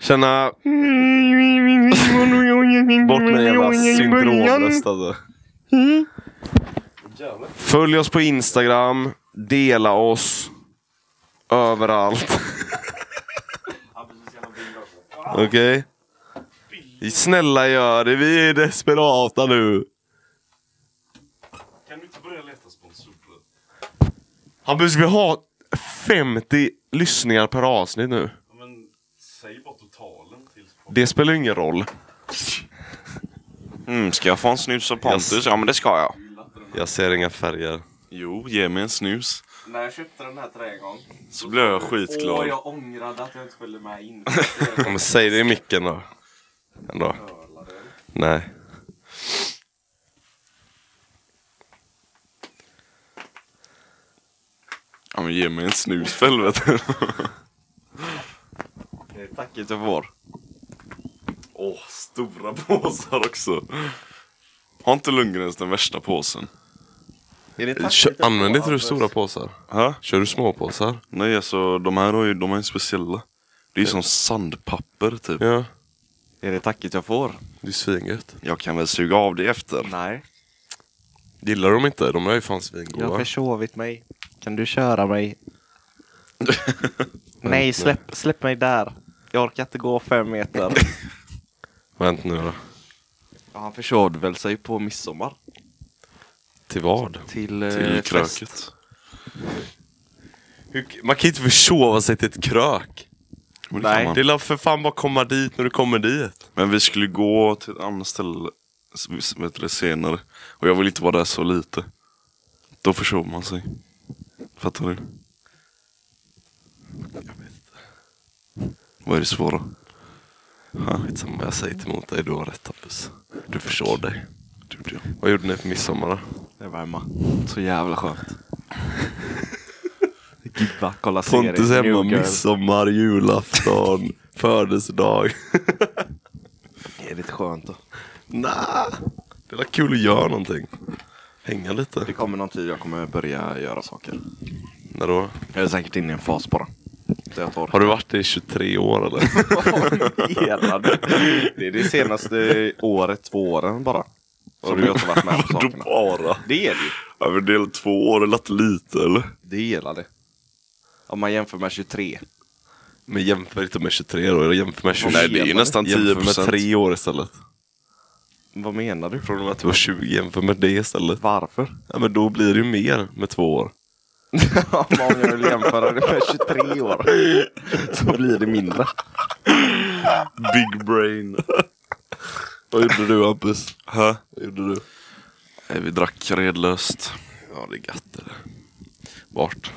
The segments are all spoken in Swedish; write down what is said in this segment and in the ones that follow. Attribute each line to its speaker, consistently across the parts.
Speaker 1: Känna...
Speaker 2: Bort med den jävla syndromröst alltså.
Speaker 1: Följ oss på Instagram. Dela oss. Överallt. Okej? Snälla gör det. Vi är desperata nu.
Speaker 3: Kan du inte börja leta sponsorer?
Speaker 1: Hampus, vi har 50 lyssningar per avsnitt nu.
Speaker 3: Ja, Men säg bara totalen till
Speaker 1: Det spelar ju ingen roll.
Speaker 2: Mm, ska jag få en snus av Pontus?
Speaker 1: Yes.
Speaker 2: Ja men det ska jag.
Speaker 1: Jag ser inga färger.
Speaker 2: Jo, ge mig en snus.
Speaker 4: När jag köpte den här trägången.
Speaker 2: Så blir jag skitglad.
Speaker 4: Åh, jag ångrade att jag inte följde med in.
Speaker 1: Ja, men säg det i micken då. Ändå. Nej.
Speaker 2: Ja men ge mig en snus för helvete. Tack att jag får. Åh, stora påsar också. Har inte Lundgrens den värsta påsen?
Speaker 1: Kör, använder inte du stora påsar?
Speaker 2: Ja.
Speaker 1: Kör du små påsar?
Speaker 2: Nej alltså de här har ju, de är ju speciella. Det är ju som sandpapper typ.
Speaker 1: Ja.
Speaker 4: Är det tacket jag får?
Speaker 1: Det är svingött.
Speaker 2: Jag kan väl suga av det efter.
Speaker 4: Nej.
Speaker 1: Gillar de inte? De är ju fan svingoda.
Speaker 4: Jag har försovit mig. Kan du köra mig? Nej, släpp, släpp mig där. Jag orkar inte gå fem meter.
Speaker 1: Vänta nu då.
Speaker 4: Ja, han försov väl sig på midsommar.
Speaker 1: Till vad?
Speaker 4: Till, eh,
Speaker 2: Till
Speaker 4: fest.
Speaker 2: kröket.
Speaker 1: Hur- Man kan inte försova sig till ett krök.
Speaker 2: Men det kan
Speaker 4: Nej.
Speaker 2: man.
Speaker 1: Det lär för fan bara komma dit när du kommer dit.
Speaker 2: Men vi skulle gå till ett annat ställe s- s- vet du, det, senare. Och jag vill inte vara där så lite. Då försov man sig. Fattar du? Vad är det svåra?
Speaker 1: Ja, skitsamma, jag säger inte emot dig. Du har rätt Hampus. Du förstår dig. Vad gjorde ni på midsommar då?
Speaker 4: Jag var hemma. Så jävla skönt. Gibba, kolla serier.
Speaker 1: Pontus hemma,
Speaker 4: New Girl.
Speaker 1: midsommar, julafton, födelsedag.
Speaker 4: Det är lite skönt då.
Speaker 1: Nah. Det är kul att göra någonting. Hänga lite.
Speaker 4: Det kommer någon tid jag kommer börja göra saker.
Speaker 1: När då?
Speaker 4: Jag är säkert inne i en fas bara. Där jag tar
Speaker 1: Har du varit det i 23 år eller?
Speaker 4: Hela det. det är det senaste året, två åren bara. Som jag inte varit med på
Speaker 2: Vadå
Speaker 4: sakerna.
Speaker 2: bara?
Speaker 4: Det är det ju.
Speaker 2: Ja, men det är två år, det lät lite eller?
Speaker 4: Det är hela det. Om man jämför med 23.
Speaker 1: Men jämför inte med 23 år, jämför med 20.
Speaker 2: Nej det är ju nästan 10
Speaker 1: Jämför med
Speaker 2: procent.
Speaker 1: 3 år istället.
Speaker 4: Vad menar du?
Speaker 1: Från och med att du var 20, jämför med det istället.
Speaker 4: Varför?
Speaker 1: Ja men då blir det ju mer med två år.
Speaker 4: Om jag vill jämföra det med 23 år så blir det mindre.
Speaker 2: Big brain.
Speaker 1: Vad gjorde du Hampus?
Speaker 2: Hä?
Speaker 1: Vad gjorde du?
Speaker 2: Nej, Vi drack redlöst.
Speaker 1: Ja det är gött det där. Vart?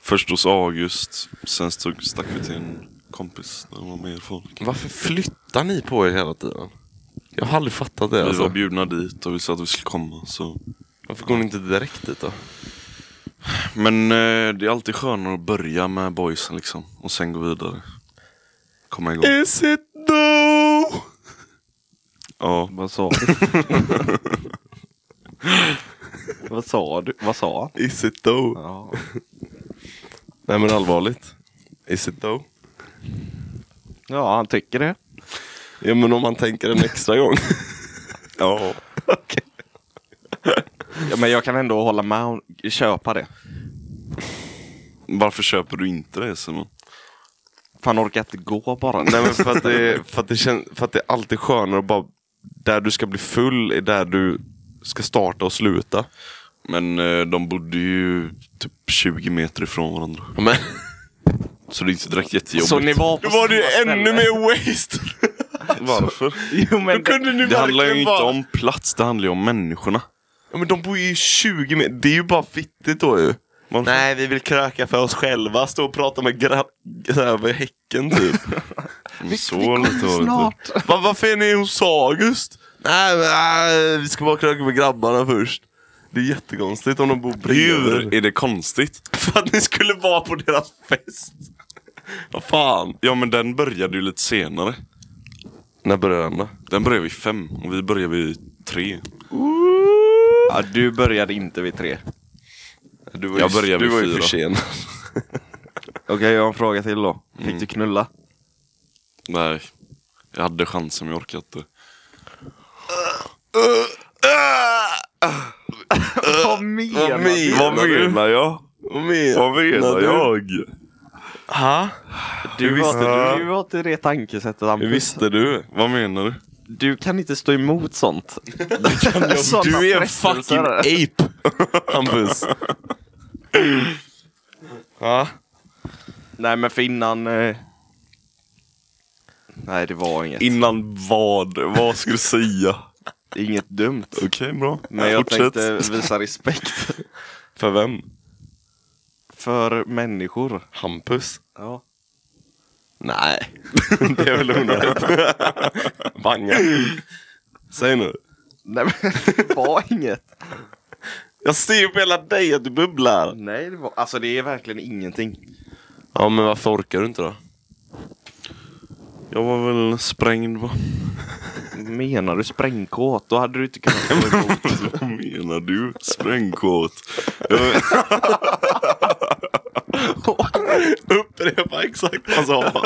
Speaker 2: Först hos August, sen stod, stack vi till en kompis där det var mer folk.
Speaker 1: Varför flyttar ni på er hela tiden? Jag har aldrig fattat det
Speaker 2: Vi var
Speaker 1: alltså.
Speaker 2: bjudna dit och vi sa att vi skulle komma så
Speaker 1: Varför går ni inte direkt dit då?
Speaker 2: Men eh, det är alltid skönare att börja med boysen liksom och sen gå vidare. Komma igång.
Speaker 1: Is it no?
Speaker 2: Ja,
Speaker 4: Vad sa du? Vad sa du? Vad sa han?
Speaker 1: Is it though?
Speaker 4: Ja.
Speaker 1: Nej men allvarligt. Is it though?
Speaker 4: ja, han tycker det.
Speaker 1: Ja men om man tänker en extra gång. ja.
Speaker 4: Ja, men jag kan ändå hålla med om köpa det.
Speaker 2: varför köper du inte det Simon?
Speaker 4: Fan orkar inte gå bara.
Speaker 1: Nej men för att det, för att det, kän, för att det är alltid skönare att bara... Där du ska bli full är där du ska starta och sluta.
Speaker 2: Men eh, de bodde ju typ 20 meter ifrån varandra.
Speaker 1: Men,
Speaker 2: Så det är inte direkt jättejobbigt.
Speaker 4: Så ni var
Speaker 1: då
Speaker 4: på
Speaker 1: var det ju
Speaker 4: samma
Speaker 1: ännu
Speaker 4: ställe?
Speaker 1: mer waste!
Speaker 2: Varför?
Speaker 4: Jo, men
Speaker 1: Då kunde ni
Speaker 2: Det handlar ju
Speaker 1: verkligen
Speaker 2: inte
Speaker 1: bara...
Speaker 2: om plats, det handlar ju om människorna.
Speaker 1: Ja, men de bor ju 20 meter. Det är ju bara fittigt då ju.
Speaker 2: Varför?
Speaker 1: Nej, vi vill kröka för oss själva. Stå och prata med grannar över häcken typ.
Speaker 2: Men Mm, Så lite var det inte.
Speaker 4: Snart.
Speaker 1: Va, varför är ni hos August? Nej, men, äh, vi ska bara kröka med grabbarna först. Det är jättekonstigt om de bor bredvid.
Speaker 2: Hur är det konstigt?
Speaker 1: För att ni skulle vara på deras fest. Vad fan.
Speaker 2: Ja men den började ju lite senare.
Speaker 1: När började den då?
Speaker 2: Den började vid fem och vi började vid tre.
Speaker 4: Ja, du började inte vid tre.
Speaker 1: Du var
Speaker 2: Jag började
Speaker 1: du
Speaker 2: vid
Speaker 1: var ju
Speaker 2: fyra.
Speaker 1: försenad.
Speaker 4: Mm. Okej, jag har en fråga till då. Fick du knulla?
Speaker 2: Nej. Jag hade chansen men jag orkade inte.
Speaker 4: Vad menar
Speaker 1: Vad menar
Speaker 4: du?
Speaker 1: Vad menar
Speaker 2: jag?
Speaker 1: Vad menar du? Ha?
Speaker 4: Du,
Speaker 1: Hur visste
Speaker 4: har,
Speaker 1: du?
Speaker 4: du har inte det tankesättet Hampus.
Speaker 1: Hur visste du?
Speaker 2: Vad menar du?
Speaker 4: Du kan inte stå emot sånt. Sådana
Speaker 1: Du är en fucking
Speaker 4: frestelser.
Speaker 1: ape, Hampus. Ja.
Speaker 4: Nej men för innan... Eh... Nej det var inget.
Speaker 2: Innan vad? Vad ska du säga?
Speaker 4: Inget dumt.
Speaker 2: Okej, bra.
Speaker 4: Men jag
Speaker 2: Fortsätt.
Speaker 4: tänkte visa respekt
Speaker 1: För vem?
Speaker 4: för människor.
Speaker 1: Hampus?
Speaker 4: Ja.
Speaker 1: Nej. Det är väl onödigt. Banga. Säg nu.
Speaker 4: Nej men det var inget.
Speaker 1: Jag ser ju på hela dig att du bubblar.
Speaker 4: Nej det var... Alltså det är verkligen ingenting.
Speaker 1: Ja, men varför orkar du inte då?
Speaker 2: Jag var väl sprängd va?
Speaker 4: Menar du sprängkåt? Då hade du inte kunnat stå emot.
Speaker 2: Vad menar du? Sprängkåt? Jag-
Speaker 1: Upprepa exakt vad han sa.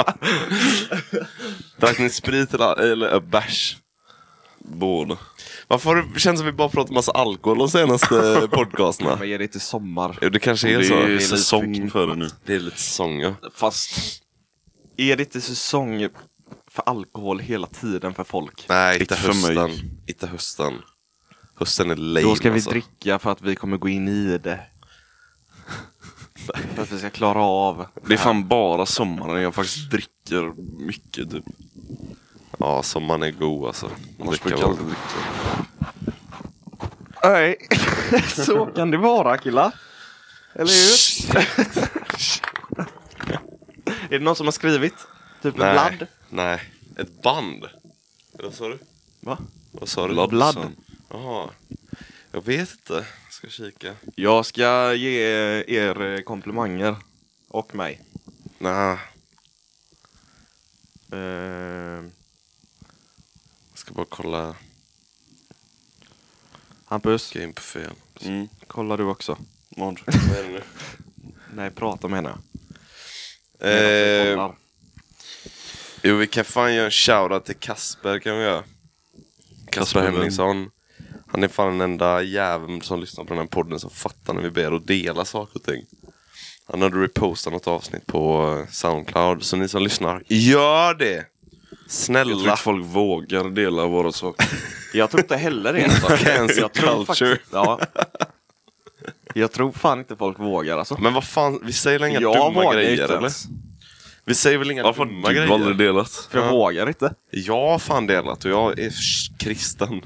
Speaker 1: Drack ni sprit eller, eller äh, bärs?
Speaker 2: Båda.
Speaker 1: Varför har det känns som vi bara pratat massa alkohol de senaste podcasterna?
Speaker 4: Men är det inte sommar?
Speaker 1: Jo, det kanske
Speaker 2: Det
Speaker 1: är så.
Speaker 2: är
Speaker 1: lite-
Speaker 2: säsong för det nu.
Speaker 1: Det är lite säsong, ja.
Speaker 4: Fast är det inte säsong för alkohol hela tiden för folk?
Speaker 1: Nej, inte
Speaker 2: Inte för mig.
Speaker 1: hösten. Inte hösten. Hösten är lame
Speaker 4: Då ska vi
Speaker 1: alltså.
Speaker 4: dricka för att vi kommer gå in i det. För att vi ska klara av.
Speaker 2: Det är fan bara sommaren jag faktiskt dricker mycket typ.
Speaker 1: Ja, sommaren är god alltså.
Speaker 2: Annars
Speaker 1: Dricka
Speaker 2: brukar jag
Speaker 1: var-
Speaker 2: aldrig dricka.
Speaker 4: Nej, så kan det vara killar. Eller hur? är det någon som har skrivit? Typ en
Speaker 1: Nej.
Speaker 4: ladd?
Speaker 1: Nej. Ett band? Eller Vad sa du?
Speaker 4: Va?
Speaker 1: Vad sa du?
Speaker 2: Blood.
Speaker 4: Blood.
Speaker 2: Sen.
Speaker 1: Jaha. Jag vet inte. Ska kika.
Speaker 4: Jag ska ge er eh, komplimanger. Och mig.
Speaker 1: Nej.
Speaker 4: Eh,
Speaker 1: Jag ska bara kolla
Speaker 4: Hampus,
Speaker 1: game på fel.
Speaker 2: Mm.
Speaker 4: kollar du också?
Speaker 2: Vad?
Speaker 1: Vad är det nu?
Speaker 4: Nej, prata menar jag.
Speaker 1: Eh, jo, vi kan fan göra en shoutout till Kasper kan vi göra. Kasper
Speaker 2: vem?
Speaker 1: Henningsson. Han är fan den enda jäveln som lyssnar på den här podden som fattar när vi ber att dela saker och ting. Han hade repostat något avsnitt på eh, Soundcloud, så ni som lyssnar, gör det!
Speaker 2: Jag tror
Speaker 1: Snälla!
Speaker 2: inte folk vågar dela våra saker.
Speaker 4: Jag tror inte heller det. alltså.
Speaker 1: Cancel
Speaker 4: Jag tror
Speaker 1: culture.
Speaker 4: faktiskt- Ja. Jag tror fan inte folk vågar alltså.
Speaker 1: Men vad fan, vi säger väl inga
Speaker 4: jag
Speaker 1: dumma
Speaker 4: vågar
Speaker 1: grejer
Speaker 4: inte
Speaker 1: eller?
Speaker 4: ens.
Speaker 1: Vi säger väl inga
Speaker 2: Varför
Speaker 1: dumma
Speaker 2: har du
Speaker 1: grejer?
Speaker 2: aldrig delat?
Speaker 4: För jag
Speaker 1: Ja.
Speaker 4: vågar inte.
Speaker 1: Jag har fan delat och jag är sh- kristen.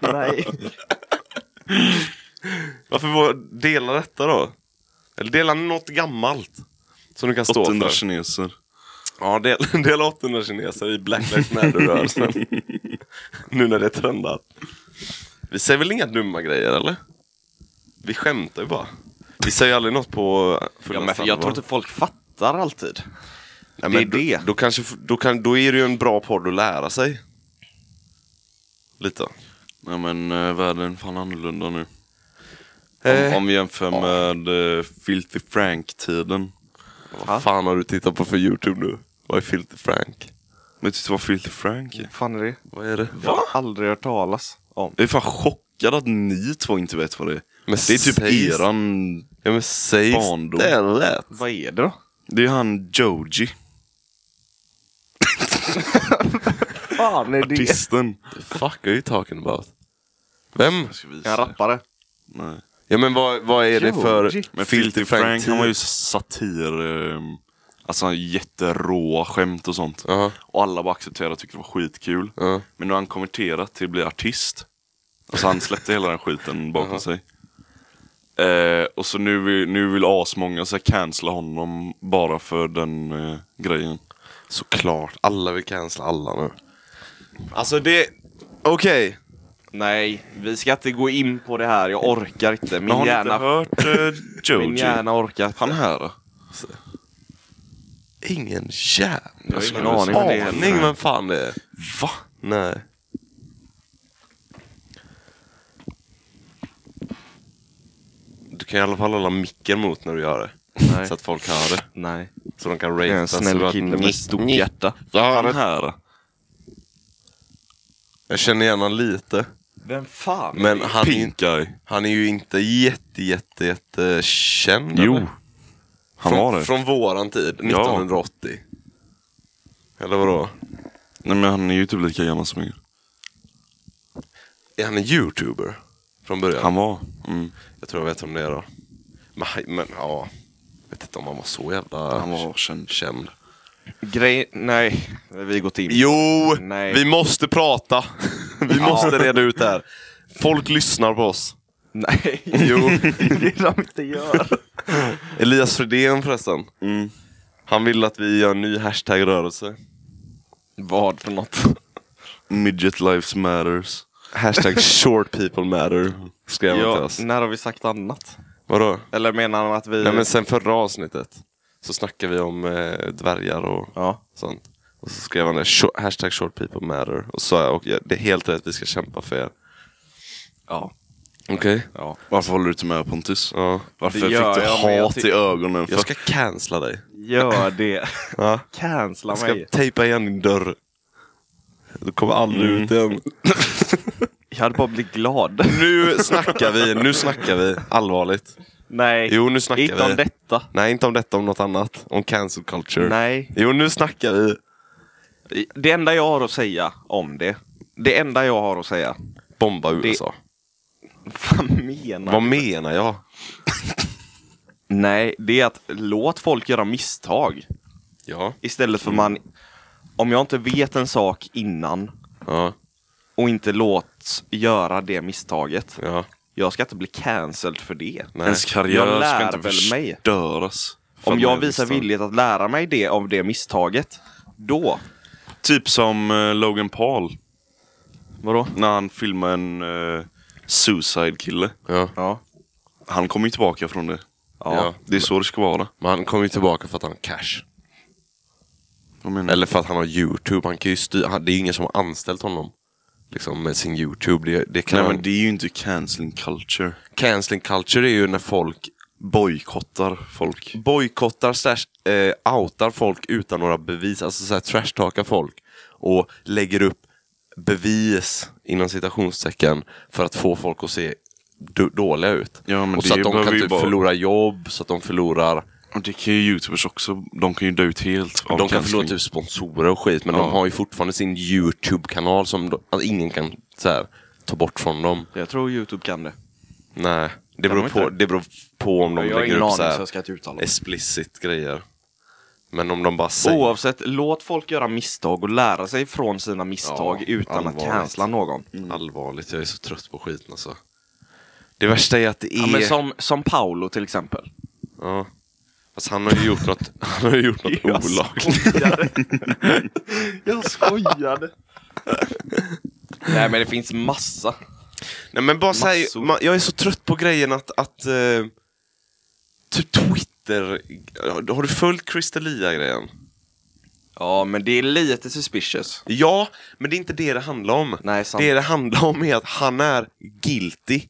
Speaker 4: Nej.
Speaker 1: Varför vå- dela detta då? Eller dela något gammalt. Som du kan stå
Speaker 2: 800
Speaker 1: för.
Speaker 2: kineser.
Speaker 1: Ja, del, dela 800 kineser i Black Lives Matter-rörelsen. nu när det är trendat. Vi säger väl inga dumma grejer eller? Vi skämtar ju bara. Vi säger aldrig något på fulla
Speaker 4: Ja, men jag
Speaker 1: allvar.
Speaker 4: tror inte folk fattar alltid.
Speaker 1: Nej,
Speaker 4: det
Speaker 1: men
Speaker 4: är det.
Speaker 1: Då, då, kanske, då, kan, då är det ju en bra podd att lära sig. Lite.
Speaker 2: Nej men eh, världen är fan annorlunda nu.
Speaker 4: Eh.
Speaker 2: Om, om vi jämför med eh, Filthy Frank-tiden.
Speaker 4: Va?
Speaker 1: Vad fan har du tittat på för YouTube nu? Vad är Filter Frank?
Speaker 2: Vet du inte vad Filthy Frank är?
Speaker 4: fan är det?
Speaker 1: Vad är det?
Speaker 4: Jag har aldrig hört talas om.
Speaker 2: Jag är fan chockad att ni två inte vet vad det är.
Speaker 1: Men
Speaker 2: det är typ
Speaker 1: säg-
Speaker 2: eran...
Speaker 1: Ja men säg
Speaker 2: Barndom.
Speaker 1: istället.
Speaker 4: Vad är det då?
Speaker 2: Det är han Joji,
Speaker 4: Fan är det?
Speaker 2: artisten.
Speaker 1: The fuck are you talking about? Vem?
Speaker 2: Jag ska
Speaker 4: En
Speaker 2: visa.
Speaker 4: rappare.
Speaker 2: Nej.
Speaker 1: Ja men vad, vad är det
Speaker 4: Joe.
Speaker 1: för typ?
Speaker 2: Men
Speaker 1: Filter
Speaker 2: Filthy Frank, han var ju
Speaker 1: tid?
Speaker 2: satir... ehm, Alltså han jätteråa skämt och sånt.
Speaker 1: Jaha,
Speaker 2: Och alla bara accepterade och tyckte det var skitkul.
Speaker 1: ja.
Speaker 2: Men nu har han konverterat till att bli artist. Alltså han släppte hela den skiten bakom sig. Eh, och så nu vill, nu vill asmånga så här cancella honom bara för den eh, grejen.
Speaker 1: Såklart, alla vill cancella alla nu. Alltså det... Okej.
Speaker 4: Nej, vi ska inte gå in på det här. Jag orkar inte.
Speaker 2: Men har
Speaker 4: Min
Speaker 2: ni inte
Speaker 4: hjärna,
Speaker 2: hört eh,
Speaker 4: min
Speaker 2: Joji?
Speaker 4: hjärna orkar inte.
Speaker 2: Han här då?
Speaker 1: Ingen jävla
Speaker 2: Jag har
Speaker 4: ingen
Speaker 2: skulle
Speaker 4: aning om det
Speaker 2: säga-
Speaker 1: aning vem fan det är.
Speaker 2: Va?
Speaker 1: Nej. Du kan i alla fall hålla micken mot när du gör det.
Speaker 4: Nej.
Speaker 1: Så att folk hör det.
Speaker 4: Nej.
Speaker 1: Så de kan
Speaker 4: Det
Speaker 1: ratea.
Speaker 4: är en snäll
Speaker 1: så
Speaker 4: kille med stort hjärta.
Speaker 1: Ja,
Speaker 2: Han
Speaker 1: men
Speaker 2: här.
Speaker 1: jag känner igen honom lite.
Speaker 4: Vem fan?
Speaker 1: Men han, är ju-
Speaker 2: Pink guy.
Speaker 1: han är ju inte jätte, jätte, jätte känd.
Speaker 2: Jo.
Speaker 1: eller?
Speaker 2: Han
Speaker 1: från,
Speaker 2: var det.
Speaker 1: Från våran tid, 1980. Eller vadå?
Speaker 2: Nej men han är ju typ lika gammal som jag.
Speaker 1: Är han en youtuber? Från början?
Speaker 2: Han var. Mm.
Speaker 1: Jag tror jag vet om det är då. Men, han- men ja. Jag vet inte om han var så jävla
Speaker 2: Han var känd.
Speaker 1: känd.
Speaker 4: Grej... Nej. Vi har gått in.
Speaker 1: Jo!
Speaker 4: Nej.
Speaker 1: Vi måste prata! Vi måste reda ut det här. Folk lyssnar på oss.
Speaker 4: Nej.
Speaker 1: Jo.
Speaker 4: Det vill de inte göra.
Speaker 1: Elias Fredén förresten.
Speaker 2: Mm.
Speaker 1: Han vill att vi gör en ny hashtag-rörelse.
Speaker 4: Vad för något?
Speaker 2: Midget lives matters.
Speaker 1: Hashtag short people matter. Skrev han till
Speaker 4: Ja,
Speaker 1: oss.
Speaker 4: när har vi sagt annat?
Speaker 1: Vadå?
Speaker 4: Eller menar han att vi...
Speaker 1: Nej men sen förra avsnittet. Så snackade vi om eh, dvärgar och
Speaker 4: Ja.
Speaker 1: sånt. Och så skrev han det, "Short- hashtag short people matter. Och så sa jag, och jag, det är helt rätt, vi ska kämpa för er.
Speaker 4: Ja.
Speaker 1: Okej.
Speaker 4: ja.
Speaker 2: Varför håller du inte med Pontus?
Speaker 1: Ja.
Speaker 2: Varför
Speaker 4: Det
Speaker 2: fick du
Speaker 4: gör jag, men jag
Speaker 2: hat
Speaker 4: tyck-
Speaker 2: i ögonen? För?
Speaker 1: Jag ska cancella dig.
Speaker 4: Gör det.
Speaker 1: Ja.
Speaker 4: Cancella
Speaker 1: Jag ska
Speaker 4: mig.
Speaker 1: tejpa igen din dörr. Mm. Du kommer aldrig ut igen.
Speaker 4: Jag hade bara blivit glad.
Speaker 1: Nu snackar vi, nu snackar vi. Allvarligt.
Speaker 4: Nej.
Speaker 1: Jo, nu snackar
Speaker 4: Inte om
Speaker 1: vi.
Speaker 4: detta.
Speaker 1: Nej, inte om detta, om något annat. Om cancel culture.
Speaker 4: Nej.
Speaker 1: Jo, nu snackar vi.
Speaker 4: Det enda jag har att säga om det. Det enda jag har att säga.
Speaker 1: Bomba USA.
Speaker 4: Vad menar
Speaker 1: Vad
Speaker 4: du?
Speaker 1: menar jag?
Speaker 4: Nej, det är att låt folk göra misstag.
Speaker 1: Ja.
Speaker 4: Istället
Speaker 1: Mm.
Speaker 4: för man... Om jag inte vet en sak innan
Speaker 1: Ja.
Speaker 4: och inte låts göra det misstaget.
Speaker 1: Ja.
Speaker 4: Jag ska inte bli cancelled för det.
Speaker 1: Nej.
Speaker 2: Ens
Speaker 4: Jag
Speaker 2: karriär
Speaker 4: lär
Speaker 2: ska inte
Speaker 4: väl mig.
Speaker 2: förstöras. för
Speaker 4: Om
Speaker 2: att
Speaker 4: jag
Speaker 2: man är
Speaker 4: visar
Speaker 2: distant.
Speaker 4: villighet att lära mig det av det misstaget, då...
Speaker 2: Typ som eh, Logan Paul.
Speaker 4: Vadå?
Speaker 2: När han filmade en eh, suicide-kille.
Speaker 1: ja.
Speaker 4: Ja.
Speaker 2: Han kommer ju tillbaka från det.
Speaker 4: Ja.
Speaker 1: Ja.
Speaker 2: Det är så det ska vara.
Speaker 1: Men han kommer ju tillbaka för att han har cash.
Speaker 2: Vad menar du?
Speaker 1: Eller för att han har YouTube. Han kan ju styra. han- Det är ingen som har anställt honom. Liksom med sin YouTube. Det, det kan
Speaker 2: Nej
Speaker 1: han-
Speaker 2: men det är ju inte canceling culture.
Speaker 1: Canceling culture är ju när folk
Speaker 2: Bojkottar folk.
Speaker 1: bojkottar slash eh, outar folk utan några bevis, alltså såhär trashtalkar folk och lägger upp bevis inom citationstecken för att få folk att se d- dåliga ut.
Speaker 2: Ja, men
Speaker 1: och
Speaker 2: det
Speaker 1: så att de
Speaker 2: behöver
Speaker 1: kan
Speaker 2: ju
Speaker 1: typ
Speaker 2: bara-
Speaker 1: förlora jobb, så att de förlorar
Speaker 2: Och det kan ju youtubers också. De kan ju dö ut helt av
Speaker 1: de kan
Speaker 2: canceling.
Speaker 1: förlora typ sponsorer och skit, men
Speaker 2: Ja.
Speaker 1: de har ju fortfarande sin YouTube-kanal som de, alltså ingen kan så här, ta bort från dem.
Speaker 4: Jag tror YouTube kan det.
Speaker 1: Nej, det
Speaker 4: Kan
Speaker 1: beror,
Speaker 4: de
Speaker 1: på,
Speaker 4: inte?
Speaker 1: det beror på om de
Speaker 4: jag har
Speaker 1: lägger upp
Speaker 4: ingen aning
Speaker 1: så
Speaker 4: så
Speaker 1: här
Speaker 4: jag ska inte uttala mig.
Speaker 1: explicit grejer. Men om de bara säger...
Speaker 4: Oavsett, låt folk göra misstag och lära sig från sina misstag
Speaker 1: Ja,
Speaker 4: utan
Speaker 1: allvarligt. Mm.
Speaker 4: att cancella någon.
Speaker 1: Allvarligt, jag är så trött på skiten alltså. Det värsta är att det är...
Speaker 4: Ja, men som, som Paolo till exempel.
Speaker 1: Ja. Fast han har ju gjort något, han har ju gjort något
Speaker 4: Jag
Speaker 1: olagligt.
Speaker 4: skojade. Jag skojade. Nej men det finns massa.
Speaker 1: Nej men bara säg,
Speaker 4: Massor.
Speaker 1: ma- jag är så trött på grejen att, att eh, typ Twitter, har du följt Christelia-grejen?
Speaker 4: Ja men det är lite suspicious.
Speaker 1: Ja, men det är inte det det handlar om.
Speaker 4: Nej, sant.
Speaker 1: Det det handlar om är att han är guilty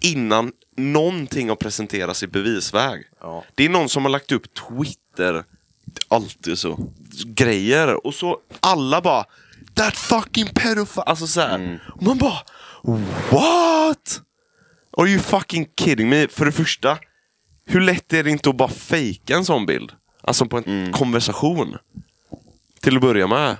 Speaker 1: innan någonting har presenterats i bevisväg.
Speaker 4: Ja.
Speaker 1: Det är någon som har lagt upp Twitter, alltid så, grejer och så alla bara That fucking pedophile, alltså såhär.
Speaker 4: Mm.
Speaker 1: Och man bara What? Are you fucking kidding me? För det första, hur lätt är det inte att bara fejka en sån bild? Alltså på en
Speaker 4: Mm.
Speaker 1: konversation. Till att börja med.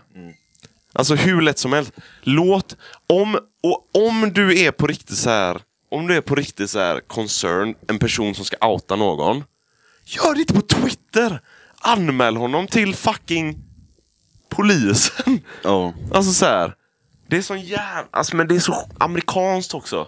Speaker 1: Alltså hur lätt som helst. Låt, om, och om du är på riktigt så här, om du är på riktigt så här concern, en person som ska outa någon. Gör det inte på Twitter! Anmäl honom till fucking polisen.
Speaker 2: Ja.
Speaker 1: Alltså så här. Det är sån jävla, alltså men det är så amerikanskt också.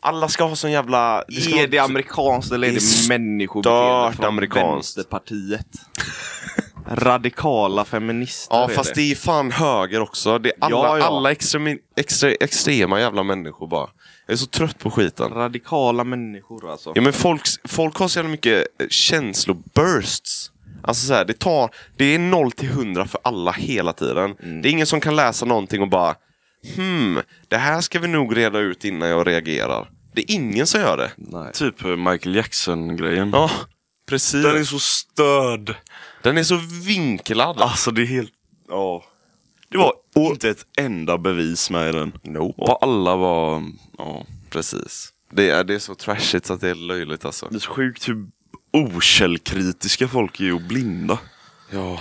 Speaker 1: Alla ska ha sån jävla... ska
Speaker 4: Är
Speaker 1: vara-
Speaker 4: det amerikanskt eller är
Speaker 1: Det är
Speaker 4: det
Speaker 1: stört
Speaker 4: människobeteende från
Speaker 1: amerikanskt.
Speaker 4: vänsterpartiet? Radikala feminister
Speaker 1: Ja
Speaker 4: är
Speaker 1: fast det är fan höger också. Det är alla,
Speaker 4: Ja, ja.
Speaker 1: alla extremi, extre, extrema jävla människor bara. Jag är så trött på skiten.
Speaker 4: Radikala människor alltså.
Speaker 1: Ja men folk, folk har så jävla mycket eh, känslobursts. Alltså så här, det tar, det är 0 till 100 för alla hela tiden. Det är ingen som kan läsa någonting och bara Hmm, det här ska vi nog reda ut innan jag reagerar. Det är ingen som gör det.
Speaker 4: Nej.
Speaker 2: Typ eh, Michael Jackson-grejen.
Speaker 1: Ja, precis.
Speaker 2: så störd.
Speaker 1: Den är så vinklad.
Speaker 2: Alltså det är helt... Ja. Det var inte ett enda bevis med i den.
Speaker 1: Nope.
Speaker 2: Och alla var... Ja.
Speaker 1: Precis. Det är, det är så trashigt så att det är löjligt alltså.
Speaker 2: Det är så sjukt hur okällkritiska folk är och blinda.
Speaker 1: Ja.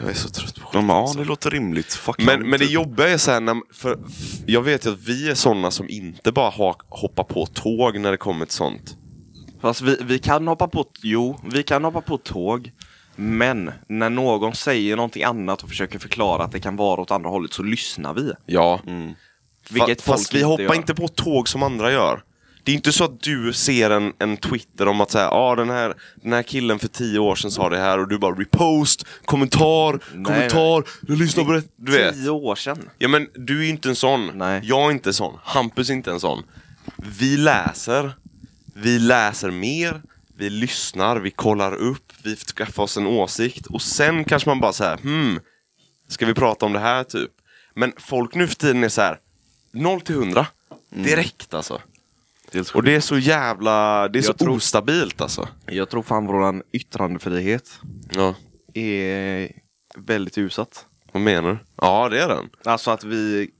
Speaker 1: Jag är så trött på
Speaker 2: De bara, ja det låter rimligt. Fuck
Speaker 1: Men, men det
Speaker 2: typ.
Speaker 1: jobbiga är såhär, när, för jag vet ju att vi är sådana som inte bara ha, hoppar på tåg när det kommer till sånt.
Speaker 4: Fast vi, vi kan hoppa på, jo, vi kan hoppa på tåg. Men när någon säger någonting annat och försöker förklara att det kan vara åt andra hållet så lyssnar vi.
Speaker 1: Ja.
Speaker 4: Mm. Vilket
Speaker 1: Fa- fast
Speaker 4: folk
Speaker 1: vi
Speaker 4: inte
Speaker 1: hoppar
Speaker 4: gör.
Speaker 1: inte på tåg som andra gör. Det är inte så att du ser en, en Twitter om att säga ah, den, här, den här killen för tio år sedan sa det här och du bara repost, kommentar,
Speaker 4: Nej,
Speaker 1: kommentar, du lyssnar på det. Du vet.
Speaker 4: Tio år sedan.
Speaker 1: Ja men du är ju inte en sån.
Speaker 4: Nej.
Speaker 1: Jag är inte en sån. Hampus är inte en sån. Vi läser. Vi läser mer. Vi lyssnar. Vi kollar upp. Vi skaffar oss en åsikt. Och sen kanske man bara så här, hmm. Ska vi prata om det här typ? Men folk nu för tiden är så här 0 till 100. Direkt alltså.
Speaker 2: Det är helt
Speaker 1: Och
Speaker 2: sjukt.
Speaker 1: det är så jävla, det är
Speaker 4: Jag
Speaker 1: så
Speaker 4: tror-
Speaker 1: ostabilt alltså.
Speaker 4: Jag tror fan våran yttrandefrihet
Speaker 1: Ja.
Speaker 4: är väldigt utsatt.
Speaker 1: Vad menar du? Ja det är den.
Speaker 4: Alltså att vi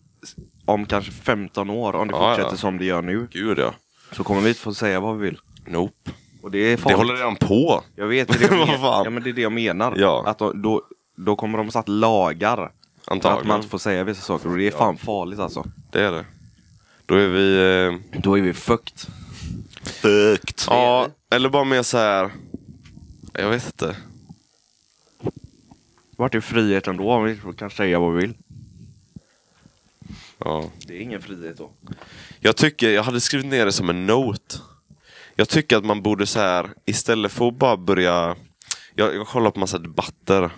Speaker 4: om kanske 15 år, om det
Speaker 1: Ja,
Speaker 4: fortsätter
Speaker 1: ja.
Speaker 4: som det gör nu,
Speaker 1: Gud ja.
Speaker 4: så kommer vi inte få säga vad vi vill.
Speaker 1: Nope.
Speaker 4: Och det är
Speaker 1: Det
Speaker 4: farligt.
Speaker 1: håller redan på.
Speaker 4: Jag vet, det är det jag,
Speaker 1: Vad
Speaker 4: menar.
Speaker 1: fan?
Speaker 4: ja, men det, är det jag menar.
Speaker 1: Ja.
Speaker 4: Att då, då, då kommer de satt lagar för att
Speaker 1: Antagligen.
Speaker 4: man inte får säga vissa saker och det är fan farligt alltså.
Speaker 1: Det är det. Då är vi... Eh...
Speaker 4: Då är vi fucked.
Speaker 2: Fucked.
Speaker 1: Ja, eller bara mer så här. Jag vet inte.
Speaker 4: Vart är friheten då om vi kan säga vad vi vill?
Speaker 1: Ja.
Speaker 4: Det är ingen frihet då.
Speaker 1: Jag tycker, jag hade skrivit ner det som en note. Jag tycker att man borde så här istället för att bara börja... Jag, jag kollar på massa debatter.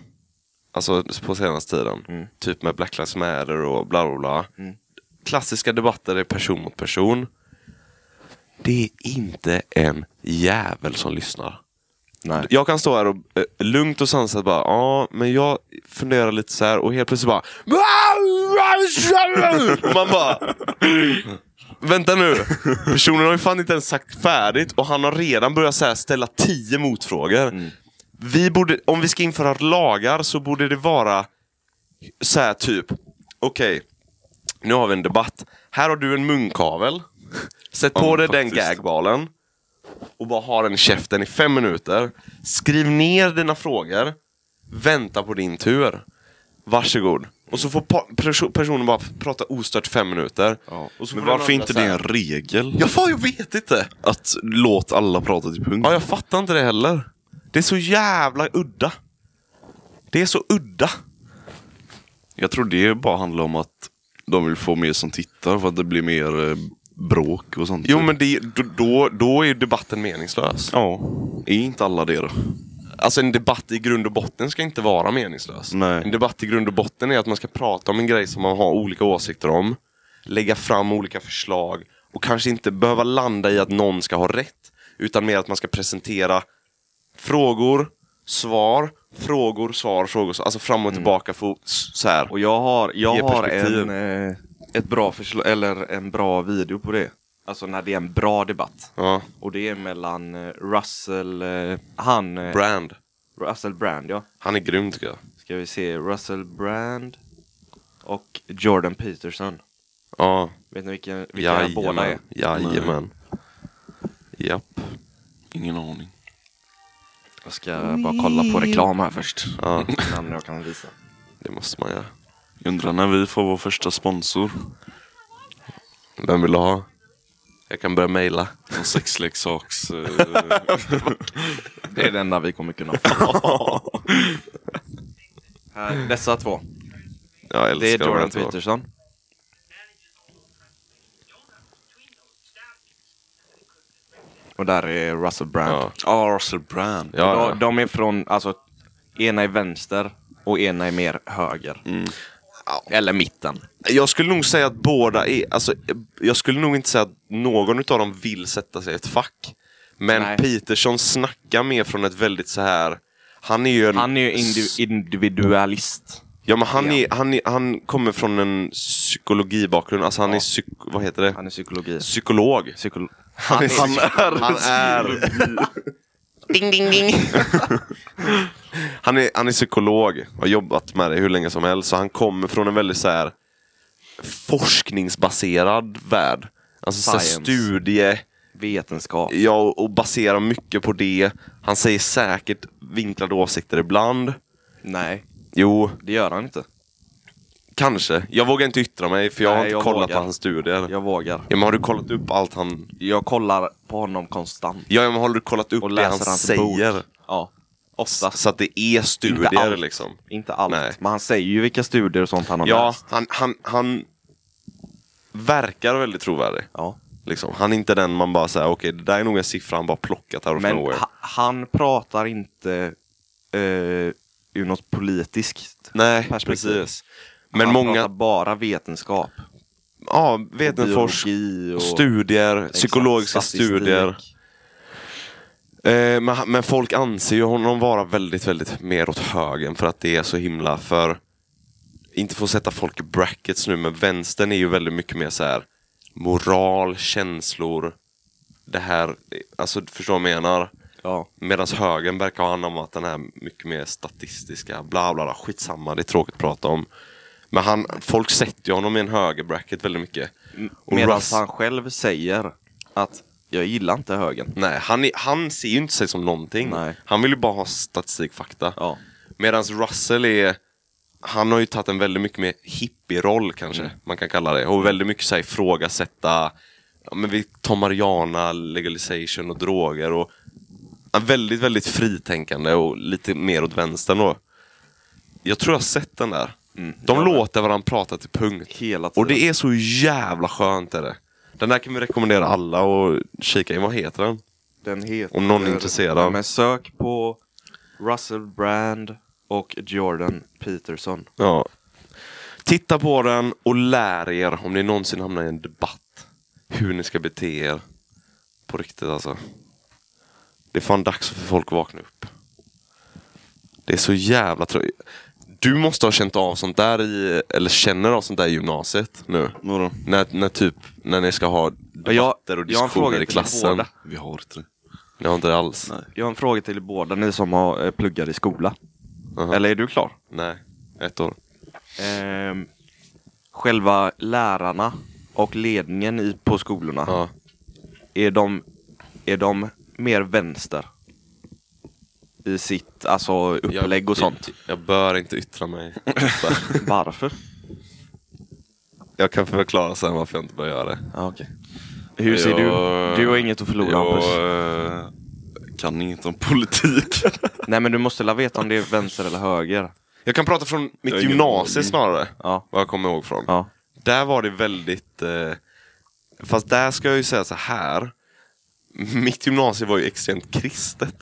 Speaker 1: Alltså på senaste tiden. Typ med Black Lives Matter och bla bla bla. Klassiska debatter är person mot person. Det är inte en jävel som lyssnar.
Speaker 4: Nej.
Speaker 1: Jag kan stå här och eh, lugnt och sansat bara, ja, men jag funderar lite så här och helt plötsligt bara... Och man bara... Vänta nu, personen har ju fan inte ens sagt färdigt och han har redan börjat så här ställa tio motfrågor. Vi borde, om vi ska införa lagar så borde det vara så här typ, okej, nu har vi en debatt. Här har du en munkavel. Sätt på
Speaker 2: Ja,
Speaker 1: dig
Speaker 2: faktiskt.
Speaker 1: den gagbalen och bara ha den i käften i fem minuter. Skriv ner dina frågor. Vänta på din tur. Varsågod. Och så får pa- perso- personen bara prata ostört i fem minuter. Och så
Speaker 2: Men
Speaker 1: får den
Speaker 2: varför
Speaker 1: andra
Speaker 2: inte
Speaker 1: så
Speaker 2: det
Speaker 1: här-
Speaker 2: en regel?
Speaker 1: Ja, fan, jag vet inte.
Speaker 2: Att låt alla prata till punkt.
Speaker 1: Ja, jag fattar inte det heller. Det är så jävla udda. Det är så udda.
Speaker 2: Jag tror det bara handlar om att de vill få mer som tittar för att det blir mer eh, bråk och sånt.
Speaker 1: Jo, men det, då- då, då är ju debatten meningslös.
Speaker 2: Ja. Är inte alla det då?
Speaker 1: Alltså en debatt i grund och botten ska inte vara meningslös.
Speaker 2: Nej.
Speaker 1: En debatt i grund och botten är att man ska prata om en grej som man har olika åsikter om. Lägga fram olika förslag och kanske inte behöva landa i att någon ska ha rätt. Utan mer att man ska presentera frågor, svar, frågor, svar, frågor. Alltså fram
Speaker 4: Mm.
Speaker 1: och tillbaka. För, att s- så här.
Speaker 4: Och jag har, jag
Speaker 1: Ge
Speaker 4: har
Speaker 1: perspektiv.
Speaker 4: en, eh, ett bra förslag, eller en bra video på det. Alltså när det är en bra debatt.
Speaker 1: Ja.
Speaker 4: Och det är mellan eh, Russell, eh, han, eh,
Speaker 1: Brand.
Speaker 4: Russell Brand ja.
Speaker 1: Han är grym tycker jag.
Speaker 4: Ska vi se, Russell Brand och Jordan Peterson.
Speaker 1: Ja,
Speaker 4: Vet ni vilken, vilka de båda är?
Speaker 1: Jajamän. Japp.
Speaker 2: Ingen aning.
Speaker 4: Jag ska bara kolla på reklam här först.
Speaker 1: Ja,
Speaker 4: Namn jag kan visa.
Speaker 1: det måste man göra.
Speaker 2: Jag undrar när vi får vår första sponsor.
Speaker 1: Vem vill du ha? Jag kan börja mejla.
Speaker 2: En sexleksaks... Eh,
Speaker 4: Det är det enda vi kommer kunna här, Dessa två.
Speaker 1: Jag älskar
Speaker 4: Det är
Speaker 1: de här
Speaker 4: Jordan
Speaker 1: två.
Speaker 4: Peterson. Och där är Russell Brand.
Speaker 1: Ja.
Speaker 2: ah, Russell Brand.
Speaker 1: Ja, ja.
Speaker 4: De, de är från, alltså, ena är vänster och ena är mer höger. Eller mitten.
Speaker 1: Jag skulle nog säga att båda är... Alltså, jag skulle nog inte säga att någon utav dem vill sätta sig i ett fack. Men
Speaker 4: Nej.
Speaker 1: Peterson snackar mer från ett väldigt så här... Han är ju en...
Speaker 4: Han är ju indi- individualist.
Speaker 1: Ja, men han,
Speaker 4: Ja.
Speaker 1: Är, han, är, han kommer från en psykologibakgrund. Alltså han är psyk... Vad heter det?
Speaker 4: Han är psykologi.
Speaker 1: Psykolog.
Speaker 4: Psykolo-
Speaker 1: Han är... Han är... Ding, ding, ding. han, är, han är psykolog och har jobbat med det hur länge som helst. Så han kommer från en väldigt så här forskningsbaserad värld. Alltså så här
Speaker 4: Science.
Speaker 1: studie,
Speaker 4: Vetenskap.
Speaker 1: ja, och- och baserar mycket på det. Han säger säkert vinklade åsikter ibland.
Speaker 4: Nej,
Speaker 1: Jo,
Speaker 4: det gör han inte.
Speaker 1: kanske. Jag vågar inte yttra mig för jag har
Speaker 4: Nej,
Speaker 1: inte
Speaker 4: jag
Speaker 1: kollat
Speaker 4: vågar.
Speaker 1: på hans studier. Ja.
Speaker 4: Jag vågar.
Speaker 1: men har du kollat upp allt han...
Speaker 4: Jag kollar på honom konstant.
Speaker 1: Ja, ja, men har du kollat upp
Speaker 4: Och
Speaker 1: det han
Speaker 4: läser hans
Speaker 1: säger?
Speaker 4: bok. Ja, ofta.
Speaker 1: Så att det är
Speaker 4: Inte
Speaker 1: studier
Speaker 4: allt.
Speaker 1: liksom.
Speaker 4: Inte allt.
Speaker 1: Nej.
Speaker 4: Men han säger ju vilka studier och sånt han har
Speaker 1: Ja,
Speaker 4: läst.
Speaker 1: han, han, han verkar väldigt trovärdig.
Speaker 4: Ja.
Speaker 1: Liksom. Han är inte den man bara säger, okej det där är nog en siffra han bara plockat out of
Speaker 4: Men
Speaker 1: nowhere.
Speaker 4: ha, han pratar inte eh, ur något politiskt
Speaker 1: Nej,
Speaker 4: perspektiv.
Speaker 1: precis. Men
Speaker 4: han
Speaker 1: många,
Speaker 4: pratar bara vetenskap.
Speaker 1: ja, vetenforsk,
Speaker 4: biologi och-
Speaker 1: studier,
Speaker 4: Exakt,
Speaker 1: psykologiska
Speaker 4: statistik.
Speaker 1: studier. Eh, men, han- men folk anser ju honom vara väldigt, väldigt mer åt högen för att det är så himla för... Inte för att sätta folk i brackets nu, men vänstern är ju väldigt mycket mer så här moral, känslor, det här, alltså du förstår vad jag menar?
Speaker 4: Ja.
Speaker 1: Medan högern verkar ha anammat den här mycket mer statistiska, bla bla bla, skitsamma, det är tråkigt att prata om. Men han, folk sätter ju honom i en högerbracket väldigt mycket. Och
Speaker 4: Medan
Speaker 1: Russ-
Speaker 4: han själv säger att jag gillar inte högen.
Speaker 1: Nej, han, är, han ser ju inte sig som någonting.
Speaker 4: Nej.
Speaker 1: Han vill ju bara ha statistikfakta.
Speaker 4: Ja.
Speaker 1: Medan Russell är... Han har ju tagit en väldigt mycket mer hippie-roll kanske,
Speaker 4: Mm.
Speaker 1: man kan kalla det. Och väldigt mycket så här ifrågasätta, ja, men vi tar marijuana, legalization och droger. Och, ja, väldigt, väldigt fritänkande och lite mer åt vänstern då. Jag tror jag har sett den där. De
Speaker 4: Mm, jag med.
Speaker 1: låter varandra prata till punkt.
Speaker 4: Hela tiden.
Speaker 1: Och det är så jävla skönt är det. Den där kan vi rekommendera alla och kika in. Vad heter den?
Speaker 4: Den heter...
Speaker 1: Om någon är intresserad.
Speaker 4: Men sök på Russell Brand och Jordan Peterson.
Speaker 1: Ja. Titta på den och lär er om ni någonsin hamnar i en debatt. Hur ni ska bete er. På riktigt alltså. Det är fan dags för folk att vakna upp. Det är så jävla trögt. Du måste ha känt av sånt där i, eller känner av sånt där i gymnasiet nu.
Speaker 2: Vadå?
Speaker 1: När, när typ, när ni ska ha debatter och
Speaker 4: jag har en fråga
Speaker 1: diskussioner i
Speaker 4: till er
Speaker 1: klassen.
Speaker 4: båda.
Speaker 2: Vi har inte det.
Speaker 1: Ni har inte det alls?
Speaker 2: Nej.
Speaker 4: Jag har en fråga till er båda, ni som har eh, pluggar i skola.
Speaker 1: Aha.
Speaker 4: Eller är du klar?
Speaker 1: Nej. Ett år.
Speaker 4: Ehm, själva lärarna och ledningen i, på skolorna,
Speaker 1: Ja.
Speaker 4: är, de, är de mer vänster? I sitt alltså, upplägg och sånt.
Speaker 1: Jag, jag bör inte yttra mig.
Speaker 4: Varför?
Speaker 1: Jag kan förklara sen varför jag inte bör göra det.
Speaker 4: Ja, okej. Hur ser
Speaker 2: Jag-
Speaker 4: du? Du har inget att förlora Hampus.
Speaker 2: Jag eh, kan inget om politik.
Speaker 4: Nej men du måste la veta om det är vänster eller höger.
Speaker 1: Jag kan prata från mitt
Speaker 2: har ingen
Speaker 1: gymnasie
Speaker 2: aning.
Speaker 1: snarare.
Speaker 4: Ja.
Speaker 1: Vad jag kommer ihåg från.
Speaker 4: Ja.
Speaker 1: Där var det väldigt... Eh, fast där ska jag ju säga så här. Mitt gymnasie var ju extremt kristet.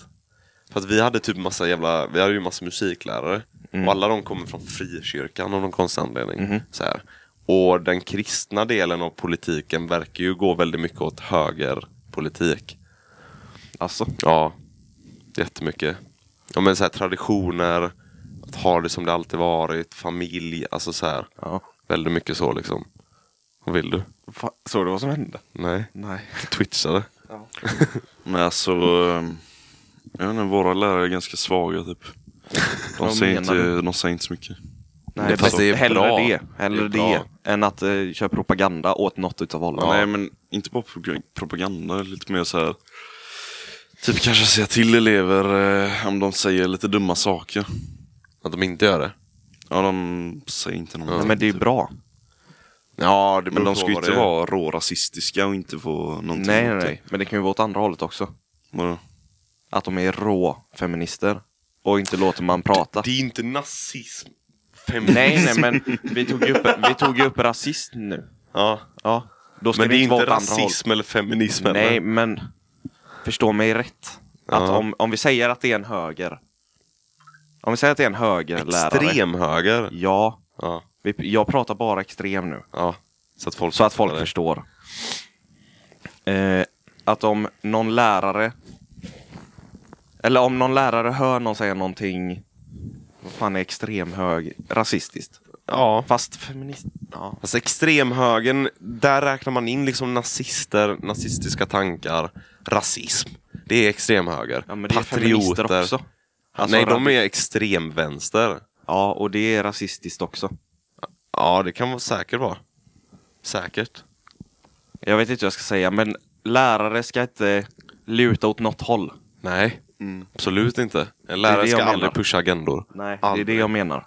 Speaker 1: För att vi hade typ massa jävla... Vi hade ju massa musiklärare. Och alla de kommer från frikyrkan av någon konstig anledning. Så här. Och den kristna delen av politiken verkar ju gå väldigt mycket åt högerpolitik.
Speaker 4: Alltså.
Speaker 1: Ja, jättemycket. Ja, men så här, traditioner, att ha det som det alltid varit, familj, alltså så här.
Speaker 4: Ja.
Speaker 1: Väldigt mycket så liksom. Vad vill du?
Speaker 4: Fa- såg du vad som hände?
Speaker 1: Nej,
Speaker 4: Nej.
Speaker 1: twitchade.
Speaker 2: Men alltså, eh, jag vet inte, våra lärare är ganska svaga typ. De,
Speaker 4: Vad
Speaker 2: säger,
Speaker 4: menar
Speaker 2: inte,
Speaker 4: du?
Speaker 2: de säger inte så mycket.
Speaker 4: Nej,
Speaker 1: Det-
Speaker 4: det,
Speaker 1: fast det är
Speaker 4: hellre
Speaker 1: bra.
Speaker 4: det. Hellre
Speaker 1: Det är
Speaker 4: det,
Speaker 1: bra.
Speaker 4: än att eh, köra propaganda åt något utav hållen.
Speaker 2: Nej men inte bara pro- propaganda, lite mer så här. Typ kanske säga till elever eh, om de säger lite dumma saker.
Speaker 1: Att de inte gör det?
Speaker 2: Ja, de säger inte någonting.
Speaker 4: Nej, men det är bra.
Speaker 1: Ja, det
Speaker 2: Men de ska ju inte vara rårasistiska och inte få någonting.
Speaker 4: Nej, nej,
Speaker 2: emot det.
Speaker 4: nej. Men det kan ju vara åt andra hållet också.
Speaker 2: Vadå?
Speaker 4: Att de är rå feminister och inte låter man prata.
Speaker 1: Det är inte nazism. Feminism.
Speaker 4: Nej, nej, men vi tog ju upp, vi tog ju upp rasism nu.
Speaker 1: Ja.
Speaker 4: Ja. Då ska
Speaker 1: Men det är inte
Speaker 4: vara åt andra hållet.
Speaker 1: rasism eller feminism
Speaker 4: Nej,
Speaker 1: heller.
Speaker 4: men förstå mig rätt. Att
Speaker 1: Ja.
Speaker 4: om, om vi säger att det är en höger. Om vi säger att det är en högerlärare.
Speaker 1: Extremhöger.
Speaker 4: Ja,
Speaker 1: Ja.
Speaker 4: vi, jag pratar bara extrem nu.
Speaker 1: ja. Så att folk,
Speaker 4: Så att folk
Speaker 1: fattar det.
Speaker 4: förstår. Eh, att om någon lärare. Eller om någon lärare hör någon säga någonting. Vad fan är extremhög? Rasistiskt.
Speaker 1: Ja.
Speaker 4: Fast feminist. Ja.
Speaker 1: Alltså extremhögern, där räknar man in liksom nazister, nazistiska tankar, rasism. Det är extremhöger.
Speaker 4: Ja, men det är feminister också. Alltså,
Speaker 1: Nej, de
Speaker 4: radi-
Speaker 1: är extremvänster.
Speaker 4: Ja, och det är rasistiskt också.
Speaker 1: Ja, det kan vara säkert vara. Säkert.
Speaker 4: Jag vet inte vad jag ska säga, men lärare ska inte luta åt något håll.
Speaker 1: Nej, absolut inte. En
Speaker 4: Mm. Det är
Speaker 1: lärare
Speaker 4: det
Speaker 1: ska
Speaker 4: jag menar.
Speaker 1: aldrig pusha agendor.
Speaker 4: Nej, det är
Speaker 1: Aldrig.
Speaker 4: det jag menar.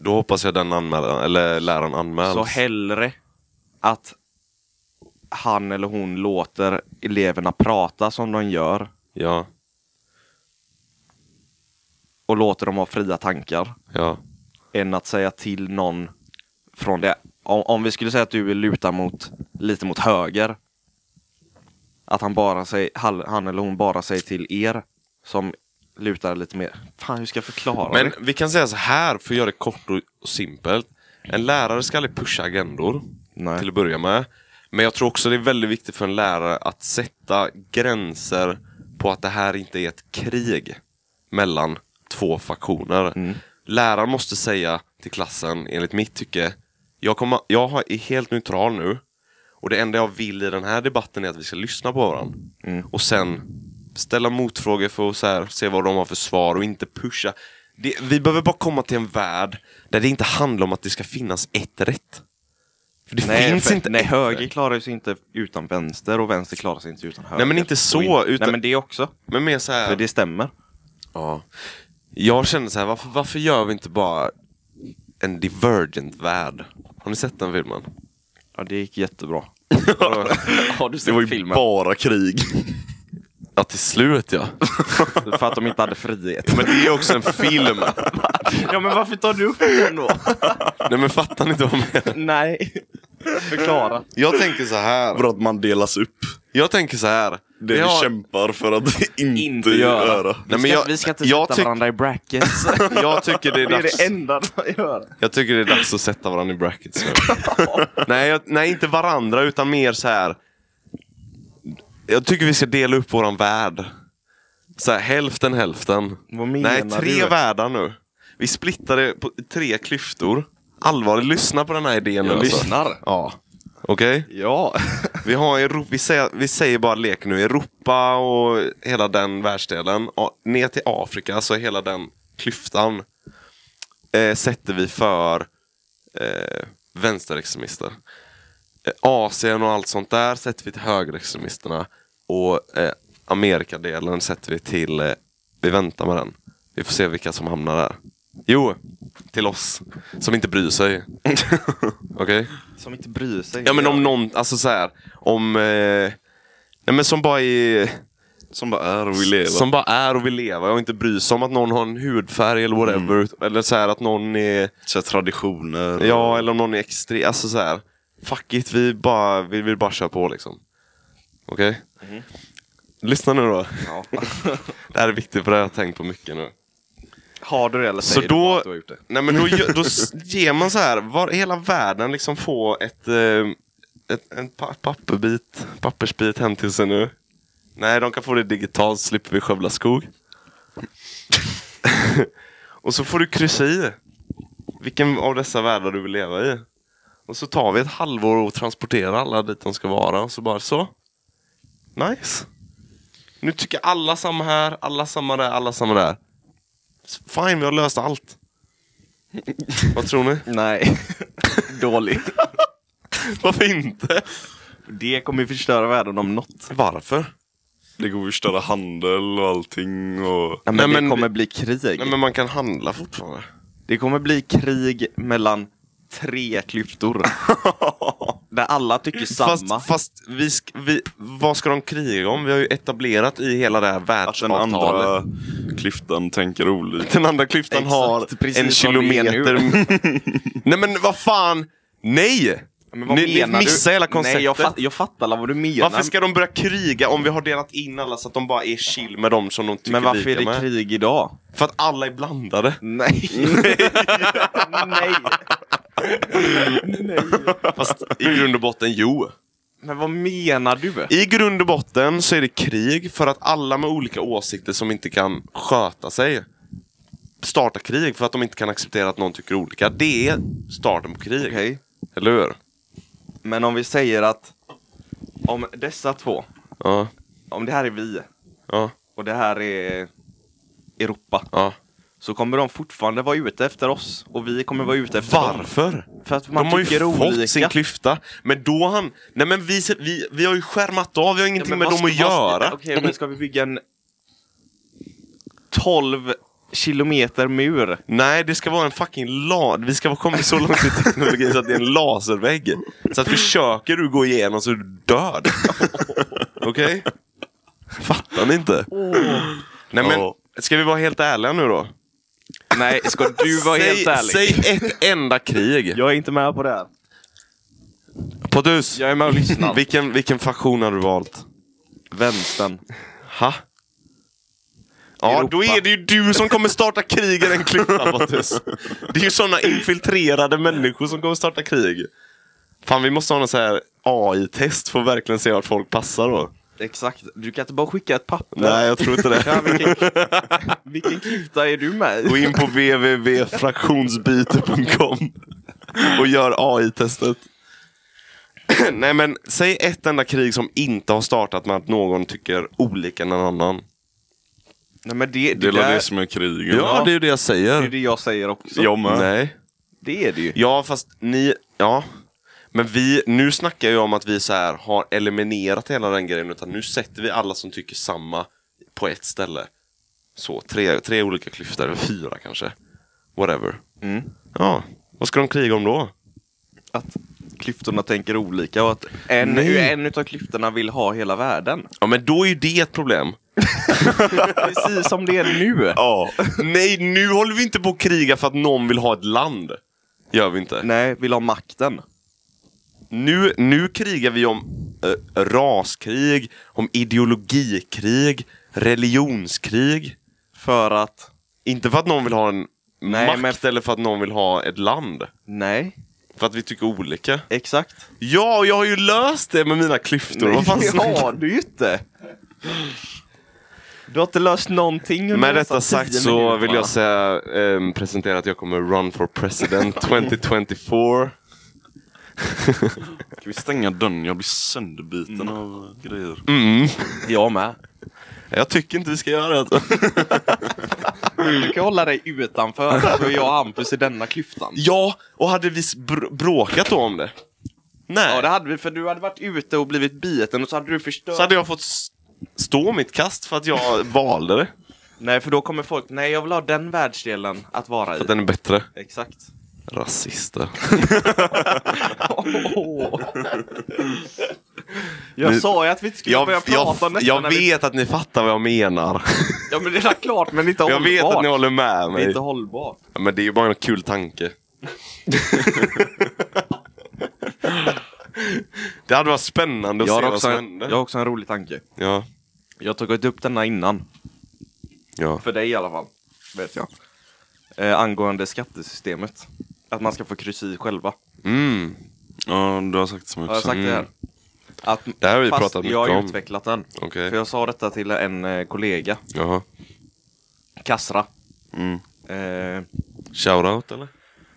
Speaker 1: Då hoppas jag den anmälan, eller läraren anmäls.
Speaker 4: Så hellre att han eller hon låter eleverna prata som de gör
Speaker 1: ja,
Speaker 4: och låter dem ha fria tankar
Speaker 1: ja.
Speaker 4: än att säga till någon från det. Om, om vi skulle säga att du vill luta mot, lite mot höger. Att han, bara säger, han han eller hon bara säger till er som lutar lite mer. Fan, hur ska jag förklara
Speaker 1: Men
Speaker 4: det?
Speaker 1: vi kan säga så här, för att göra det kort och, och simpelt. En lärare ska aldrig pusha agendor,
Speaker 4: Nej.
Speaker 1: till att börja med. Men jag tror också det är väldigt viktigt för en lärare att sätta gränser på att det här inte är ett krig mellan två faktioner. Läraren måste säga till klassen, enligt mitt tycke, jag, kommer, jag har- är helt neutral nu och det enda jag vill i den här debatten är att vi ska lyssna på varandra. Och sen ställa motfrågor för att så här, se vad de har för svar och inte pusha. Det, vi behöver bara komma till en värld där det inte handlar om att det ska finnas ett rätt. För det
Speaker 4: Nej,
Speaker 1: finns
Speaker 4: för,
Speaker 1: inte
Speaker 4: nej
Speaker 1: ett
Speaker 4: höger
Speaker 1: rätt.
Speaker 4: klarar sig inte utan vänster och vänster klarar sig inte utan höger.
Speaker 1: Nej men inte
Speaker 4: Och
Speaker 1: så,
Speaker 4: in- Nej
Speaker 1: utan
Speaker 4: men det också,
Speaker 1: men mer så här.
Speaker 4: för det stämmer.
Speaker 1: Ja. Jag känner så här, varför, varför gör vi inte bara en divergent värld? Har ni sett den filmen?
Speaker 4: Ja det gick jättebra.
Speaker 5: Har du
Speaker 2: Det
Speaker 5: sett
Speaker 2: var ju
Speaker 5: filmen?
Speaker 2: bara krig.
Speaker 1: Ja, till slut ja.
Speaker 4: För att de inte hade frihet.
Speaker 1: Men det är också en film.
Speaker 4: ja men varför tar du upp den då?
Speaker 1: Nej men fattar ni inte vad jag menar?
Speaker 4: nej. Förklara.
Speaker 1: Jag tänker så här.
Speaker 2: Bra att man delas upp.
Speaker 1: Jag tänker så här.
Speaker 2: Det vi kämpar för att inte,
Speaker 4: Inte göra.
Speaker 2: göra.
Speaker 1: Nej,
Speaker 4: vi,
Speaker 1: men
Speaker 4: ska,
Speaker 1: jag,
Speaker 4: vi ska inte
Speaker 1: jag,
Speaker 4: sätta
Speaker 1: tyck,
Speaker 4: varandra i brackets.
Speaker 1: jag tycker det är
Speaker 4: det är
Speaker 1: dags.
Speaker 4: det enda de gör.
Speaker 1: Jag tycker det är dags att sätta varandra i brackets nu. nej, jag, nej, inte varandra utan mer så här. Jag tycker vi ska dela upp våran värld. Så här, hälften hälften.
Speaker 4: Vad menar
Speaker 1: nej, tre
Speaker 4: du?
Speaker 1: världar nu. Vi splittar det på tre klyftor. Allvarligt, lyssna på den här idén nu. alltså. Ja. Okej?
Speaker 4: Ja.
Speaker 1: Vi, har Europa, vi, säger, vi säger bara lek nu. Europa och hela den världsdelen. A- Ner till Afrika, så hela den klyftan eh, sätter vi för eh, vänsterextremister. Eh, Asien och allt sånt där sätter vi till högerextremisterna. Och eh, Amerikadelen sätter vi till... Eh, vi väntar med den. Vi får se vilka som hamnar där. Jo, till oss som inte bryr sig. Okej?
Speaker 4: Som inte bryr sig.
Speaker 1: Ja men om någon, alltså så här, om... Eh, nej men som bara är...
Speaker 2: Som bara är och vill leva.
Speaker 1: Som bara är och vill leva och inte bryr sig om att någon har en hudfärg eller whatever. Eller så här att någon är...
Speaker 2: Så här, traditioner.
Speaker 1: Mm. Ja, eller om någon är extrem. Alltså så här. Fuck it, vi bara, vi vill bara köra på liksom. Okej? Lyssna nu då.
Speaker 4: Ja.
Speaker 1: Det här är viktigt för det har jag tänkt på mycket nu.
Speaker 4: Har du det eller
Speaker 1: Så
Speaker 4: säger du bara
Speaker 1: då,
Speaker 4: att du har gjort det?
Speaker 1: nej men då, gö- då s- ger man så här, var hela världen liksom får ett, eh, ett en pa- papperbit, pappersbit hem till sig nu. Nej, de kan få det digitalt, slipper vi skövla skog. och så får du kryssa i vilken av dessa världar du vill leva i. Och så tar vi ett halvår och transporterar alla dit de ska vara och så bara så. Nice. Nu tycker alla samma här, alla samma där, alla samma där. Fine, vi har löst allt. Vad tror ni?
Speaker 4: Nej. Dåligt.
Speaker 1: Varför inte?
Speaker 4: Det kommer ju förstöra världen om något.
Speaker 1: Varför?
Speaker 2: Det går att förstöra handel och allting. Och...
Speaker 4: Nej, men,
Speaker 1: Nej, men-
Speaker 4: det kommer bli krig.
Speaker 1: Nej men man kan handla fortfarande.
Speaker 4: Det kommer bli krig mellan tre klyftor. Där alla tycker samma.
Speaker 1: Fast, fast vi sk- vi, vad ska de kriga om? Vi har ju etablerat i hela det här
Speaker 2: Att den
Speaker 1: världsavtalet.
Speaker 2: andra klyftan tänker olika.
Speaker 1: den andra klyftan
Speaker 4: Exakt,
Speaker 1: har
Speaker 4: precis
Speaker 1: en
Speaker 4: vad det är
Speaker 1: kilometer... Nej men vad fan! Nej!
Speaker 4: Men vad
Speaker 1: ni, ni
Speaker 4: menar du?
Speaker 1: missar hela konceptet.
Speaker 4: Nej, jag, fat, jag fattar alla vad du menar.
Speaker 1: varför ska de börja kriga om vi har delat in alla så att de bara är chill med dem som de tycker
Speaker 4: men varför är
Speaker 1: lika
Speaker 4: det
Speaker 1: med?
Speaker 4: krig idag?
Speaker 1: För att alla är blandade.
Speaker 4: Nej. Nej.
Speaker 1: Fast i grund och botten, jo.
Speaker 4: Men vad menar du?
Speaker 1: I grund och botten så är det krig för att alla med olika åsikter som inte kan sköta sig startar krig för att de inte kan acceptera att någon tycker olika. Det är starten på krig.
Speaker 4: Okej.
Speaker 1: Eller hur?
Speaker 4: Men om vi säger att om dessa två,
Speaker 1: Ja.
Speaker 4: om det här är vi
Speaker 1: Ja.
Speaker 4: och det här är Europa.
Speaker 1: ja.
Speaker 4: Så kommer de fortfarande vara ute efter oss och vi kommer vara ute efter dem.
Speaker 1: Varför?
Speaker 4: För att man
Speaker 1: de har ju
Speaker 4: tycker olika.
Speaker 1: fått sin klyfta. Men då han... Nej men vi, vi, vi har ju skärmat av, vi har
Speaker 4: Ja,
Speaker 1: ingenting
Speaker 4: men
Speaker 1: med
Speaker 4: vad
Speaker 1: dem att
Speaker 4: ska- vad ska-
Speaker 1: göra.
Speaker 4: Okej, men ska vi bygga en 12 kilometer mur?
Speaker 1: Nej, det ska vara en fucking la... Vi ska ha kommit så långt i teknologin så att det är en laservägg. Så att försöker du gå igenom så är du död. Okej? Fattar ni inte? Nej men,
Speaker 2: Ja.
Speaker 1: ska vi vara helt ärliga nu då?
Speaker 4: Nej, ska du vara
Speaker 1: säg,
Speaker 4: helt ärlig?
Speaker 1: Säg ett enda krig.
Speaker 4: Jag är inte med på det här.
Speaker 1: Pontus,
Speaker 4: Jag är med och lyssnar.
Speaker 1: vilken, vilken faktion har du valt?
Speaker 4: Vänstern.
Speaker 1: Ha? Ja,
Speaker 4: Europa.
Speaker 1: då är det ju du som kommer starta krig i den klyftan, Pontus. Det är ju sådana infiltrerade människor som kommer starta krig. Fan, vi måste ha någon så här AI-test för att verkligen se vart folk passar då.
Speaker 4: Exakt. Du kan inte bara skicka ett papper.
Speaker 1: Nej, jag tror inte
Speaker 4: Ja,
Speaker 1: det.
Speaker 4: vilken, vilken klyfta är du med
Speaker 1: Gå
Speaker 4: i?
Speaker 1: in på www.fraktionsbyte.com och gör AI-testet. Nej, men säg ett enda krig som inte har startat med att någon tycker olika än en annan.
Speaker 4: Nej, men det,
Speaker 2: Det
Speaker 4: det,
Speaker 2: är väl
Speaker 4: där,
Speaker 2: det som är krigen.
Speaker 1: Ja, det är ju det jag
Speaker 4: det är
Speaker 1: säger.
Speaker 4: det jag säger också. Mm.
Speaker 2: Jag med.
Speaker 1: Nej.
Speaker 4: Det är det ju.
Speaker 1: Ja, fast ni... Ja. Men vi, nu snackar jag om att vi så här har eliminerat hela den grejen. Utan nu sätter vi alla som tycker samma på ett ställe. Så, tre, tre olika klyftor. Eller fyra kanske. Whatever.
Speaker 4: Mm.
Speaker 1: Ja. Vad ska de kriga om då?
Speaker 4: Att klyftorna tänker olika och att en,
Speaker 1: Nej.
Speaker 4: en utav klyftorna vill ha hela världen.
Speaker 1: Ja, men då är ju det ett problem.
Speaker 4: Precis som det är nu.
Speaker 1: Ja. Nej, nu håller vi inte på att kriga för att någon vill ha ett land. Gör vi inte.
Speaker 4: Nej, vill ha makten.
Speaker 1: Nu, nu krigar vi om eh, raskrig, om ideologikrig, religionskrig.
Speaker 4: För att...
Speaker 1: Inte för att någon vill ha en
Speaker 4: Nej,
Speaker 1: makt
Speaker 4: men-
Speaker 1: eller för att någon vill ha ett land.
Speaker 4: Nej,
Speaker 1: För att vi tycker olika.
Speaker 4: exakt.
Speaker 1: Ja, och jag har ju löst det med mina klyftor.
Speaker 4: Nej,
Speaker 1: Vad fan
Speaker 4: det
Speaker 1: snackar-
Speaker 4: har du ju inte. Du har inte löst någonting under
Speaker 1: Med
Speaker 4: dessa
Speaker 1: detta sagt
Speaker 4: tio
Speaker 1: så
Speaker 4: minuterna.
Speaker 1: vill jag säga, ehm, presentera att jag kommer run for president 2024.
Speaker 2: Kan vi stänga dörren? Jag blir sönderbiten av grejer.
Speaker 4: Jag med.
Speaker 1: Mm. Jag tycker inte vi ska göra det. Mm.
Speaker 4: Du kan hålla dig utanför så är jag och Hampus i denna klyftan.
Speaker 1: ja, och hade vi s- br- bråkat då om det? Nej.
Speaker 4: Ja det hade vi för du hade varit ute och blivit biten och så hade du förstört.
Speaker 1: Så hade jag fått s- stå mitt kast för att jag valde det.
Speaker 4: Nej för då kommer folk, nej jag vill ha den världsdelen att vara i.
Speaker 1: För att den är bättre.
Speaker 4: Exakt.
Speaker 1: Rasister.
Speaker 4: Jag
Speaker 1: Nu-
Speaker 4: sa ju att vi inte skulle
Speaker 1: Jag,
Speaker 4: börja
Speaker 1: jag,
Speaker 4: prata om
Speaker 1: jag,
Speaker 4: detta när vi...
Speaker 1: vet att ni fattar vad jag menar.
Speaker 4: Ja men det är klart men inte
Speaker 1: Jag
Speaker 4: hållbart.
Speaker 1: vet att ni håller med
Speaker 4: Det är
Speaker 1: mig.
Speaker 4: inte hållbart.
Speaker 1: Ja, Men det är ju bara en kul tanke. det hade varit spännande att
Speaker 4: Jag
Speaker 1: se
Speaker 4: har,
Speaker 1: vad
Speaker 4: också
Speaker 1: som
Speaker 4: en,
Speaker 1: hände.
Speaker 4: jag har också en rolig tanke.
Speaker 1: Ja.
Speaker 4: Jag har tagit upp denna innan.
Speaker 1: Ja.
Speaker 4: För dig i alla fall. Vet jag. Eh, angående skattesystemet. Att man ska få kryss i själva.
Speaker 1: Mm.
Speaker 2: Ja, du har sagt det som
Speaker 4: Har jag sagt det här? Att,
Speaker 1: Det här har vi
Speaker 4: fast
Speaker 1: pratat mycket
Speaker 4: jag har
Speaker 1: om.
Speaker 4: utvecklat den.
Speaker 1: Okej.
Speaker 4: För jag sa detta till en eh, kollega,
Speaker 1: Jaha.
Speaker 4: Kassra.
Speaker 2: Mm.
Speaker 4: Eh,
Speaker 1: Shoutout eller?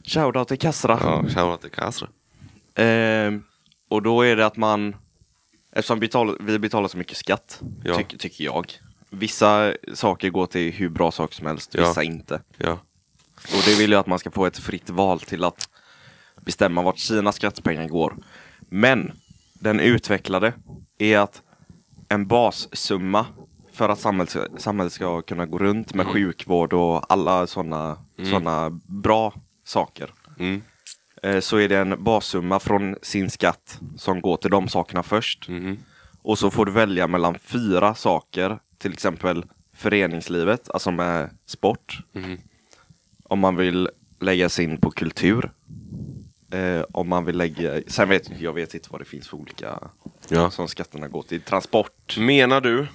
Speaker 4: shoutout till Kassra.
Speaker 1: Ja, shoutout till Kasra.
Speaker 4: Ehm, och då är det att man, eftersom betal, vi betalar så mycket skatt,
Speaker 1: Ja.
Speaker 4: tyck, tycker jag. Vissa saker går till hur bra saker som helst,
Speaker 1: Ja.
Speaker 4: vissa inte.
Speaker 1: Ja.
Speaker 4: Och det vill jag att man ska få ett fritt val till att bestämma vart Kinas skattepengar går. Men den utvecklade är att en bassumma för att samhället, samhället ska kunna gå runt med sjukvård och alla sådana såna bra saker.
Speaker 1: Mm.
Speaker 4: Eh, Så är det en bassumma från sin skatt som går till de sakerna först.
Speaker 1: Mm. mhm.
Speaker 4: Och så får du välja mellan fyra saker, till exempel föreningslivet, alltså med sport,
Speaker 1: Mm.
Speaker 4: om man vill lägga sig in på kultur. Eh, om man vill lägga, sen vet jag vet inte vad det finns för olika
Speaker 1: Ja.
Speaker 4: som skatterna går till. Transport.
Speaker 1: Menar du,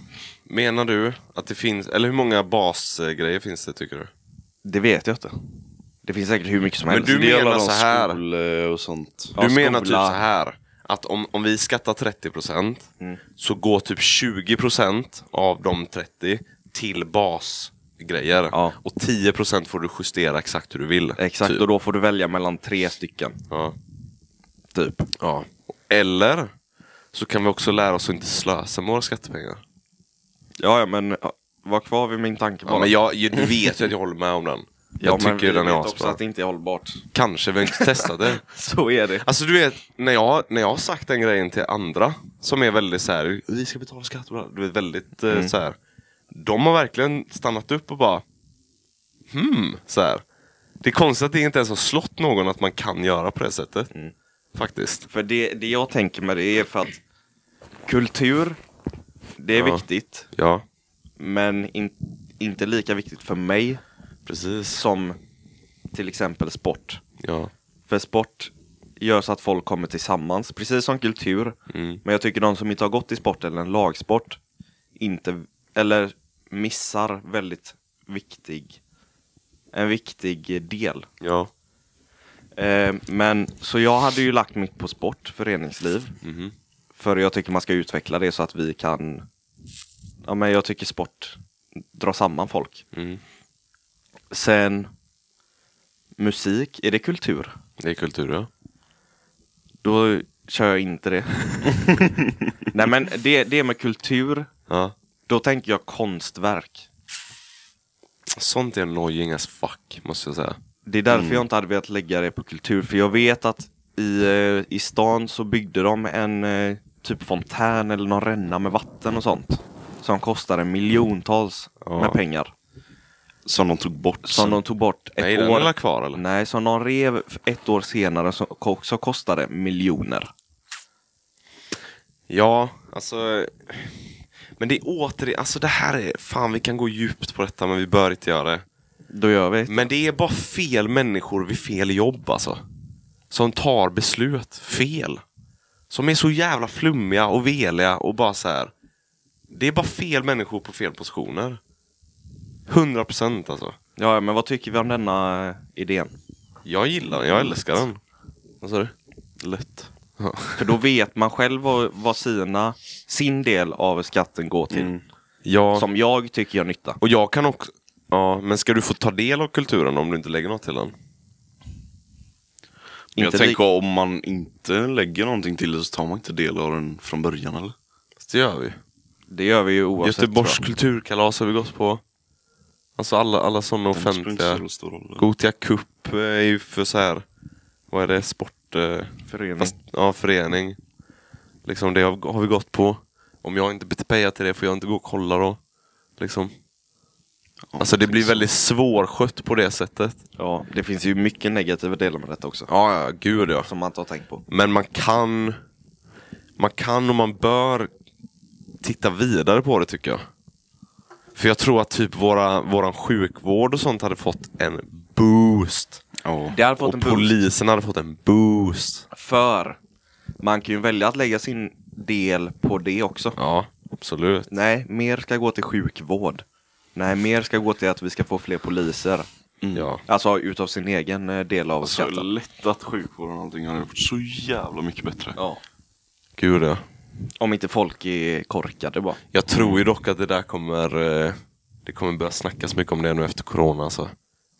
Speaker 1: menar du att det finns, eller hur många basgrejer finns det tycker du?
Speaker 4: Det vet jag inte. Det finns säkert hur mycket som
Speaker 1: Men
Speaker 4: helst.
Speaker 1: du
Speaker 2: Det är alla
Speaker 1: menar
Speaker 2: de
Speaker 1: så här.
Speaker 2: skol och sånt.
Speaker 4: Ja,
Speaker 1: du menar typ så
Speaker 4: skola.
Speaker 1: här att om, om vi skattar 30%
Speaker 4: Mm.
Speaker 1: så går typ 20% av de 30 till basgrejer.
Speaker 4: Ja.
Speaker 1: Och 10% får du justera exakt hur du vill.
Speaker 4: Exakt,
Speaker 1: Typ.
Speaker 4: och då får du välja mellan tre stycken.
Speaker 1: Ja.
Speaker 4: Typ.
Speaker 1: Ja. Eller så kan vi också lära oss att inte slösa med våra skattepengar.
Speaker 4: Ja, ja men ja, var kvar vid min tanke bara.
Speaker 1: Ja, men jag, ju- du vet ju att jag håller med om den.
Speaker 4: Ja,
Speaker 1: Jag
Speaker 4: men
Speaker 1: tycker den
Speaker 4: vi
Speaker 1: är
Speaker 4: vet också
Speaker 1: asbra.
Speaker 4: att det inte är hållbart.
Speaker 1: Kanske vi har inte testat det.
Speaker 4: Så är det.
Speaker 1: Alltså du vet, när jag, när jag har sagt den grejen till andra som är väldigt så här, vi ska betala skatt, bla, du vet väldigt eh, så här. De har verkligen stannat upp och bara, hmm, så här. Det är konstigt att det inte ens har slått någon att man kan göra på det sättet. Faktiskt.
Speaker 4: För det, det jag tänker med det är för att kultur, det är
Speaker 1: Ja.
Speaker 4: viktigt.
Speaker 1: Ja,
Speaker 4: Men in, inte lika viktigt för mig
Speaker 1: precis.
Speaker 4: som till exempel sport.
Speaker 1: Ja.
Speaker 4: För sport gör så att folk kommer tillsammans, precis som kultur.
Speaker 1: Mm.
Speaker 4: Men jag tycker de som inte har gått i sport eller en lagsport inte, eller missar väldigt viktig, en viktig del.
Speaker 1: Ja.
Speaker 4: Eh, men så jag hade ju lagt mitt på sport, föreningsliv.
Speaker 1: Mhm.
Speaker 4: För jag tycker man ska utveckla det så att vi kan, ja men jag tycker sport drar samman folk.
Speaker 1: Mm.
Speaker 4: Sen musik, är det kultur?
Speaker 1: Det är kultur ja.
Speaker 4: Då kör jag inte det. Nej men det, det med kultur,
Speaker 1: ja.
Speaker 4: då tänker jag konstverk.
Speaker 1: Sånt är annoying as fuck, måste jag säga.
Speaker 4: Det är därför
Speaker 1: Mm.
Speaker 4: jag inte hade velat lägga det på kultur, för jag vet att i, eh, i stan så byggde de en eh, typ fontän eller någon ränna med vatten och sånt. Som kostade miljontals
Speaker 1: Ja.
Speaker 4: med pengar.
Speaker 2: Som de tog bort.
Speaker 4: Som
Speaker 2: sen.
Speaker 4: de tog bort ett
Speaker 1: Nej, den är
Speaker 4: år.
Speaker 1: väl kvar eller?
Speaker 4: Nej, som de rev f- ett år senare som ko- också kostade miljoner.
Speaker 1: Ja, alltså. Men det är återigen, alltså det här är, fan vi kan gå djupt på detta men vi bör inte göra det.
Speaker 4: Då gör vi.
Speaker 1: Men det är bara fel människor vid fel jobb alltså. Som tar beslut fel. Som är så jävla flummiga och veliga och bara så här. Det är bara fel människor på fel positioner. 100% alltså.
Speaker 4: Ja, men vad tycker vi om denna eh, idén?
Speaker 1: Jag gillar den, jag älskar den. Vad sa du? Lätt.
Speaker 4: För då vet man själv vad, vad sina, sin del av skatten går till.
Speaker 1: Mm. Ja.
Speaker 4: Som jag tycker gör nytta.
Speaker 1: Och jag kan också... Ja, men ska du få ta del av kulturen om du inte lägger något till den?
Speaker 2: Men jag
Speaker 4: Inte
Speaker 2: tänker om man inte lägger någonting till det så tar man inte del av den från början eller?
Speaker 1: Fast det gör vi.
Speaker 4: Det gör vi ju oavsett.
Speaker 1: Göteborgs
Speaker 4: tror
Speaker 1: kulturkalas har vi gått på. Alltså alla, alla sådana
Speaker 2: Den spelar inte
Speaker 1: offentliga.
Speaker 2: så stor roll.
Speaker 1: Gothia Cup eh, är ju för så här. Vad är det? Sport... eh,
Speaker 4: jag. Förening.
Speaker 1: Fast,
Speaker 2: Mm.
Speaker 1: ja, förening. Liksom det har, har vi gått på. Om jag inte betalar till det får jag inte gå och kolla då. Liksom. Alltså det blir
Speaker 2: liksom.
Speaker 1: väldigt svårskött på det sättet.
Speaker 4: Ja, det finns ju mycket negativa delar med detta också.
Speaker 1: Ja, ja, gud ja.
Speaker 4: Som man inte har tänkt på.
Speaker 1: Men man kan Man kan och man bör titta vidare på det tycker jag. För jag tror att typ våra, våran sjukvård och sånt hade fått en boost.
Speaker 2: Ja.
Speaker 4: Det hade fått en
Speaker 1: och
Speaker 4: puls
Speaker 1: polisen hade fått en boost.
Speaker 4: för man kan ju välja att lägga sin del på det också.
Speaker 1: Ja, absolut.
Speaker 4: Nej, mer ska gå till sjukvård. Nej, mer ska gå till att vi ska få fler poliser.
Speaker 1: Mm. Ja.
Speaker 4: Alltså utav sin egen eh, del av
Speaker 2: Så
Speaker 4: skatten.
Speaker 2: lätt att sjukvården och allting hade varit så jävla mycket bättre.
Speaker 4: Ja.
Speaker 1: Gud ja.
Speaker 4: Om inte folk är korkade bara.
Speaker 1: Jag tror ju dock att det där kommer eh, Det kommer börja snackas mycket om det nu efter corona alltså.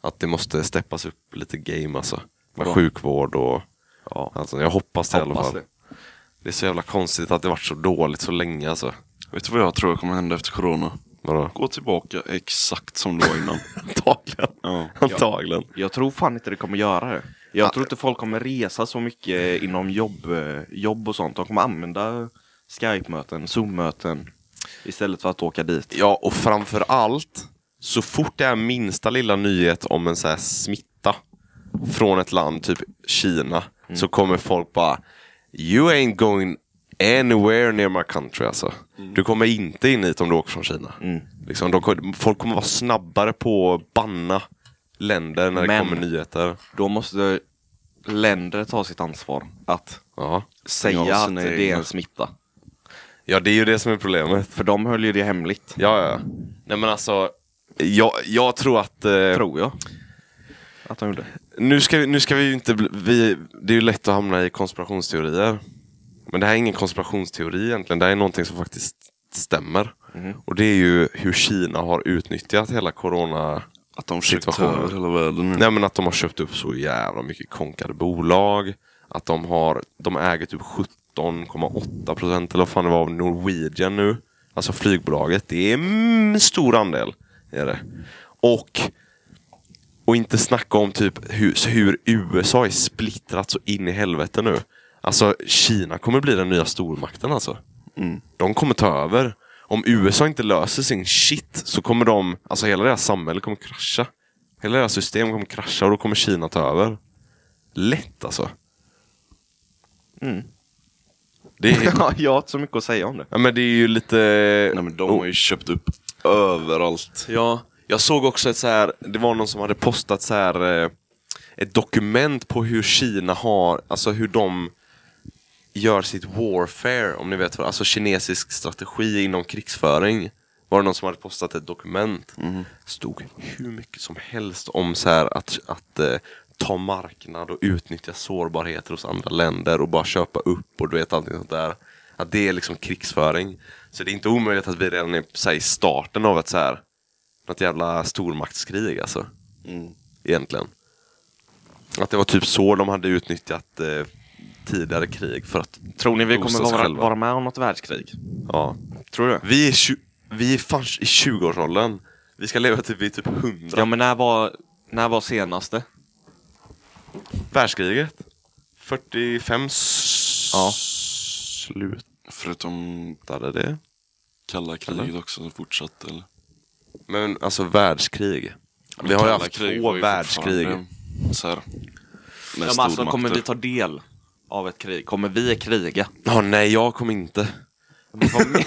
Speaker 1: Att det måste steppas upp lite game alltså. Med
Speaker 4: Ja.
Speaker 1: sjukvård och
Speaker 4: Ja.
Speaker 1: alltså, jag hoppas det i alla
Speaker 4: Hoppas
Speaker 1: fall.
Speaker 4: det.
Speaker 1: Det är så jävla konstigt att det varit så dåligt så länge alltså.
Speaker 2: Vet du vad jag tror kommer hända efter corona?
Speaker 1: Vadå?
Speaker 2: Gå tillbaka exakt som det var innan.
Speaker 1: Antagligen.
Speaker 2: ja.
Speaker 1: Antagligen.
Speaker 4: Jag tror fan inte det kommer göra det.
Speaker 2: Ah.
Speaker 4: Jag tror inte folk kommer resa så mycket inom jobb, eh, jobb och sånt. De kommer använda Skype-möten, Zoom-möten istället för att åka dit.
Speaker 1: Ja, och framför allt, så fort det är minsta lilla nyhet om en så här smitta från ett land, typ Kina,
Speaker 4: Mm.
Speaker 1: så kommer folk bara You ain't going anywhere near my country alltså.
Speaker 4: Mm.
Speaker 1: Du kommer inte in hit om du åker från Kina. Liksom, de, kom- folk kommer vara snabbare på att banna länder när
Speaker 4: Men-
Speaker 1: det kommer nyheter.
Speaker 4: Då måste länder ta sitt ansvar att
Speaker 1: Ja.
Speaker 4: säga
Speaker 2: Ja,
Speaker 4: att
Speaker 2: sina
Speaker 4: det är
Speaker 2: egna.
Speaker 4: en smitta.
Speaker 1: ja, det är ju det som är problemet.
Speaker 4: För de höll ju det hemligt,
Speaker 1: Ja, ja. Nej men alltså, jag, jag tror att... eh,
Speaker 4: tror jag. Att de gjorde.
Speaker 1: Nu ska, vi, nu ska vi ju inte bli, vi, Det är ju lätt att hamna i konspirationsteorier. Men det här är ingen konspirationsteori egentligen. Det här är någonting som faktiskt stämmer. Och det är ju hur Kina har utnyttjat hela corona...
Speaker 2: Att de försökte ta
Speaker 1: Situationen.
Speaker 2: över hela världen nu.
Speaker 1: Nej men att de har köpt upp så jävla mycket konkade bolag. Att de har... De äger typ 17,8 procent eller vad fan det var av Norwegian nu. Alltså flygbolaget. Det är en stor andel. Är det. Och, och inte snacka om typ hur, hur USA är splittrat så in i helvete nu. Alltså Kina kommer bli den nya stormakten alltså.
Speaker 2: Mm.
Speaker 1: De kommer ta över. Om USA inte löser sin shit så kommer de, alltså hela deras samhälle kommer krascha. Hela deras system kommer krascha och då kommer Kina ta över. Lätt alltså.
Speaker 2: Mm.
Speaker 1: Det är,
Speaker 4: Ja, jag har inte så mycket att säga om det.
Speaker 1: ja, men det är ju lite...
Speaker 2: Nej men de
Speaker 1: Oh.
Speaker 2: har ju köpt upp överallt.
Speaker 1: Ja, jag såg också ett så här, det var någon som hade postat så här eh, ett dokument på hur Kina har, alltså hur de gör sitt warfare, om ni vet vad, alltså kinesisk strategi inom krigsföring. Var det någon som hade postat ett dokument? Stod hur mycket som helst om så här att, att eh, ta marknad och utnyttja sårbarheter hos andra länder och bara köpa upp och du vet allting sånt där. Att det är liksom krigsföring. Så det är inte omöjligt att vi redan är så här, i starten av ett så här något jävla stormaktskrig alltså. Egentligen. Att det var typ så de hade utnyttjat eh, tidigare krig för att...
Speaker 4: Tror ni vi
Speaker 1: Boosta
Speaker 4: kommer
Speaker 1: sig
Speaker 4: vara,
Speaker 1: själva.
Speaker 4: vara med om något världskrig?
Speaker 1: Ja.
Speaker 4: Tror du?
Speaker 1: Vi är, tju- vi är fan i 20-årsåldern. Vi ska leva till vi är typ 100.
Speaker 4: Ja, men när var, när var senaste?
Speaker 1: Världskriget. 45 s-
Speaker 4: Ja.
Speaker 1: slutade
Speaker 2: Förutom
Speaker 1: det.
Speaker 2: kalla kriget också som fortsatte eller?
Speaker 1: Men alltså världskrig. Vi har ju
Speaker 2: Kalla
Speaker 1: haft
Speaker 2: krig
Speaker 1: två
Speaker 2: var ju
Speaker 1: världskrig.
Speaker 2: fortfarande Så här, med
Speaker 4: Ja, men alltså, kommer vi
Speaker 2: stormakter.
Speaker 4: ta del av ett krig? Kommer vi kriga?
Speaker 1: Ja, nej, jag kom inte.
Speaker 4: Men Vad, men-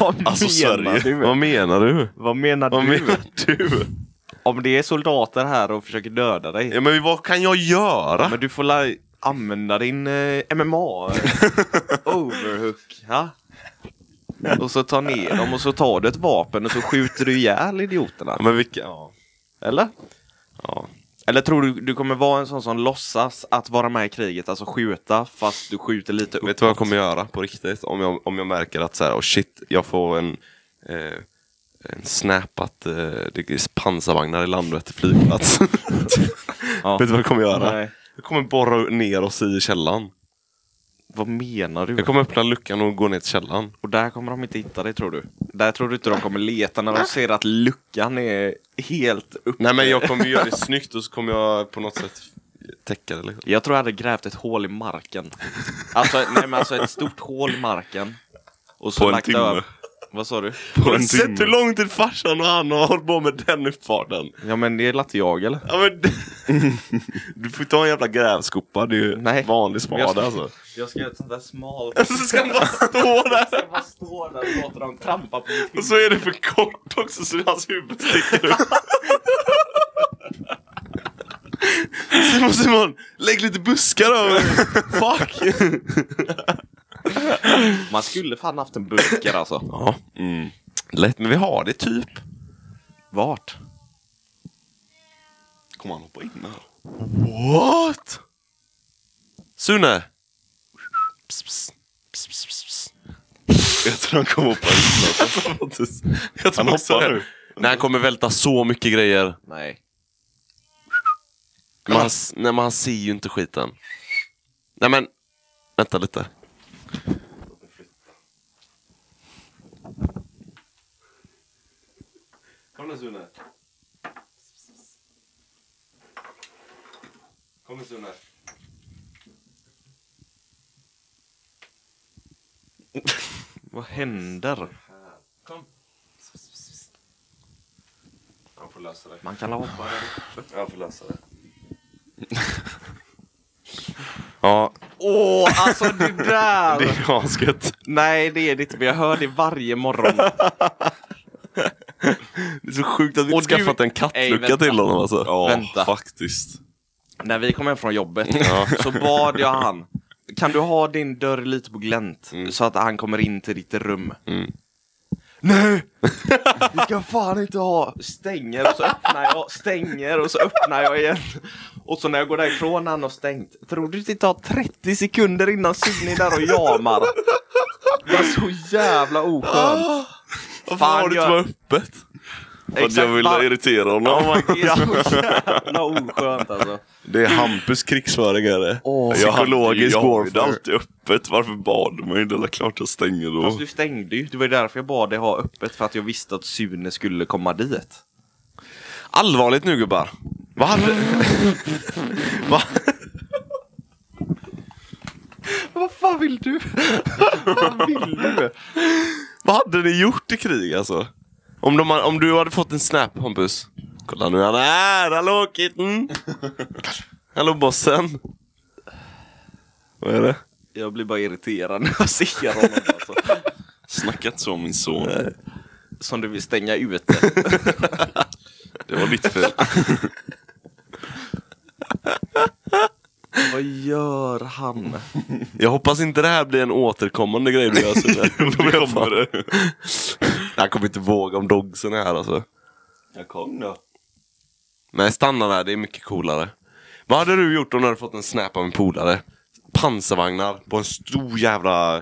Speaker 4: vad
Speaker 1: Alltså
Speaker 4: menar
Speaker 1: Sverige.
Speaker 4: du?
Speaker 1: Vad menar du?
Speaker 4: Vad menar
Speaker 1: Vad
Speaker 4: du?
Speaker 1: menar du?
Speaker 4: Om det är soldater här och försöker döda dig,
Speaker 1: Ja, men vad kan jag göra?
Speaker 4: men du får la- använda din eh, MMA eh, overhook. Ja? Och så tar ner dem och så tar du ett vapen och så skjuter du ihjäl idioterna.
Speaker 1: Ja, Men vilka... Ja.
Speaker 4: Eller?
Speaker 1: Ja.
Speaker 4: Eller tror du du kommer vara en sån som låtsas att vara med i kriget, alltså skjuta, fast du skjuter lite upp?
Speaker 1: Vet du vad jag kommer göra på riktigt? Om jag, om jag märker att så här, oh shit, jag får en, eh, en snap att eh, det är pansarvagnar i Landvetter flygplats.
Speaker 4: Ja.
Speaker 1: Vet du vad jag kommer göra?
Speaker 4: Nej.
Speaker 1: Jag kommer borra ner oss i källan.
Speaker 4: Vad menar du?
Speaker 1: Jag kommer öppna luckan och gå ner till källan.
Speaker 4: Och där kommer de inte hitta dig tror du? Där tror du inte de kommer leta när de ser att luckan är helt uppe?
Speaker 1: Nej men jag kommer göra det snyggt och så kommer jag på något sätt täcka det liksom.
Speaker 4: Jag tror jag hade grävt ett hål i marken. Alltså, nej men alltså ett stort hål i marken. Och så
Speaker 2: På en
Speaker 4: lagt
Speaker 2: timme.
Speaker 4: över- Vad sa du?
Speaker 1: Har
Speaker 2: en
Speaker 1: du sett
Speaker 2: timme.
Speaker 1: hur lång tid farsan och han har hållit på med den uppfarten?
Speaker 4: Ja men det är latte jag eller?
Speaker 1: Ja, men... Du får inte ha en jävla grävskopa, det är ju
Speaker 4: Nej.
Speaker 1: vanlig
Speaker 4: Men
Speaker 1: spade
Speaker 4: jag ska-
Speaker 1: alltså.
Speaker 4: Jag ska göra ett sånt där smalt...
Speaker 1: Så ska han bara stå där
Speaker 4: Jag bara står där och låter dem trampa på mitt
Speaker 1: Och så är det för kort också så hans huvud sticker upp. Simon, Simon! Lägg lite buskar över! Fuck!
Speaker 4: Man skulle fan haft en bunker alltså.
Speaker 1: Ja,
Speaker 2: Mm.
Speaker 1: lätt. Men vi har det typ.
Speaker 4: Vart?
Speaker 2: Kommer han hoppa in här?
Speaker 1: What? Sune! Pss, pss, pss, pss, pss, pss.
Speaker 2: Jag tror han kommer hoppa in alltså.
Speaker 1: Jag tror
Speaker 2: Han
Speaker 1: också
Speaker 2: hoppar
Speaker 1: det.
Speaker 2: nu.
Speaker 1: Nej, han kommer välta så mycket grejer.
Speaker 4: Nej.
Speaker 1: Men han, s- nej, men han ser ju inte skiten. Nej men, vänta lite.
Speaker 3: Kom nu Sune. Kom nu Sune.
Speaker 4: Vad händer?
Speaker 3: Han får lösa det.
Speaker 4: Man kan hoppa.
Speaker 3: Han får lösa det.
Speaker 1: Ja,
Speaker 4: Åh, alltså det där!
Speaker 1: det är asgött.
Speaker 4: Nej, det är det inte, men jag hör det varje morgon.
Speaker 1: Det är så sjukt att vi inte
Speaker 4: Och du-
Speaker 1: skaffat en
Speaker 4: Nej,
Speaker 1: kattlucka
Speaker 4: vänta.
Speaker 1: till honom alltså.
Speaker 2: Ja,
Speaker 4: Vänta.
Speaker 2: faktiskt.
Speaker 4: När vi kom hem från jobbet så bad jag han Kan du ha din dörr lite på glänt så att han kommer in till ditt rum? Nej! Vi ska fan inte ha! Stänger och så öppnar jag, stänger och så öppnar jag igen. Och så när jag går därifrån när han har stängt. Tror du inte tar 30 sekunder innan Sune är där och jamar? Det är så jävla oskönt.
Speaker 1: Varför har det inte
Speaker 4: jag-
Speaker 1: varit öppet?
Speaker 2: För att jag ville
Speaker 4: var-
Speaker 2: irritera honom.
Speaker 4: Det är så jävla oskönt alltså.
Speaker 1: Det är Hampus krigsföringare.
Speaker 4: Åh.
Speaker 2: Psykologisk
Speaker 1: Psykologisk
Speaker 2: jag har ju det
Speaker 1: warfare.
Speaker 2: alltid öppet. Varför bad man ju? Det är väl klart jag stänger då.
Speaker 4: Fast Alltså, du stängde ju. Det var ju därför jag bad dig ha öppet. För att jag visste att Sune skulle komma dit.
Speaker 1: Allvarligt nu gubbar. Vad hade... Va?
Speaker 4: Vad fan vill du? Vad vill du?
Speaker 1: Vad hade ni gjort i krig alltså? Om, de, om du hade fått en snap Hampus. Kolla nu han är här! Hallå kitten! Hallå bossen! Vad är det?
Speaker 4: Jag blir bara irriterad när jag ser honom alltså.
Speaker 2: Snacka inte så om min son.
Speaker 4: Som du vill stänga ute.
Speaker 2: Det var ditt fel.
Speaker 4: Vad gör han?
Speaker 1: Jag hoppas inte det här blir en återkommande grej du gör Sune. det kommer det. Jag kommer inte våga om dogsen är här alltså.
Speaker 3: Jag kom då.
Speaker 1: Nej stanna där, det är mycket coolare. Vad hade du gjort om du hade fått en snap av en polare? Pansarvagnar på en stor jävla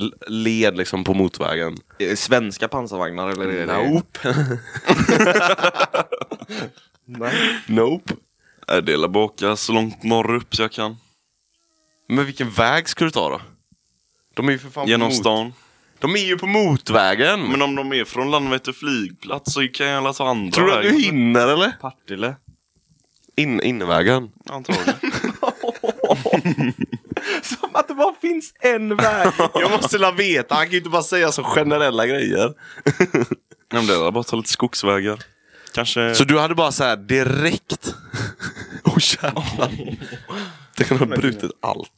Speaker 1: l- led liksom på motorvägen.
Speaker 4: Eh, Svenska pansarvagnar eller? Är det... Nej.
Speaker 1: Nope.
Speaker 2: Jag delar baka så långt norrut jag kan.
Speaker 1: Men vilken väg ska du ta då? De är ju för fan
Speaker 2: Genom
Speaker 1: på mot-
Speaker 2: stan.
Speaker 1: De är ju på motvägen!
Speaker 2: Men om de är från Landvetter flygplats så kan jag alla ta andra
Speaker 1: Tror du att du
Speaker 2: vägen.
Speaker 1: hinner eller?
Speaker 4: Partille.
Speaker 1: In, innevägen.
Speaker 2: Antagligen.
Speaker 4: Som att det bara finns en väg.
Speaker 1: Jag måste la veta, han kan ju inte bara säga så generella grejer.
Speaker 2: Nej men det är bara att ta lite skogsvägar. Kanske...
Speaker 1: Så du hade bara så här direkt... Åh jävlar. Det kan ha brutit allt.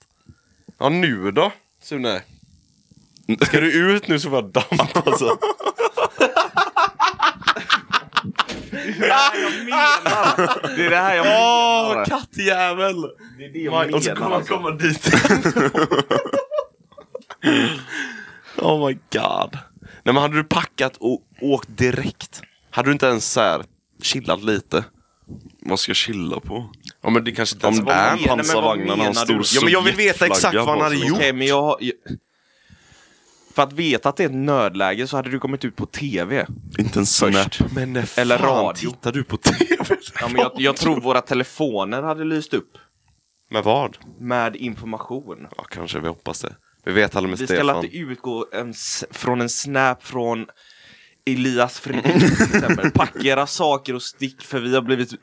Speaker 1: Ja nu då Sune? Ska du ut nu så får jag damp alltså.
Speaker 4: Det är det här jag menar.
Speaker 1: kattjävel!
Speaker 4: det är det jag menar.
Speaker 1: Och så kommer han
Speaker 4: alltså.
Speaker 1: komma dit. oh my god. Nej men hade du packat och åkt direkt? Hade du inte ens så här chillat lite?
Speaker 2: Vad ska jag chilla på?
Speaker 1: Ja men det kanske inte
Speaker 2: Om
Speaker 1: ens
Speaker 2: det
Speaker 1: var
Speaker 2: är en
Speaker 1: en
Speaker 4: menar-
Speaker 2: pansarvagn
Speaker 4: vad
Speaker 2: när han
Speaker 4: menar
Speaker 2: stor
Speaker 4: du?
Speaker 1: Ja, men jag vill veta
Speaker 2: Sovjetflagga
Speaker 1: exakt vad han
Speaker 2: på
Speaker 1: hade
Speaker 2: sig.
Speaker 1: gjort.
Speaker 4: Okej, men jag har... jag- För att veta att det är ett nödläge så hade du kommit ut på TV.
Speaker 2: Inte en snap.
Speaker 1: Men när
Speaker 4: Eller
Speaker 1: fan
Speaker 4: radio.
Speaker 1: tittar du på TV?
Speaker 4: Ja, men jag, jag tror våra telefoner hade lyst upp
Speaker 1: Med vad?
Speaker 4: med information.
Speaker 1: Ja kanske, vi hoppas det. Vi vet aldrig med
Speaker 4: Vi ska
Speaker 1: Stefan.
Speaker 4: alltid utgå en, s- från en snap från Elias Fredrik till exempel. Packa era saker och stick för vi har blivit...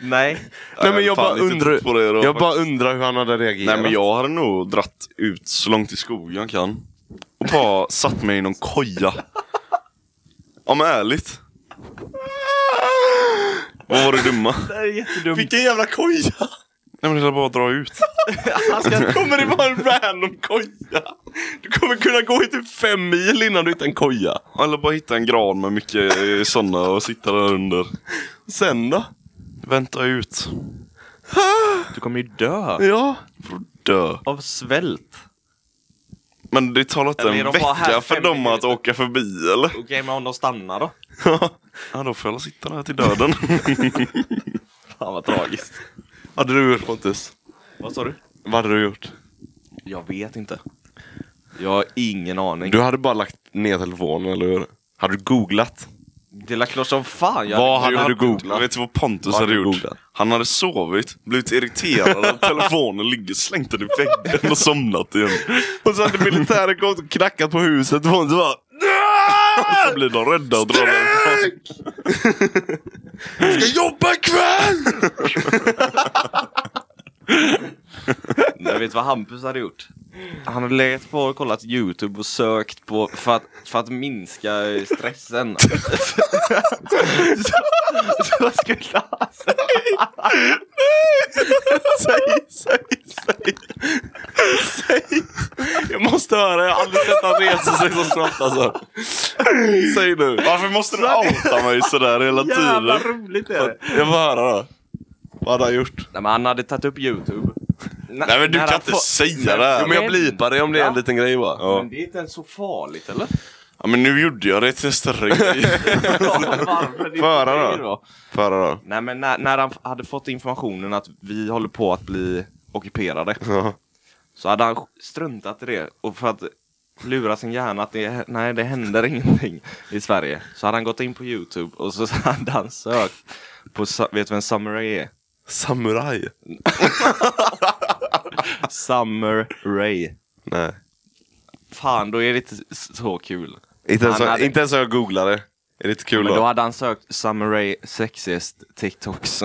Speaker 4: Nej.
Speaker 1: Nej men jag
Speaker 2: Fan,
Speaker 1: bara
Speaker 2: lite
Speaker 1: undrar.
Speaker 2: trött på det då,
Speaker 1: Jag bara
Speaker 2: faktiskt.
Speaker 1: undrar hur han hade reagerat.
Speaker 2: Nej men jag hade nog dratt ut så långt i skogen jag kan. Och bara satt mig i någon koja. Ja men ärligt. Vad var det dumma?
Speaker 4: Det är jättedumt.
Speaker 1: Vilken jävla koja!
Speaker 2: Nej men det är bara att dra ut.
Speaker 4: Han ska...
Speaker 1: Kommer det vara en random koja? Du kommer kunna gå i typ fem mil innan du hittar en koja.
Speaker 2: Eller bara hitta en gran med mycket sådana och sitta där under.
Speaker 1: Sen då?
Speaker 2: Vänta ut.
Speaker 4: Du kommer ju dö
Speaker 1: Ja.
Speaker 2: För att dö.
Speaker 4: av svält.
Speaker 2: Men det tar inte
Speaker 4: Eller är
Speaker 2: en
Speaker 4: de bara här
Speaker 2: vecka för
Speaker 4: fem
Speaker 2: dem att
Speaker 4: minuter?
Speaker 2: åka förbi eller?
Speaker 4: Okej, men om de stannar då?
Speaker 2: Ja då får jag sitta där till döden.
Speaker 4: Fan vad tragiskt.
Speaker 1: Hade du gjort Pontus?
Speaker 4: Vad sa du?
Speaker 1: Vad hade du gjort?
Speaker 4: Jag vet inte. Jag har ingen aning.
Speaker 1: Du hade bara lagt ner telefonen, eller hur? Hade du googlat?
Speaker 4: Det är klart som fan. Jag
Speaker 1: Vad hade
Speaker 2: Jag
Speaker 1: du
Speaker 2: Jag
Speaker 1: googlat?
Speaker 2: vet du vad Pontus
Speaker 1: Vad
Speaker 2: hade
Speaker 1: hade du
Speaker 2: gjort?
Speaker 1: googlat?
Speaker 2: Han hade sovit, blivit irriterad av telefonen ligger, slängt den i väggen och somnat igen.
Speaker 1: Och så hade militären kommit och knackat på huset och hon så bara
Speaker 2: Och så blir de rädda och drar därifrån.
Speaker 1: Jag ska jobba ikväll!
Speaker 4: Jag vet vad Hampus hade gjort. Han hade legat på och kollat YouTube och sökt på för att, för att minska eh, stressen. så, så skulle han...
Speaker 1: Säg, säg, säg! Säg! Jag måste höra, jag har aldrig sett han resa sig så snabbt alltså. Säg nu.
Speaker 2: Varför måste du outa mig sådär hela
Speaker 4: Jävla
Speaker 2: tiden?
Speaker 4: roligt är det!
Speaker 1: Jag får höra då. Vad hade han gjort?
Speaker 4: Nej, men han hade tagit upp YouTube.
Speaker 2: Nej men du
Speaker 4: När
Speaker 2: kan
Speaker 4: han
Speaker 2: inte
Speaker 4: får-
Speaker 2: säga det här.
Speaker 1: Jo men jag blipar det om det är en
Speaker 4: Ja.
Speaker 1: liten grej bara.
Speaker 4: Men det är inte ens så farligt eller?
Speaker 2: Ja men nu gjorde jag det till en större grej.
Speaker 4: Varför? Det är
Speaker 1: Föra då.
Speaker 4: det då.
Speaker 1: Får jag höra då.
Speaker 4: Nej men när, när han f- hade fått informationen att vi håller på att bli ockuperade.
Speaker 1: Ja.
Speaker 4: Så hade han struntat i det och för att lura sin hjärna att det, nej, det händer ingenting i Sverige. Så hade han gått in på Youtube och så hade han sökt på, su- vet du vem Summer Rae är?
Speaker 1: Samurai?
Speaker 4: Summer Ray.
Speaker 1: Nej.
Speaker 4: Fan, då är det inte s- så kul.
Speaker 1: Inte ens,
Speaker 4: Han hade-
Speaker 1: inte ens om jag googlade. Är det inte kul
Speaker 4: Men då
Speaker 1: då?
Speaker 4: hade han sökt Summer Ray sexiest TikToks.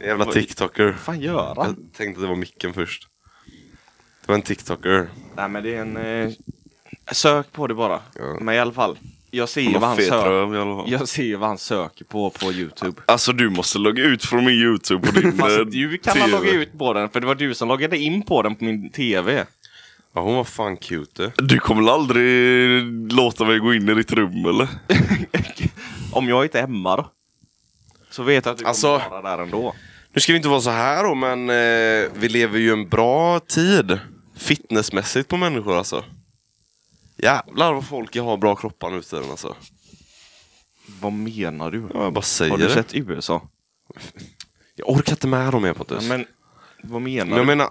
Speaker 1: Jävla tiktoker.
Speaker 4: fan gör
Speaker 1: Jag tänkte att det var micken först. Det var en tiktoker.
Speaker 4: Nej men det är en... Eh, sök på det bara.
Speaker 1: Ja.
Speaker 4: Men i alla fall. Jag ser ju
Speaker 2: Han
Speaker 4: vad
Speaker 2: har
Speaker 4: han
Speaker 2: fet
Speaker 4: söker.
Speaker 2: röv i alla fall.
Speaker 4: Jag ser ju vad han söker på på Youtube.
Speaker 2: Alltså du måste logga ut från min youtube på din
Speaker 1: Alltså,
Speaker 2: eh,
Speaker 4: Fast du kan man
Speaker 2: TV.
Speaker 4: logga ut på den för det var du som loggade in på den på min TV.
Speaker 1: Ja, hon var fan cute du.
Speaker 2: Du kommer väl aldrig låta mig gå in i ditt rum eller?
Speaker 4: Om jag inte är hemma då. Så vet jag att du
Speaker 1: Alltså-
Speaker 4: kommer vara där ändå.
Speaker 1: Nu ska vi inte vara så här då, men eh, vi lever ju en bra tid. Fitnessmässigt på människor alltså. Jävlar vad folk har bra kroppar nu för tiden alltså.
Speaker 4: Vad menar du?
Speaker 1: Ja, jag bara säger
Speaker 4: Har du
Speaker 1: det.
Speaker 4: sett USA?
Speaker 1: Jag orkar inte med dem mer Pontus.
Speaker 4: Ja, men vad menar
Speaker 1: Men jag
Speaker 4: du?
Speaker 1: menar,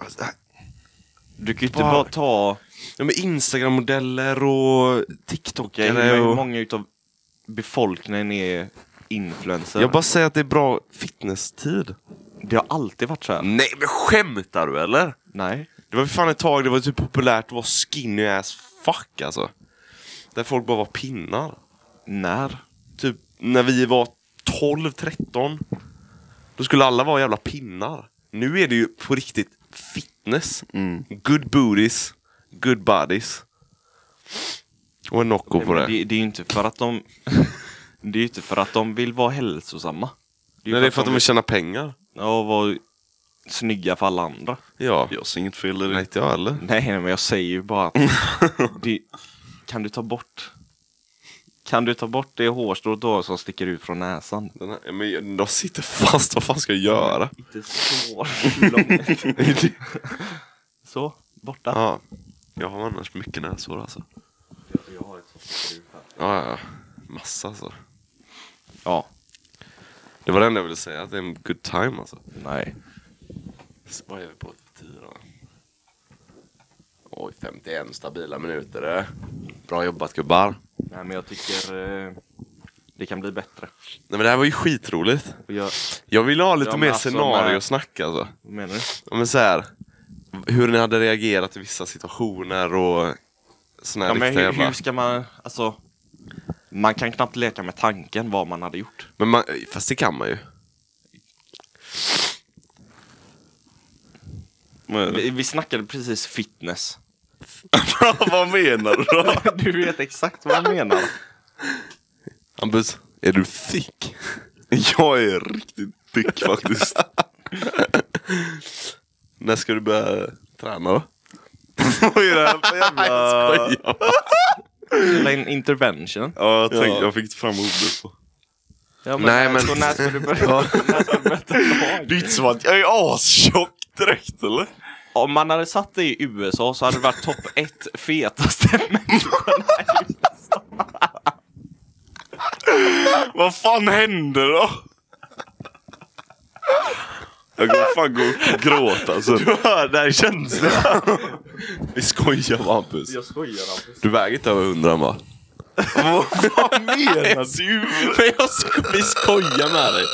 Speaker 4: Du kan ju inte
Speaker 1: Var-
Speaker 4: bara ta...
Speaker 1: ja, men Instagram-modeller och
Speaker 4: Okej,
Speaker 1: TikTokare.
Speaker 4: hur
Speaker 1: Och...
Speaker 4: många utav befolkningen är influencer?
Speaker 1: Jag bara säger att det är bra fitnesstid.
Speaker 4: Det har alltid varit så här.
Speaker 1: Nej men skämtar du eller?
Speaker 4: Nej.
Speaker 1: Det var för fan ett tag det var typ populärt att vara skinny as fuck alltså. Där folk bara var pinnar.
Speaker 4: När?
Speaker 1: Typ när vi var 12-13. Då skulle alla vara jävla pinnar. Nu är det ju på riktigt fitness. Good booties, good bodies. Och en Nocco
Speaker 4: Nej,
Speaker 1: på
Speaker 4: men
Speaker 1: det.
Speaker 4: Det, det är ju inte för att de... det är ju inte för att de vill vara hälsosamma. ju
Speaker 1: Nej, det är för att de vill
Speaker 4: vill
Speaker 1: tjäna pengar.
Speaker 4: ja, vara snygga för alla andra.
Speaker 1: Ja.
Speaker 2: Jag ser inget fel i
Speaker 1: Nej,
Speaker 2: det.
Speaker 1: inte jag heller.
Speaker 4: Nej, nej, men jag säger ju bara att... det, kan du ta bort... Kan du ta bort det hårstrået då som sticker ut från näsan?
Speaker 1: Den här, men jag- de sitter fast, vad fan ska jag göra?
Speaker 4: Inte så långt. så, borta.
Speaker 1: Ja. Jag har annars mycket näsor alltså.
Speaker 4: Jag har ett sånt skrut här.
Speaker 1: Ja, ja. Massa alltså.
Speaker 4: Ja,
Speaker 1: Det var det enda jag ville säga, att det är en good time alltså.
Speaker 4: nej.
Speaker 1: Vad är vi på? 10 då? Oj, 51 stabila minuter. eh. Bra jobbat gubbar.
Speaker 4: Nej, men jag tycker eh, det kan bli bättre.
Speaker 1: Nej men det här var ju skitroligt.
Speaker 4: Och jag,
Speaker 1: Jag ville ha lite
Speaker 4: Ja, men
Speaker 1: mer
Speaker 4: alltså,
Speaker 1: scenariosnack alltså.
Speaker 4: vad menar du?
Speaker 1: Ja, men så här, hur ni hade reagerat i vissa situationer och såna här
Speaker 4: Ja, men
Speaker 1: riktiga
Speaker 4: hur,
Speaker 1: jävla...
Speaker 4: hur ska man, alltså, man kan knappt leka med tanken vad man hade gjort.
Speaker 1: Men man, fast det kan man ju.
Speaker 2: Men,
Speaker 4: Vi, vi snackade precis fitness.
Speaker 2: vad menar du då?
Speaker 4: Du vet exakt vad jag menar.
Speaker 1: Hampus, är du thick?
Speaker 2: Jag är riktigt thick faktiskt.
Speaker 1: När ska du börja träna då?
Speaker 2: Vad är det här för jävla...
Speaker 4: Eller en intervention.
Speaker 2: Ja, jag, tänkte, jag fick inte fram ordet. på.
Speaker 4: Ja,
Speaker 1: Nej, men-
Speaker 4: Så när ska du börja? när ska du börja ta tag?
Speaker 2: Det är inte som att jag är astjock direkt eller?
Speaker 4: Om man hade satt dig i USA så hade du varit topp ett fetaste människorna.
Speaker 2: Vad fan händer då? Jag kommer fan gå och gråta alltså. sen.
Speaker 1: Du hör, det här är känslan. Vi skojar va Hampus?
Speaker 4: Jag skojar Hampus.
Speaker 1: Du väger inte över hundra va?
Speaker 2: Vad menar du?
Speaker 1: Men jag sko vi skojar med dig.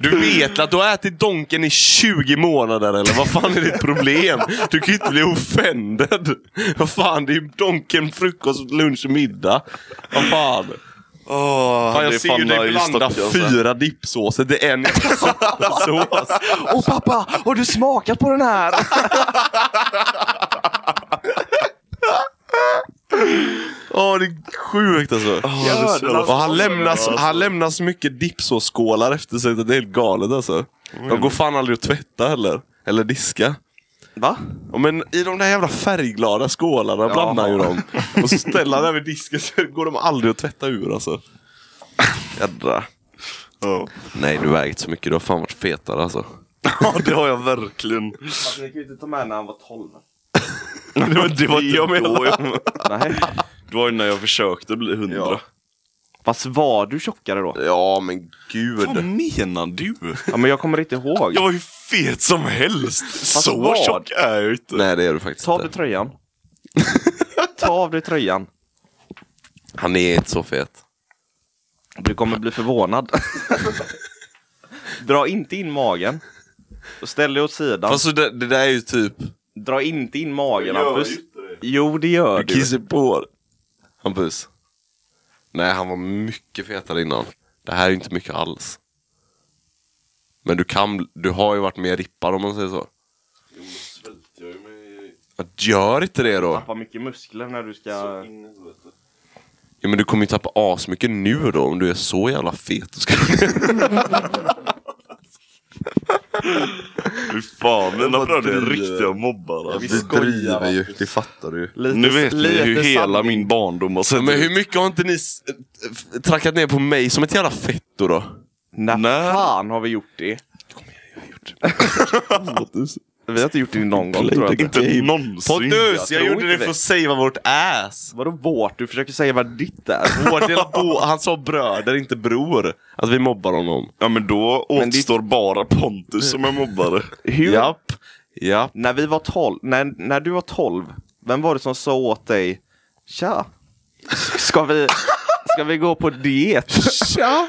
Speaker 1: Du vet att du har ätit Donken i 20 månader eller vad fan är ditt problem? Du kan ju inte bli offended. Vad fan, det är ju Donken frukost, lunch och middag. Vad fan.
Speaker 2: Åh,
Speaker 1: fan
Speaker 2: det är
Speaker 1: jag ser ju dig
Speaker 2: nice
Speaker 1: blanda
Speaker 2: dock, alltså.
Speaker 1: fyra dippsåser till en jävla sopasås.
Speaker 4: Åh pappa, har du smakat på den här?
Speaker 1: Ja, det är sjukt alltså.
Speaker 2: det är så
Speaker 1: och han lämnar, så- han lämnar så mycket dippsåsskålar efter sig att det är helt galet alltså. De går fan aldrig att tvätta heller. Eller diska.
Speaker 4: Va?
Speaker 1: Ja, men i de där jävla färgglada skålarna blandar ju dem. Och så ställer han över disken så går de aldrig att tvätta ur alltså. Jädra.
Speaker 2: Ja.
Speaker 1: Nej, du väger inte så mycket. Du har fan varit fetare alltså.
Speaker 2: Ja, det har jag verkligen.
Speaker 4: Alltså, ni kan ju inte ta med när han var 12.
Speaker 2: Det var, det var jag menade.
Speaker 4: Nej.
Speaker 2: Det var ju när jag försökte bli hundra.
Speaker 1: Ja.
Speaker 4: Fast var du tjockare då?
Speaker 1: Ja, men
Speaker 2: Vad
Speaker 1: gud.
Speaker 2: menar du?
Speaker 4: Ja, men jag kommer inte ihåg.
Speaker 2: Jag var ju fet som helst. Så
Speaker 4: vad?
Speaker 2: tjock är jag inte.
Speaker 1: Nej, det är du faktiskt
Speaker 4: Ta av dig
Speaker 1: inte.
Speaker 4: tröjan. Ta av dig tröjan.
Speaker 1: Han är inte så fet.
Speaker 4: Du kommer bli förvånad. Dra inte in magen. Och ställ dig åt sidan.
Speaker 1: Fast så det, det där är ju typ,
Speaker 4: Dra inte in magen
Speaker 3: Jag gör
Speaker 4: Hampus.
Speaker 3: ju inte det.
Speaker 4: Jo, det gör
Speaker 1: du
Speaker 4: du.
Speaker 1: kissar på Hampus. Nej, han var mycket fetare innan. Det här är ju inte mycket alls. Men du kan, du har ju varit mer rippad om man säger så.
Speaker 3: Jo, men svälter jag ju mig
Speaker 1: Men Gör inte det då.
Speaker 4: Tappa mycket muskler när du
Speaker 3: så
Speaker 4: ska...
Speaker 3: in i helvete.
Speaker 1: Ja, men du kommer ju tappa asmycket nu då om du är så jävla fet. Ska du...
Speaker 2: Fy fan, mina
Speaker 1: Jag bara
Speaker 2: bröder är
Speaker 1: driver.
Speaker 2: riktiga mobbare.
Speaker 1: Vi
Speaker 2: alltså.
Speaker 1: driver ju, det fattar du ju.
Speaker 4: Lite,
Speaker 2: Nu vet ni
Speaker 4: lite
Speaker 2: hur hela
Speaker 4: sanning.
Speaker 2: min barndom har sett
Speaker 1: Men
Speaker 2: ut.
Speaker 1: hur mycket har inte ni s- eh, f- trackat ner på mig som ett jävla fetto då?
Speaker 4: När
Speaker 2: Nej.
Speaker 4: fan har vi gjort det? Vi har inte gjort det någon gång tror jag.
Speaker 2: Inte någonsin.
Speaker 1: Typ. Pontus,
Speaker 4: jag
Speaker 1: jag,
Speaker 4: tror
Speaker 1: gjorde det
Speaker 4: inte
Speaker 1: för
Speaker 4: det.
Speaker 1: att savea vårt ass!
Speaker 4: Vadå vårt? Du försöker säga vad ditt är.
Speaker 1: Vår del bo- han sa bröder, inte bror. Att vi mobbar honom.
Speaker 2: Ja men då
Speaker 4: Men det-
Speaker 2: återstår bara Pontus som är mobbare.
Speaker 4: Hur?
Speaker 1: Japp. Japp.
Speaker 4: När vi var 12, när, när du var 12, vem var det som sa åt dig Tja, ska vi, ska vi gå på diet?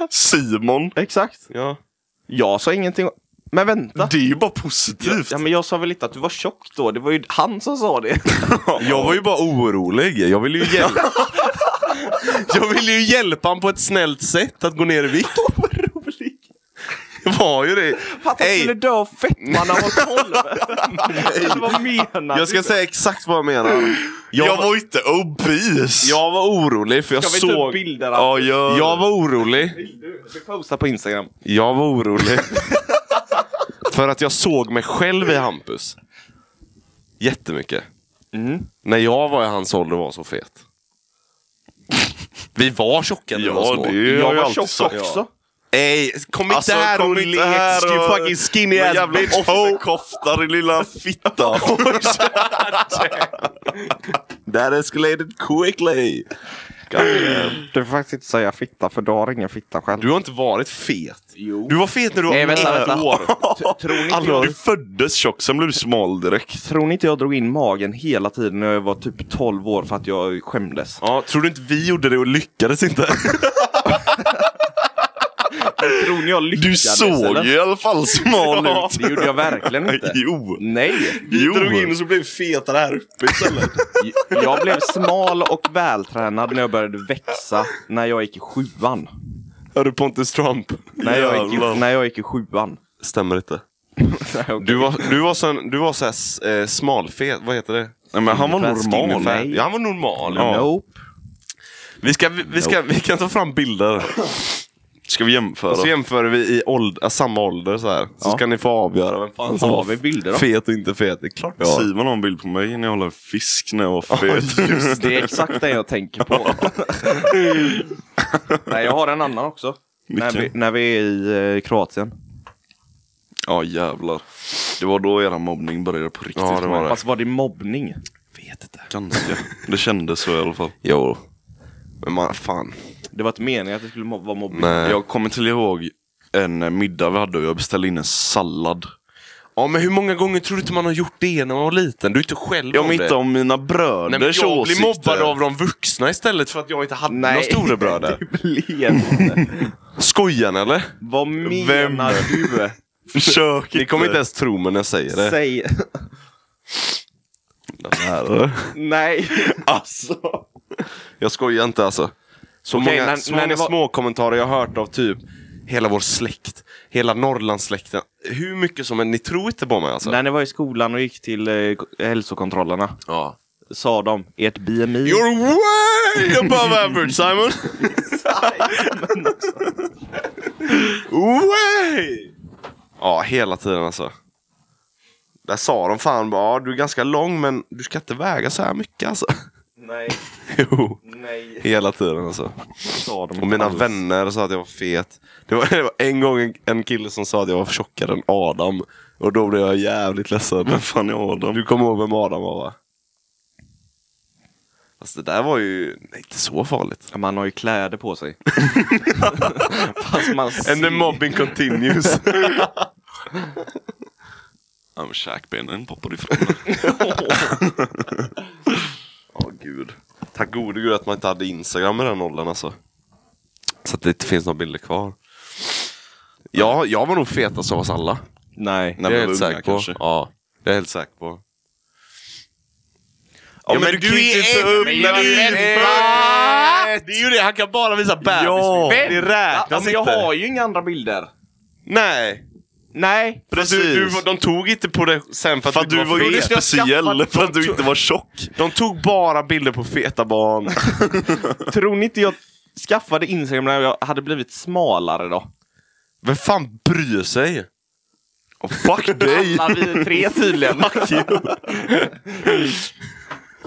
Speaker 2: Simon,
Speaker 4: Exakt.
Speaker 1: Ja.
Speaker 4: Jag sa ingenting. om- Men vänta.
Speaker 2: det är ju bara positivt.
Speaker 4: Ja, men jag sa väl inte att du var tjock då? Det var ju han som sa det.
Speaker 1: Jag var ju bara orolig. Jag ville ju hjälpa. jag ville ju hjälpa honom på ett snällt sätt att gå ner i vikt.
Speaker 4: Vad roligt.
Speaker 1: Det var ju det.
Speaker 4: Fattar
Speaker 1: Ey.
Speaker 4: hey. skulle dö av fetma när han var 12. Vad menar
Speaker 1: Jag ska
Speaker 4: du?
Speaker 1: säga exakt vad jag menar.
Speaker 2: jag,
Speaker 1: Jag, var,
Speaker 2: var inte obese.
Speaker 1: jag var orolig för jag
Speaker 4: Ska vi ta upp
Speaker 1: såg...
Speaker 4: bilder?
Speaker 2: Ja, gör
Speaker 1: Jag var orolig.
Speaker 4: Vi postar på Instagram.
Speaker 1: Jag var orolig. För att jag såg mig själv i Hampus. Jättemycket.
Speaker 4: Mm.
Speaker 1: När jag var i hans ålder var så fet. Vi var tjocka när vi var
Speaker 2: Ja,
Speaker 1: små.
Speaker 2: det
Speaker 4: Jag,
Speaker 2: har jag
Speaker 4: var
Speaker 2: alltid
Speaker 4: tjock
Speaker 2: sagt.
Speaker 4: också.
Speaker 1: Ey, kom inte
Speaker 2: Alltså,
Speaker 1: här
Speaker 2: kom
Speaker 1: och
Speaker 2: inte
Speaker 1: lek,
Speaker 2: här
Speaker 1: you
Speaker 2: och-
Speaker 1: fucking skinny
Speaker 2: Men
Speaker 1: ass
Speaker 2: jävla
Speaker 1: bitch.
Speaker 2: offerkofta din lilla fitta.
Speaker 1: That escalated quickly.
Speaker 4: Du får faktiskt inte säga fitta, för du har ingen fitta själv.
Speaker 1: Du har inte varit fet.
Speaker 4: Jo.
Speaker 1: Du var fet när du var
Speaker 4: Nej, vänta,
Speaker 1: ett
Speaker 4: vänta.
Speaker 1: år.
Speaker 4: Tror ni inte
Speaker 2: Alltså,
Speaker 4: jag...
Speaker 2: du föddes tjock, sen blev du smal direkt.
Speaker 4: Tror ni inte jag drog in magen hela tiden när jag var typ 12 år för att jag skämdes?
Speaker 1: Ja, tror du inte vi gjorde det och lyckades inte?
Speaker 4: Tror ni jag lyckades?
Speaker 2: Du såg
Speaker 4: eller?
Speaker 2: ju i alla fall smal
Speaker 4: Ja,
Speaker 2: ut.
Speaker 4: det gjorde jag verkligen inte.
Speaker 2: Jo.
Speaker 4: Nej,
Speaker 1: Vi
Speaker 2: Jo.
Speaker 1: drog in och så blev vi fetare här uppe istället.
Speaker 4: jag blev smal och vältränad när jag började växa när jag gick i sjuan.
Speaker 1: Hör du Pontus Trump?
Speaker 4: När jag gick,
Speaker 2: Jävlar.
Speaker 4: i- när jag gick i sjuan.
Speaker 1: Stämmer inte.
Speaker 4: Nej, okej.
Speaker 1: Du var, du var, sån, du var så här, s- eh, smalfet, vad heter det?
Speaker 2: Nej, men han var
Speaker 1: Ungefär skinny fat.
Speaker 2: normal.
Speaker 4: Nej.
Speaker 1: Ja, han var normal.
Speaker 2: Ja.
Speaker 4: Nope.
Speaker 1: Vi, ska, vi, vi, ska, vi kan ta fram bilder.
Speaker 2: Ska vi jämföra?
Speaker 1: Och så jämför vi i åld, äh, samma ålder så här. Så
Speaker 4: Ja.
Speaker 1: ska ni få avgöra vem fan som
Speaker 4: Har
Speaker 1: var
Speaker 4: vi bilder då?
Speaker 1: fet och inte fet. Det är klart vi har.
Speaker 2: Simon har en bild på mig när jag håller en fisk när jag var fet.
Speaker 4: Det är exakt det jag tänker på. Nej, jag har en annan också. När vi,
Speaker 2: Vilken?
Speaker 4: när vi är i eh, Kroatien.
Speaker 2: Ja jävlar. Det var då era mobbning började på riktigt.
Speaker 1: Ja, det var det.
Speaker 4: Fast var det mobbning?
Speaker 1: Vet inte.
Speaker 2: Ganska. Det kändes så i alla fall.
Speaker 1: Jo. Men man, fan.
Speaker 4: Det var inte meningen att det skulle mob- vara mobbning.
Speaker 1: Nej.
Speaker 2: Jag kommer till ihåg en eh, middag vi hade och jag beställde in en sallad.
Speaker 1: Ja men hur många gånger tror du inte man har gjort det när man var liten? Du är inte själv
Speaker 2: Jag
Speaker 1: om
Speaker 2: men
Speaker 1: det.
Speaker 2: inte om mina
Speaker 1: Nej, men jag
Speaker 2: bröders åsikter.
Speaker 1: blir mobbad av de vuxna istället för att jag inte hade några storebröder.
Speaker 4: det blev inte.
Speaker 1: Skojar ni eller?
Speaker 4: Vad menar du?
Speaker 2: Försök
Speaker 1: Ni kommer inte ens tro mig när jag säger det.
Speaker 4: Säg... Nej.
Speaker 2: Alltså.
Speaker 1: Jag skojar inte alltså. Så
Speaker 4: Okej,
Speaker 1: många,
Speaker 4: när-
Speaker 1: så
Speaker 4: när
Speaker 1: många
Speaker 4: ni var-
Speaker 1: små kommentarer jag har hört av typ hela vår släkt, hela Norrlandssläkten. Hur mycket som än, ni tror inte på mig alltså?
Speaker 4: När ni var i skolan och gick till eh, hälsokontrollerna
Speaker 1: Ja.
Speaker 4: sa de ert BMI.
Speaker 1: You're way above average Simon! way! Ja, hela tiden alltså. Där sa de fan bara, "Ja, du är ganska lång men du ska inte väga så här mycket alltså.
Speaker 4: Nej,
Speaker 1: Jo,
Speaker 4: nej.
Speaker 1: hela tiden alltså.
Speaker 4: Sa de
Speaker 1: Och mina
Speaker 4: alls.
Speaker 1: vänner sa att jag var fet. Det var, det var en gång en, en kille som sa att jag var tjockare än Adam. Och då blev jag jävligt ledsen.
Speaker 2: Vem fan är Adam?
Speaker 1: Du kommer ihåg vem Adam var va? Fast det där var ju nej, inte så farligt.
Speaker 4: Ja, Man har ju kläder på sig. Fast man
Speaker 1: And the
Speaker 4: ser...
Speaker 1: mobbing continues.
Speaker 2: Ja men käkbenen poppade ifrån.
Speaker 1: Åh gud. Tack gode gud att man inte hade Instagram i den åldern alltså. Så att det inte finns några bilder kvar. Jag, jag var nog fetast av oss alla.
Speaker 4: Nej.
Speaker 1: det är
Speaker 2: vi
Speaker 1: jag
Speaker 2: var
Speaker 1: helt
Speaker 2: unga
Speaker 1: säker på.
Speaker 2: kanske.
Speaker 1: Ja, det är jag helt säker på.
Speaker 2: Ja, men du kan inte ta upp när du är
Speaker 1: är Det är ju det, han kan bara visa bebis.
Speaker 4: Ja.
Speaker 1: Det räknas
Speaker 4: Ja, men
Speaker 1: inte.
Speaker 4: jag har ju inga andra bilder.
Speaker 1: Nej,
Speaker 4: Nej.
Speaker 1: precis. Du, du, de tog inte på det sen för att,
Speaker 2: För att du var ju
Speaker 1: fet.
Speaker 2: inte
Speaker 4: Jag
Speaker 2: speciell,
Speaker 4: skaffade-
Speaker 2: för att du inte var tjock.
Speaker 1: De tog bara bilder på feta barn.
Speaker 4: Tror ni inte jag skaffade Instagram när jag hade blivit smalare då?
Speaker 1: Vem fan bryr sig?
Speaker 2: Oh, fuck dig!
Speaker 4: Alla vi tre tydligen.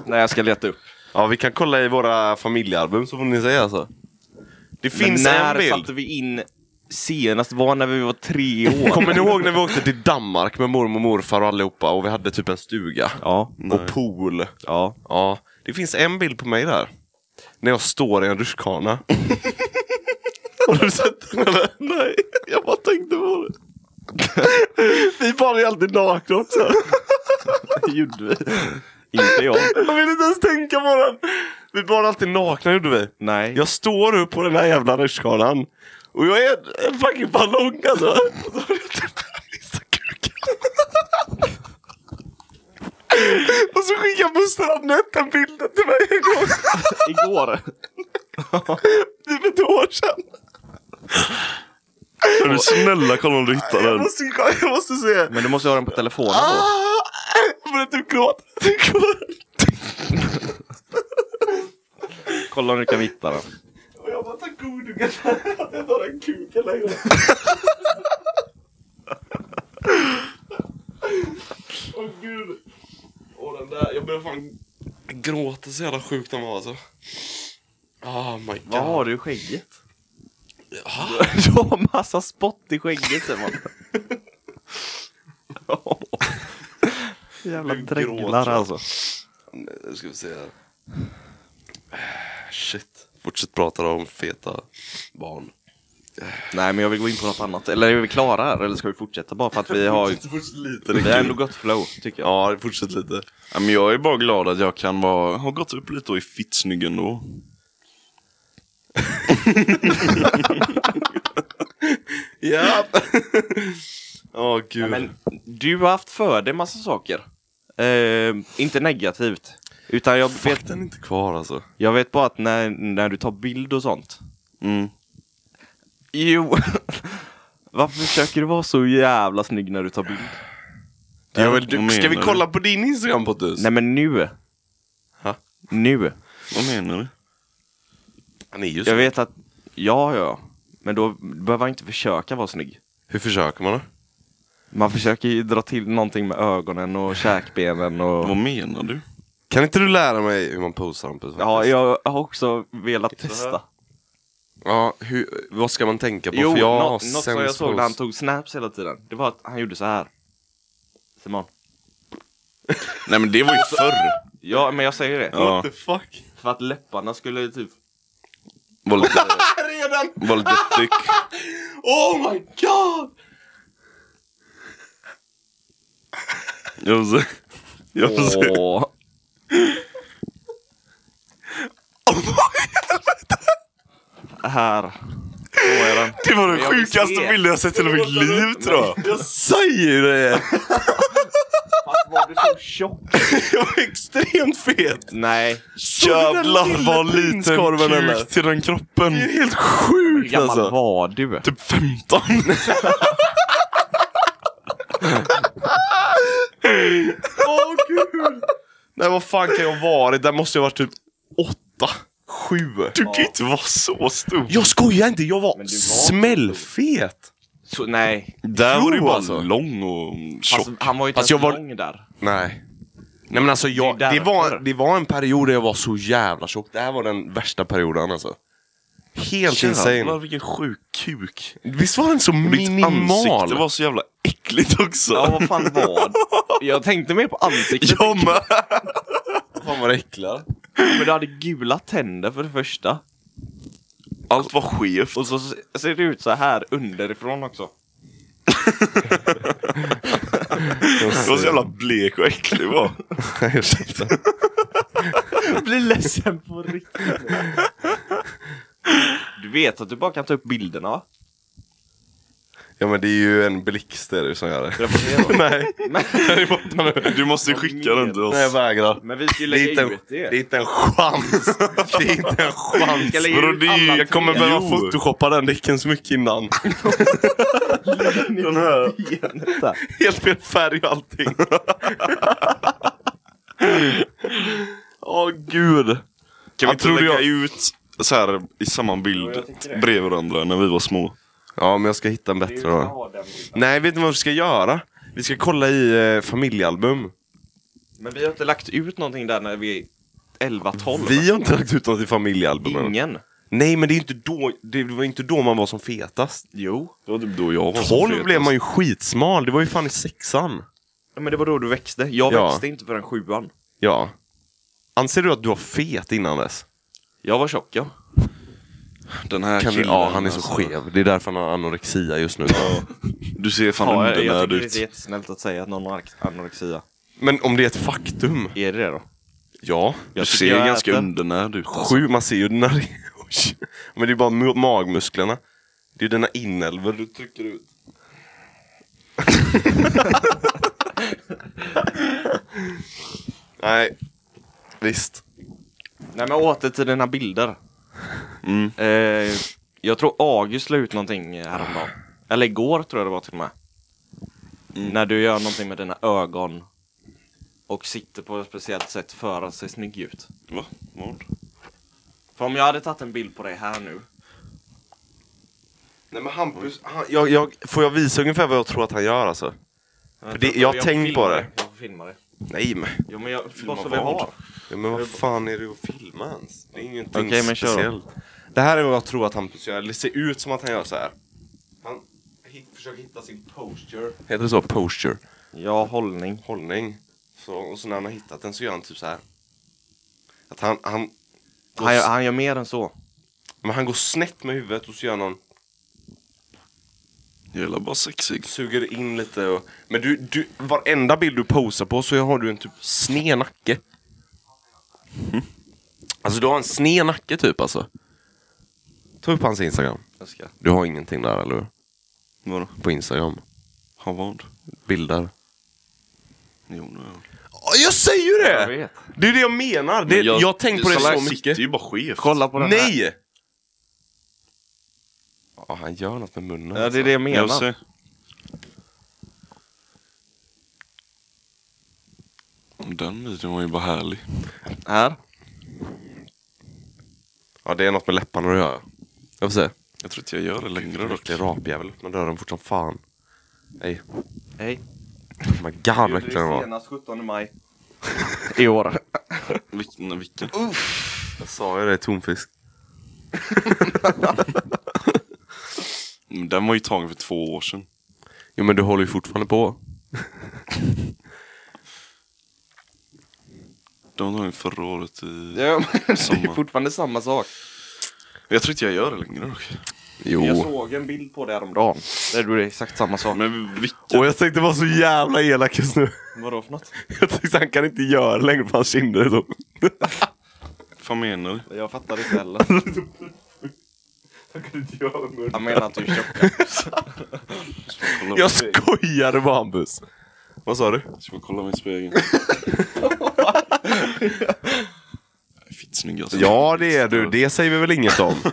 Speaker 4: Nej, jag ska leta upp.
Speaker 1: Ja, vi kan kolla i våra familjealbum så får ni säga alltså. Det finns
Speaker 4: Men när
Speaker 1: en bild.
Speaker 4: satte vi in senast? Var när vi var tre år?
Speaker 1: Kommer ni ihåg när vi åkte till Danmark med mormor och morfar och allihopa och vi hade typ en stuga?
Speaker 4: Ja.
Speaker 1: Och pool.
Speaker 4: Ja.
Speaker 1: Ja, det finns en bild på mig där. När jag står i en rutschkana. Har du sett den eller? Nej, jag bara tänkte på det. Vi bar ju alltid nakna också.
Speaker 4: Det gjorde vi. Inte jag.
Speaker 1: Jag vill inte ens tänka på den. Vi bar alltid nakna gjorde vi.
Speaker 4: Nej.
Speaker 1: Jag står upp på den här jävla rutschkanan. Och jag är en, en fucking ballong alltså. Och så har jag den här vissa kuken. Och så skickar Buster Anette den bilden till mig en gång.
Speaker 4: Igår.
Speaker 1: Typ ett år sedan.
Speaker 2: Kan du snälla kolla om du hittar
Speaker 1: Jag
Speaker 2: den?
Speaker 1: måste, jag måste se.
Speaker 4: Men du måste ha den på telefonen då.
Speaker 1: Ah! Jag börjar typ gråta. Jag gråter.
Speaker 4: Kolla om du kan hitta den.
Speaker 1: Och jag bara, tack god du kan Jag tar en kuk eller något. Åh gud. Åh den där, jag börjar fan gråta så jävla sjukt den var alltså. Oh my god.
Speaker 4: Vad har du i skägget? Du har massa spott i skägget Simon. Jävla
Speaker 1: Du gråter.
Speaker 4: dreglar alltså.
Speaker 1: Nu ska vi se här. Eh, Shit. Fortsätt prata om feta barn.
Speaker 4: Nej men jag vill gå in på något annat. Eller är vi klara här eller ska vi fortsätta bara för att vi har
Speaker 1: Fortsätt lite.
Speaker 4: Vi har ändå gått flow tycker jag.
Speaker 1: Ja, fortsätt lite.
Speaker 2: Ja, men jag är bara glad att jag kan vara, ha gått upp lite och är fittsnygg ändå.
Speaker 1: Ja. Åh gud.
Speaker 4: Men du har haft för dig massa saker. Eh, inte negativt. Utan jag vet,
Speaker 1: Fuck, den är inte kvar alltså.
Speaker 4: jag vet bara att när, när du tar bild och sånt.
Speaker 2: Mm.
Speaker 4: Jo. Varför försöker du vara så jävla snygg när du tar bild?
Speaker 1: Jag vill,
Speaker 2: vad
Speaker 1: ska vi
Speaker 2: menar
Speaker 1: kolla på din Instagram Pontus?
Speaker 4: Nej men nu.
Speaker 1: Ha?
Speaker 4: Nu.
Speaker 2: Vad menar du?
Speaker 1: Han är ju
Speaker 4: Jag
Speaker 1: så.
Speaker 4: vet att, ja ja. Men då behöver man inte försöka vara snygg.
Speaker 1: Hur försöker man då?
Speaker 4: Man försöker ju dra till någonting med ögonen och käkbenen
Speaker 2: Vad
Speaker 4: och...
Speaker 2: menar du?
Speaker 1: Kan inte du lära mig hur man posar Hampus?
Speaker 4: Ja, jag har också velat testa.
Speaker 1: ja hur, vad ska man tänka på?
Speaker 4: Jo,
Speaker 1: För jag
Speaker 4: nå-
Speaker 1: har
Speaker 4: något som jag
Speaker 1: sämst
Speaker 4: såg
Speaker 1: pose.
Speaker 4: när han tog snaps hela tiden. Det var att han gjorde så här. Simon.
Speaker 2: Nej men det var ju förr.
Speaker 4: Ja, men jag säger det.
Speaker 2: Ja,
Speaker 1: What the fuck?
Speaker 4: För att läpparna skulle typ...
Speaker 2: var lite,
Speaker 1: Redan!
Speaker 2: var lite thick.
Speaker 1: Oh my god!
Speaker 2: Jag får se. Jag får se.
Speaker 4: Åh. Här. Så är den.
Speaker 2: Det var den
Speaker 4: Jag vill
Speaker 2: sjukaste
Speaker 4: se.
Speaker 2: bilden jag sett i hela mitt liv tror jag.
Speaker 1: Jag säger ju det!
Speaker 4: Fast var du så tjock?
Speaker 1: Jag är extremt fet!
Speaker 4: Nej.
Speaker 2: Jävlar vad
Speaker 1: prinskorven,
Speaker 2: liten
Speaker 1: eller?
Speaker 2: kuk till den kroppen.
Speaker 1: Det är helt sjukt
Speaker 4: gammal
Speaker 1: alltså!
Speaker 4: var du?
Speaker 2: Typ 15.
Speaker 1: Åh gud! Nej vad fan kan jag ha varit? Där måste jag ha varit typ åtta, sju.
Speaker 2: Du kan ju inte vara så stor.
Speaker 1: Jag skojar inte, jag var,
Speaker 4: Men du var-
Speaker 1: smällfet!
Speaker 4: Så, nej.
Speaker 2: Där
Speaker 1: Jo,
Speaker 2: var du bara
Speaker 1: alltså.
Speaker 2: lång och tjock.
Speaker 4: Fast, han var ju inte
Speaker 1: Fast
Speaker 4: ens
Speaker 1: jag var-
Speaker 4: lång där.
Speaker 1: Nej. Nej men alltså jag,
Speaker 4: Det är
Speaker 1: det, var,
Speaker 4: därför.
Speaker 1: det var en period där jag var så jävla tjock. Det här var den värsta perioden alltså. Helt
Speaker 2: Jävlar
Speaker 1: insane.
Speaker 2: vilken sjuk kuk.
Speaker 1: Visst var den så
Speaker 2: Ditt ansikte
Speaker 1: minimal?
Speaker 2: var så jävla äckligt också.
Speaker 4: Ja, vad fan var det? Jag tänkte mer på ansiktet.
Speaker 2: Jag med.
Speaker 1: Fan vad det äcklar.
Speaker 4: Men du hade gula tänder för det första.
Speaker 2: Allt var skevt.
Speaker 4: Och så se- ser det ut så här underifrån också.
Speaker 2: Det var så jävla blek och äcklig va?
Speaker 1: Ursäkta.
Speaker 4: Jag blir ledsen på riktigt. Du vet att du bara kan ta upp bilderna va?
Speaker 1: Ja men det är ju en blixt det är det som gör det.
Speaker 2: Nej, den är borta nu. Du måste ju skicka den till oss.
Speaker 1: Nej jag vägrar.
Speaker 6: Men vi ska ju
Speaker 1: Det är,
Speaker 6: lägga
Speaker 1: inte en,
Speaker 6: ut
Speaker 1: det
Speaker 6: det.
Speaker 1: är inte en chans! Det är inte en
Speaker 6: Vi
Speaker 1: chans!
Speaker 6: ska lägga ut
Speaker 2: Brody,
Speaker 6: alla
Speaker 1: Jag kommer
Speaker 6: tre.
Speaker 1: behöva
Speaker 2: Jo.
Speaker 1: photoshoppa den däcken så mycket innan.
Speaker 6: den här.
Speaker 1: Helt fel färg och allting. Åh gud.
Speaker 2: Kan vi
Speaker 1: Jag
Speaker 2: inte
Speaker 1: trodde
Speaker 2: lägga
Speaker 1: jag-
Speaker 2: ut så här i samma bild bredvid varandra när vi var små?
Speaker 1: Ja men jag ska hitta en
Speaker 6: Du
Speaker 1: bättre
Speaker 6: ska
Speaker 1: då.
Speaker 6: ha den.
Speaker 1: Nej vet ni vad vi ska göra? Vi ska kolla i eh, familjealbum.
Speaker 4: Men vi har inte lagt ut någonting där när vi är 11-12.
Speaker 1: Vi har inte lagt ut något i familjealbumen.
Speaker 4: Ingen.
Speaker 1: Nej men det, är inte då, det var inte då man var som fetast.
Speaker 4: Jo.
Speaker 2: Det var typ då jag var som
Speaker 1: 12
Speaker 2: fet,
Speaker 1: blev man
Speaker 2: alltså.
Speaker 1: ju skitsmal, det var ju fan i sexan.
Speaker 4: Ja, Men det var då du växte. Jag
Speaker 1: Ja.
Speaker 4: växte inte förrän sjuan.
Speaker 1: Ja. Anser du att du var fet innan dess?
Speaker 4: Jag var tjock ja.
Speaker 2: Den här
Speaker 1: Kan vi,
Speaker 2: killen,
Speaker 1: ja, han är så
Speaker 2: alltså.
Speaker 1: skev. Det är därför han har anorexia just nu.
Speaker 2: Du ser fan
Speaker 4: ja jag, jag
Speaker 2: undernärd
Speaker 4: tycker det är
Speaker 2: ut.
Speaker 4: jättesnällt att säga att någon har anorexia.
Speaker 1: Men om det är ett faktum?
Speaker 4: Är det det då?
Speaker 1: Ja.
Speaker 2: Du
Speaker 4: Jag tycker
Speaker 2: ser
Speaker 4: jag
Speaker 2: ganska
Speaker 4: äter.
Speaker 2: undernärd ut. alltså.
Speaker 1: Sju, man ser ju dina... Oj. Men det är bara mu- magmusklerna. Det är ju dina inälvor du trycker ut. Nej, visst.
Speaker 4: Nej men åter till dina bilder.
Speaker 2: Mm.
Speaker 4: Eh, jag tror August la ut någonting häromdagen. Eller igår tror jag det var till och med. När du gör någonting med dina ögon. Och sitter på ett speciellt sätt för att se snygg ut.
Speaker 2: Va? Vad?
Speaker 4: För om jag hade tagit en bild på dig här nu.
Speaker 1: Nej men Hampus, han, jag, jag, får jag visa ungefär vad jag tror att han gör alltså? För det, jag har tänkt på
Speaker 4: filmar
Speaker 1: det.
Speaker 4: Jag filmar det.
Speaker 1: Nej men.
Speaker 4: Jo men jag,
Speaker 2: Filmar
Speaker 4: vad så vi
Speaker 2: vad?
Speaker 4: har.
Speaker 1: Ja, men vad fan är det att filma ens? Det är ingenting
Speaker 4: Okej, men kör då.
Speaker 1: speciellt. Det här är vad jag tror att Hampus gör. Det ser ut som att han gör så här. Han hit, försöker hitta sin posture. Heter det så? Posture?
Speaker 4: Ja, hållning.
Speaker 1: Hållning. Så, och så när han har hittat den så gör han typ så här. Att han, han, går,
Speaker 4: Han, gör-
Speaker 1: s-
Speaker 4: han gör mer än så.
Speaker 1: Men han går snett med huvudet och så gör han
Speaker 2: Jävla bara sexig.
Speaker 1: suger in lite och... Men du, du, varenda bild du posar på så har du en typ sned nacke. Alltså du har en sned nacke typ alltså. Ta upp hans instagram.
Speaker 4: Jag ska.
Speaker 1: Du har ingenting där eller hur?
Speaker 2: Vadå?
Speaker 1: På instagram?
Speaker 2: Han vad?
Speaker 1: Bilder?
Speaker 2: Jo, nu. är han.
Speaker 1: Jag säger ju
Speaker 4: Jag
Speaker 1: det!
Speaker 4: vet.
Speaker 1: Det är det jag menar. Det,
Speaker 2: Men
Speaker 1: jag, har tänkt på det
Speaker 2: Salah
Speaker 1: så
Speaker 2: sitter
Speaker 1: mycket.
Speaker 2: ju bara skevt.
Speaker 4: Kolla på den här.
Speaker 1: Nej! Ja, han gör något med munnen. alltså.
Speaker 4: Ja, det är det jag menar.
Speaker 2: Jag ser. Den videon var ju bara härlig.
Speaker 4: Här.
Speaker 1: Ja, det är något med läpparna du gör. Jag får se.
Speaker 2: Jag tror inte jag gör det längre dock.
Speaker 1: Äcklig rapjävel. Öppna dörren fort som fan. Nej.
Speaker 4: Hej.
Speaker 1: Oh my god vad äcklig den var.
Speaker 4: senast 17 maj. I år.
Speaker 2: Vilken, vilken?
Speaker 1: Jag sa ju det, tonfisk.
Speaker 2: Men Den var ju tagen för två år sedan.
Speaker 1: Jo men du håller ju fortfarande på.
Speaker 2: Den var tagen förra året i
Speaker 4: Ja, men det är
Speaker 2: sommar.
Speaker 4: fortfarande samma sak.
Speaker 2: Jag tror inte jag gör det längre dock.
Speaker 4: Jag
Speaker 1: Jo.
Speaker 4: såg en bild på det häromdagen. Där du är exakt samma sak.
Speaker 2: Men vilken?
Speaker 1: Och jag tänkte vara så jävla elak just nu.
Speaker 4: Vadå för något?
Speaker 1: Jag tänkte han kan inte göra det längre för hans kinder är så.
Speaker 2: Vad menar du?
Speaker 4: Jag fattar inte heller. Han menar att du är tjock.
Speaker 2: Kolla,
Speaker 1: Jag skojade bara Hampus. Vad sa du?
Speaker 2: Ska jag kolla mig i spegeln? Jag är Fitt snygg alltså.
Speaker 1: Ja det är du, det säger vi väl inget om.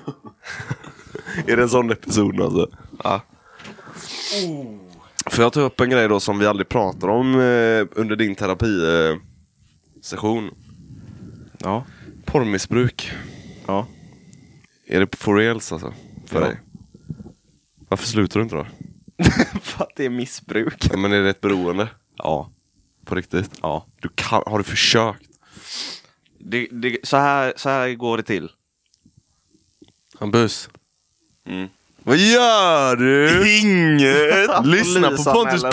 Speaker 1: är det en sån episod alltså? Ja. Får jag ta upp en grej då som vi aldrig pratar om eh, under din terapisession? Eh, session?
Speaker 4: Ja.
Speaker 1: Porrmissbruk.
Speaker 4: Ja.
Speaker 1: Är det for reals alltså? För
Speaker 4: Ja.
Speaker 1: dig? Varför slutar du inte då?
Speaker 4: För att det är missbruk.
Speaker 1: Ja, men är det ett beroende?
Speaker 4: Ja.
Speaker 1: På riktigt?
Speaker 4: Ja.
Speaker 1: Du kan, har du försökt?
Speaker 4: Det, det, så, här, så här går det till.
Speaker 1: Hampus?
Speaker 2: Mm.
Speaker 1: Vad gör du?
Speaker 2: Inget!
Speaker 1: Lyssna på Pontus
Speaker 4: Polisanmäler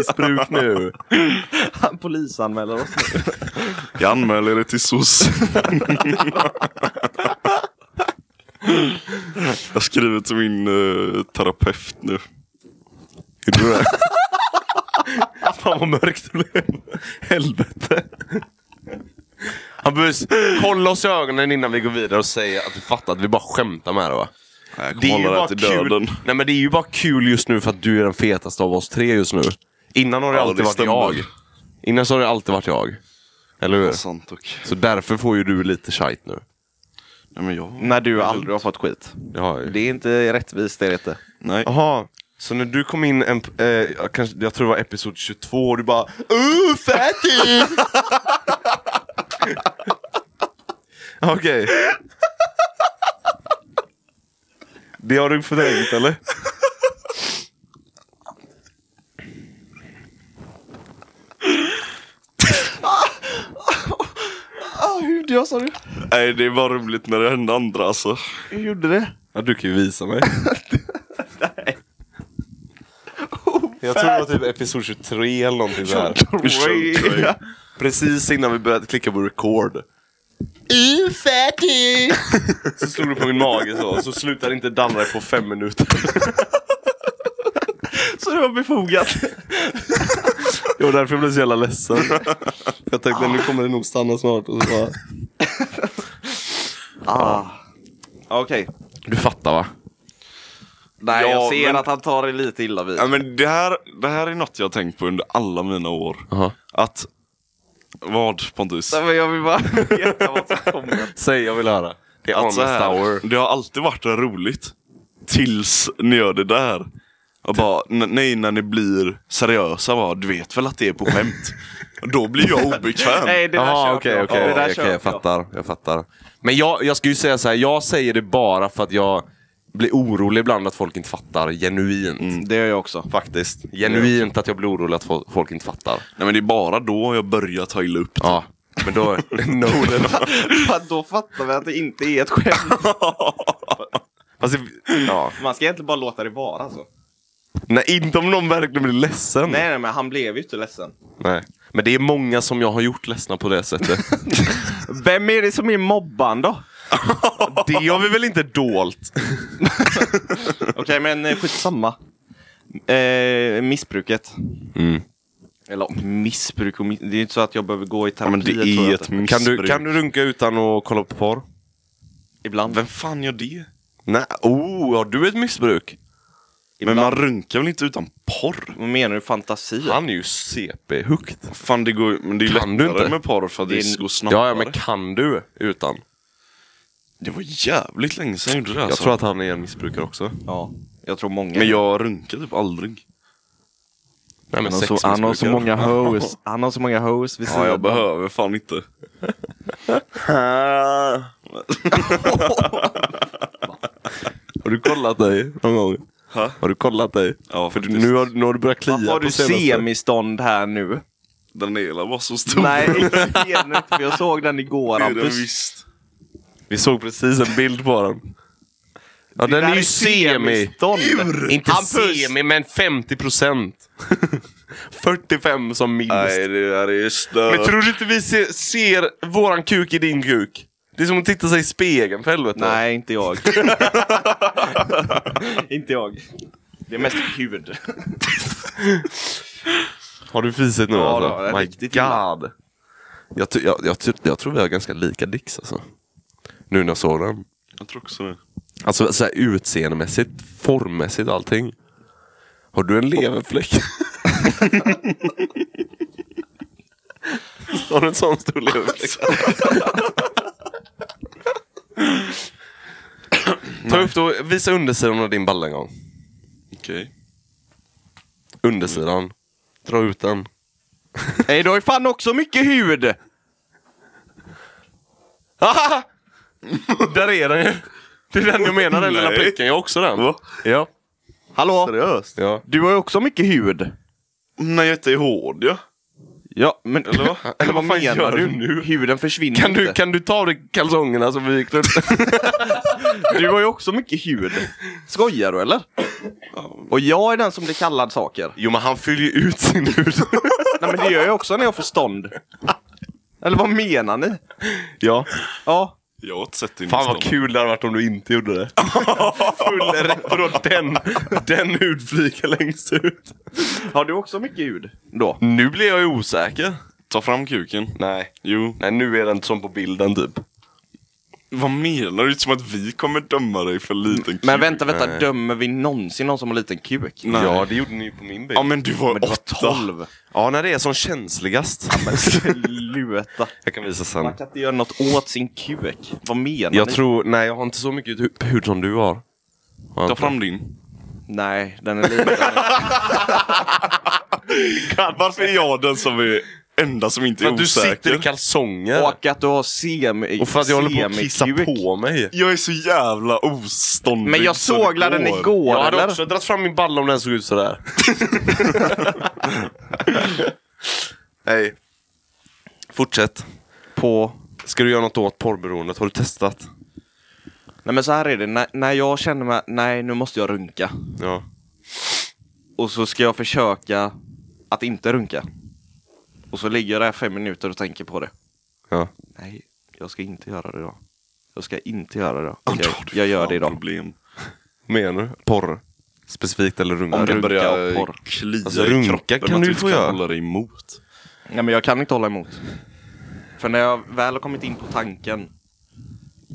Speaker 4: oss.
Speaker 1: porrmissbruk nu!
Speaker 4: Han polisanmäler oss nu.
Speaker 2: Jag anmäler det till SOS. Jag skriver till min eh, terapeut nu.
Speaker 1: Är du det? Fan vad mörkt det blev. Helvete. Hampus, kolla oss i ögonen innan vi går vidare och säg att du fattar att vi bara skämtar med det va?
Speaker 2: Nej, jag
Speaker 1: Det är,
Speaker 2: kommer
Speaker 1: ju
Speaker 2: hålla
Speaker 1: bara
Speaker 2: det till döden.
Speaker 1: kul. Nej, men det är ju bara kul just nu för att du är den fetaste av oss tre just nu. Innan har det
Speaker 2: Ja,
Speaker 1: alltid
Speaker 2: det
Speaker 1: varit
Speaker 2: stämmer.
Speaker 1: jag. Innan så har det alltid varit jag. Eller hur?
Speaker 2: Sant och...
Speaker 1: Så därför får ju du lite shite nu.
Speaker 2: Nej men jag...
Speaker 4: När du aldrig har fått skit.
Speaker 1: Det har jag ju.
Speaker 4: Det är inte rättvist, det är det inte.
Speaker 2: Nej.
Speaker 1: Jaha, så när du kom in, en, eh, jag kanske, jag tror det var episod 22, och du bara Ooh, fatty! Okej. Det har du förträngt eller?
Speaker 4: Ah, hur jag sa du?
Speaker 2: Nej det var roligt när det hände andra alltså.
Speaker 4: Hur gjorde det?
Speaker 1: Ja, du kan ju visa mig. Jag tror det var typ episod 23 eller någonting så här. Precis innan vi började klicka på record. Ooh, fatty! Så slog du på min mage så, så slutade inte dallra på fem minuter.
Speaker 4: Så det var befogat.
Speaker 1: Det var därför jag blev så jävla ledsen. Jag tänkte nu kommer det nog stanna snart. Och så bara...
Speaker 4: Ah. Okej.
Speaker 1: Du fattar va?
Speaker 4: Nej,
Speaker 2: Ja,
Speaker 4: jag ser
Speaker 2: men-
Speaker 4: att han tar det lite illa vid.
Speaker 2: Ja, men det, här, det här är något jag har tänkt på under alla mina år.
Speaker 1: Aha.
Speaker 2: Att... Vad Pontus?
Speaker 4: Nej, men jag vill bara veta vad som kommer.
Speaker 1: Säg, jag vill höra. Det är
Speaker 2: Att så
Speaker 1: honest hour.
Speaker 2: här, det har alltid varit roligt. Tills ni gör det där. Och bara, n- nej när ni blir seriösa va, du vet väl att det är på skämt? Då blir jag obekväm.
Speaker 4: Nej, det där
Speaker 1: Jaha,
Speaker 4: köper
Speaker 1: okej,
Speaker 4: jag.
Speaker 1: okej.
Speaker 4: det där
Speaker 1: okej,
Speaker 4: köper
Speaker 1: jag fattar. Jag fattar. Men jag, jag ska ju säga så här, jag säger det bara för att jag blir orolig ibland att folk inte fattar genuint.
Speaker 4: Det gör jag också.
Speaker 1: Faktiskt. Genuint att jag blir orolig att fo- folk inte fattar.
Speaker 2: nej men det är bara då jag börjar ta illa upp det.
Speaker 1: Ja, men då... no,
Speaker 4: Då fattar vi att det inte är ett skämt.
Speaker 1: alltså, ja.
Speaker 4: Man ska egentligen bara låta det vara så.
Speaker 1: Nej, inte om någon verkligen blir ledsen.
Speaker 4: Nej, nej, men han blev ju inte ledsen.
Speaker 1: Nej. Men det är många som jag har gjort ledsna på det sättet.
Speaker 4: Vem är det som är mobban då?
Speaker 1: det har vi väl inte dolt?
Speaker 4: Okej, men eh, skitsamma. Eh, missbruket. Eller missbruk och miss... Det är ju inte så att jag behöver gå i
Speaker 2: Ja,
Speaker 4: terapi.
Speaker 2: men det
Speaker 4: tror jag
Speaker 2: är
Speaker 4: inte.
Speaker 2: ett missbruk.
Speaker 1: Mm, Kan du, kan du runka utan att kolla på porr?
Speaker 4: Ibland.
Speaker 2: Vem fan gör det?
Speaker 1: Nej. Oh, har du ett missbruk?
Speaker 2: Men
Speaker 4: Ibland.
Speaker 2: man runkar väl inte utan porr?
Speaker 4: Vad menar du? Fantasi?
Speaker 1: Han är ju CP-hukt.
Speaker 2: Fan det går men det är ju
Speaker 1: Kan
Speaker 2: lättare
Speaker 1: du inte?
Speaker 2: med porr för att det,
Speaker 4: Det är-
Speaker 2: går snabbare.
Speaker 1: Ja, ja, men kan du utan?
Speaker 2: Det var jävligt länge sedan jag gjorde det
Speaker 1: Jag
Speaker 2: alltså.
Speaker 1: tror att han är en missbrukare också.
Speaker 4: Ja, jag tror många.
Speaker 2: Men jag runkar typ aldrig.
Speaker 1: Nej, men
Speaker 4: han, har så, han har så många hoes. Han har så många hoes vid
Speaker 2: Ja,
Speaker 4: sidan.
Speaker 2: jag behöver fan inte.
Speaker 1: Har du kollat dig någon gång?
Speaker 2: Ha?
Speaker 1: Har du kollat dig?
Speaker 2: Ja,
Speaker 1: För du,
Speaker 2: faktiskt.
Speaker 1: nu, har, nu har du börjat klia
Speaker 4: Varför har
Speaker 1: på
Speaker 4: du
Speaker 1: senaste.
Speaker 4: semistånd här nu?
Speaker 2: Den hela var så stor.
Speaker 4: Nej, inte senut, för jag såg den igår.
Speaker 2: det är den
Speaker 4: Hampus.
Speaker 2: visst.
Speaker 1: Vi såg precis en bild på den. Ja, den
Speaker 4: där
Speaker 1: är ju semi.
Speaker 4: semistånd.
Speaker 1: Inte
Speaker 4: Hampus!
Speaker 1: semi, men 50 procent. 45 som minst.
Speaker 2: Nej, det där är stört.
Speaker 1: Men tror du inte vi ser, ser våran kuk i din kuk? Det är som att titta sig i spegeln för helvete.
Speaker 4: Nej, inte jag. inte jag. Det är mest hud.
Speaker 1: Har du fisit nu
Speaker 4: Ja, då, det
Speaker 1: alltså?
Speaker 4: är
Speaker 1: My
Speaker 4: riktigt illa.
Speaker 1: god. Jag, ty- jag, jag, ty- jag tror vi har ganska lika dicks alltså. Nu när jag såg den.
Speaker 2: Jag tror också det.
Speaker 1: Alltså så här, utseendemässigt, formmässigt och allting. Har du en leverfläck? har du en sån stor leverfläck? Ta upp då, visa undersidan av din balla en gång.
Speaker 2: Okej.
Speaker 1: Undersidan. Dra ut den.
Speaker 4: Nej, du har ju fan också mycket hud!
Speaker 1: Haha! Där är den ju! Det är den jag menar, den lilla
Speaker 2: Nej.
Speaker 1: pricken. Jag har också den. Ja.
Speaker 4: Hallå?
Speaker 2: Seriöst?
Speaker 1: ja.
Speaker 4: Du har ju också mycket hud.
Speaker 2: Nej, jag inte är hård ja.
Speaker 4: Ja, men...
Speaker 2: Eller vad?
Speaker 4: Eller vad
Speaker 1: Vad fan
Speaker 4: menar
Speaker 1: gör
Speaker 4: du?
Speaker 1: du nu?
Speaker 4: Huden försvinner
Speaker 1: Kan du,
Speaker 4: inte.
Speaker 1: kan du ta av dig kalsongerna som vi gick runt?
Speaker 4: Du har ju också mycket hud. Skojar du eller? Och jag är den som blir kallad saker.
Speaker 1: Jo men han fyller ju ut sin hud.
Speaker 4: Nej men det gör jag också när jag får stånd. Eller vad menar ni?
Speaker 1: ja.
Speaker 4: Ja.
Speaker 2: Jag har inte sett din
Speaker 1: Fan vad
Speaker 2: lista.
Speaker 1: kul det hade varit om du inte gjorde det. Full rätt och då den, den hudfliken längst ut.
Speaker 4: Har du också mycket hud? Då?
Speaker 1: Nu blir jag ju osäker.
Speaker 2: Ta fram kuken.
Speaker 1: Nej.
Speaker 2: Jo.
Speaker 1: Nej nu är den som på bilden typ.
Speaker 2: Vad menar du? Det är som att vi kommer döma dig för liten
Speaker 4: Men vänta, vänta.
Speaker 1: Nej.
Speaker 4: Dömer vi någonsin någon som har liten kuk?
Speaker 2: Nej.
Speaker 1: Ja, det gjorde ni ju på min bil.
Speaker 2: Ja men du var
Speaker 4: Men det var
Speaker 2: åtta.
Speaker 4: 12.
Speaker 1: Ja, när det är som känsligast.
Speaker 4: Sluta.
Speaker 1: Jag kan visa sen.
Speaker 4: Man kan inte göra något åt sin kuk. Vad menar
Speaker 1: Jag
Speaker 4: ni?
Speaker 1: tror, nej jag har inte så mycket hu- hud som du har. Har jag
Speaker 2: Ta
Speaker 1: inte.
Speaker 2: fram din.
Speaker 4: Nej, den är liten.
Speaker 2: Varför är jag den som är enda som inte
Speaker 1: För
Speaker 2: är
Speaker 1: att du
Speaker 2: osäker?
Speaker 1: sitter i kalsonger.
Speaker 4: Och att du har semi
Speaker 1: Och för att jag håller på att kissa
Speaker 4: semikuk.
Speaker 1: på mig.
Speaker 2: Jag är så jävla oståndig
Speaker 4: Men jag
Speaker 2: så det
Speaker 4: såglade den
Speaker 2: går.
Speaker 4: igår,
Speaker 1: Jag hade
Speaker 4: eller?
Speaker 1: också dragit fram min balla om den såg ut sådär. Nej. Fortsätt.
Speaker 4: På...
Speaker 1: Ska du göra något åt porrberoendet? Har du testat?
Speaker 4: Nej men så här är det, när, när jag känner mig, nej nu måste jag runka.
Speaker 1: Ja.
Speaker 4: Och så ska jag försöka att inte runka. Och så ligger jag där fem minuter och tänker på det.
Speaker 1: Ja.
Speaker 4: Nej, jag ska inte göra det idag. Jag ska inte göra det idag.
Speaker 2: Ja,
Speaker 4: Okej,
Speaker 2: då har du
Speaker 4: jag gör
Speaker 2: fan
Speaker 4: det idag.
Speaker 2: Problem.
Speaker 1: Menar du? Porr? Specifikt eller runka?
Speaker 4: Om
Speaker 2: Jag
Speaker 4: du- Runka
Speaker 2: börjar
Speaker 4: och porr.
Speaker 2: klia
Speaker 1: Alltså,
Speaker 2: i
Speaker 1: runka
Speaker 2: kroppen
Speaker 1: kan
Speaker 2: att
Speaker 1: du
Speaker 2: du
Speaker 1: ju
Speaker 2: inte
Speaker 1: få
Speaker 2: kan
Speaker 1: göra.
Speaker 2: hålla dig emot.
Speaker 4: Nej men jag kan inte hålla emot. För när jag väl har kommit in på tanken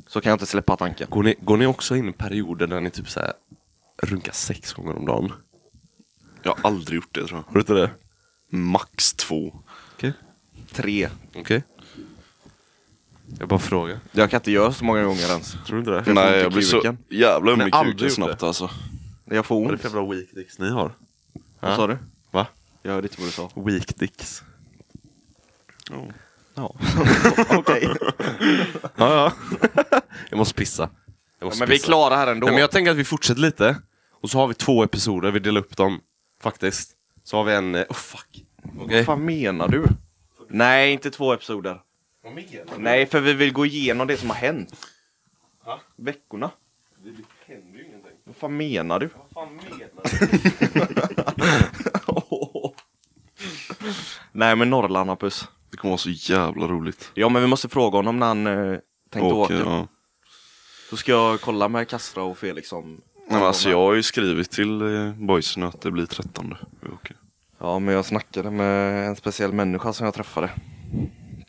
Speaker 4: så kan jag inte släppa tanken.
Speaker 1: Går ni, går ni också in i perioder där ni typ såhär runkar sex gånger om dagen?
Speaker 2: Jag har aldrig gjort det tror jag.
Speaker 1: Har du inte det?
Speaker 2: Max två.
Speaker 1: Okej.
Speaker 4: Tre.
Speaker 1: Okej. Jag bara frågar.
Speaker 4: Jag kan inte göra så många gånger ens.
Speaker 1: Tror du inte det?
Speaker 4: får ont
Speaker 2: Nej
Speaker 4: i
Speaker 2: jag blir så
Speaker 4: kuken.
Speaker 2: jävla öm
Speaker 1: Nej,
Speaker 2: i
Speaker 1: aldrig
Speaker 2: kuken
Speaker 1: gjort
Speaker 2: snabbt alltså.
Speaker 4: Jag får
Speaker 1: Vad är
Speaker 4: ont.
Speaker 1: det för jävla weak dicks ni har?
Speaker 4: Vad sa du?
Speaker 1: Va?
Speaker 4: Jag hörde inte vad du sa.
Speaker 1: Weak dicks.
Speaker 4: Ja. Okej.
Speaker 1: Ja, ja. jag måste pissa. Jag måste
Speaker 4: Men vi är
Speaker 1: pissa.
Speaker 4: klara här ändå.
Speaker 1: Nej, men jag tänker att vi fortsätter lite. Och så har vi två episoder, vi delar upp dem. Faktiskt. Så har vi en... eh, Oh fuck. Okej.
Speaker 4: Vad fan menar du? Nej, inte två episoder.
Speaker 1: Vad menar
Speaker 4: Nej, för vi vill gå igenom det som har hänt.
Speaker 1: Va?
Speaker 4: Veckorna.
Speaker 1: du? Det händer ju ingenting.
Speaker 4: Vad fan menar du?
Speaker 1: Vad fan menar
Speaker 4: Nej, men Norrland, Hampus.
Speaker 2: Det kommer vara så jävla roligt.
Speaker 4: Ja, men vi måste fråga honom när han eh, tänkte
Speaker 2: Åker,
Speaker 4: åka.
Speaker 2: ja.
Speaker 4: Då ska jag kolla med Kastra och Felix om...
Speaker 2: Nej, men alltså jag har ju skrivit till eh, boysen att det blir trettonde. Vi åker.
Speaker 4: Ja, men jag snackade med en speciell människa som jag träffade.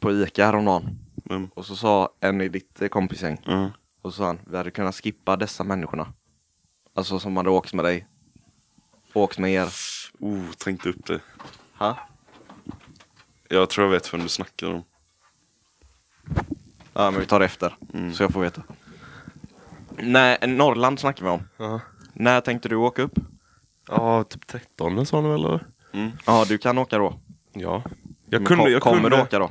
Speaker 4: På Ica häromdagen.
Speaker 2: Vem?
Speaker 4: Och så sa en i ditt eh, kompisgäng.
Speaker 2: Ja.
Speaker 4: Och så sa han, vi hade kunnat skippa dessa människorna. Alltså som hade åkt med dig. Åkt med er.
Speaker 2: Oh, tänkte upp det.
Speaker 4: Ha?
Speaker 2: Jag tror jag vet vem du snackar om.
Speaker 4: Ja, men vi tar det efter.
Speaker 1: Mm.
Speaker 4: Så jag får veta. Nej, Norrland snackar vi om.
Speaker 1: Ja.
Speaker 4: När tänkte du åka upp?
Speaker 1: Ja, typ 13 sa han väl eller?
Speaker 4: Ja, du kan åka då.
Speaker 1: Ja. Jag
Speaker 4: Men
Speaker 1: kunde...
Speaker 4: ko-
Speaker 1: Jag
Speaker 4: kommer
Speaker 1: kunde,
Speaker 4: du åka då?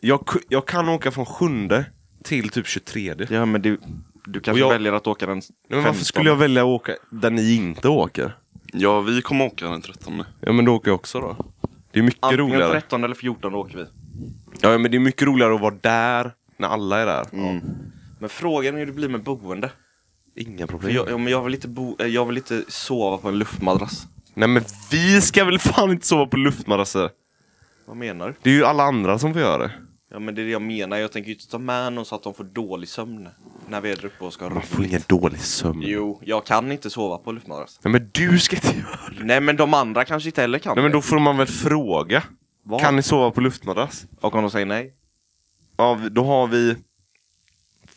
Speaker 1: Jag, ku- jag kan åka från sjunde till typ 23. Nej,
Speaker 4: Ja, men du, du kanske
Speaker 1: Och jag-
Speaker 4: väljer att åka den
Speaker 1: men varför skulle jag välja att åka där ni inte åker?
Speaker 2: Ja, vi kommer åka den trettonde.
Speaker 1: Ja men då åker jag också då. Det är mycket
Speaker 4: Antingen
Speaker 1: roligare.
Speaker 4: 13 eller 14 åker vi.
Speaker 1: Ja men det är mycket roligare att vara där när alla är där.
Speaker 4: Mm. Men frågan är hur det blir med boende.
Speaker 1: Inga
Speaker 4: För
Speaker 1: problem.
Speaker 4: jag, ja, men jag, vill inte bo, eh, jag vill inte sova på en luftmadrass.
Speaker 1: Nej men vi ska väl fan inte sova på luftmadrasser.
Speaker 4: Vad menar du?
Speaker 1: Det är ju alla andra som får göra det.
Speaker 4: Ja, men det är det jag menar. Jag tänker ju inte ta med någon så att de får dålig sömn. När vi är där uppe och ska ha
Speaker 1: Man får
Speaker 4: roligt.
Speaker 1: ingen dålig sömn.
Speaker 4: Jo, jag kan inte sova på luftmadrass.
Speaker 1: Nej men du ska inte göra det.
Speaker 4: Nej, men de andra kanske inte heller kan
Speaker 1: Nej men
Speaker 4: det.
Speaker 1: då får man väl fråga.
Speaker 4: Vad?
Speaker 1: Kan ni sova på luftmadrass?
Speaker 4: Och om de säger nej?
Speaker 1: Ja, vi- då har vi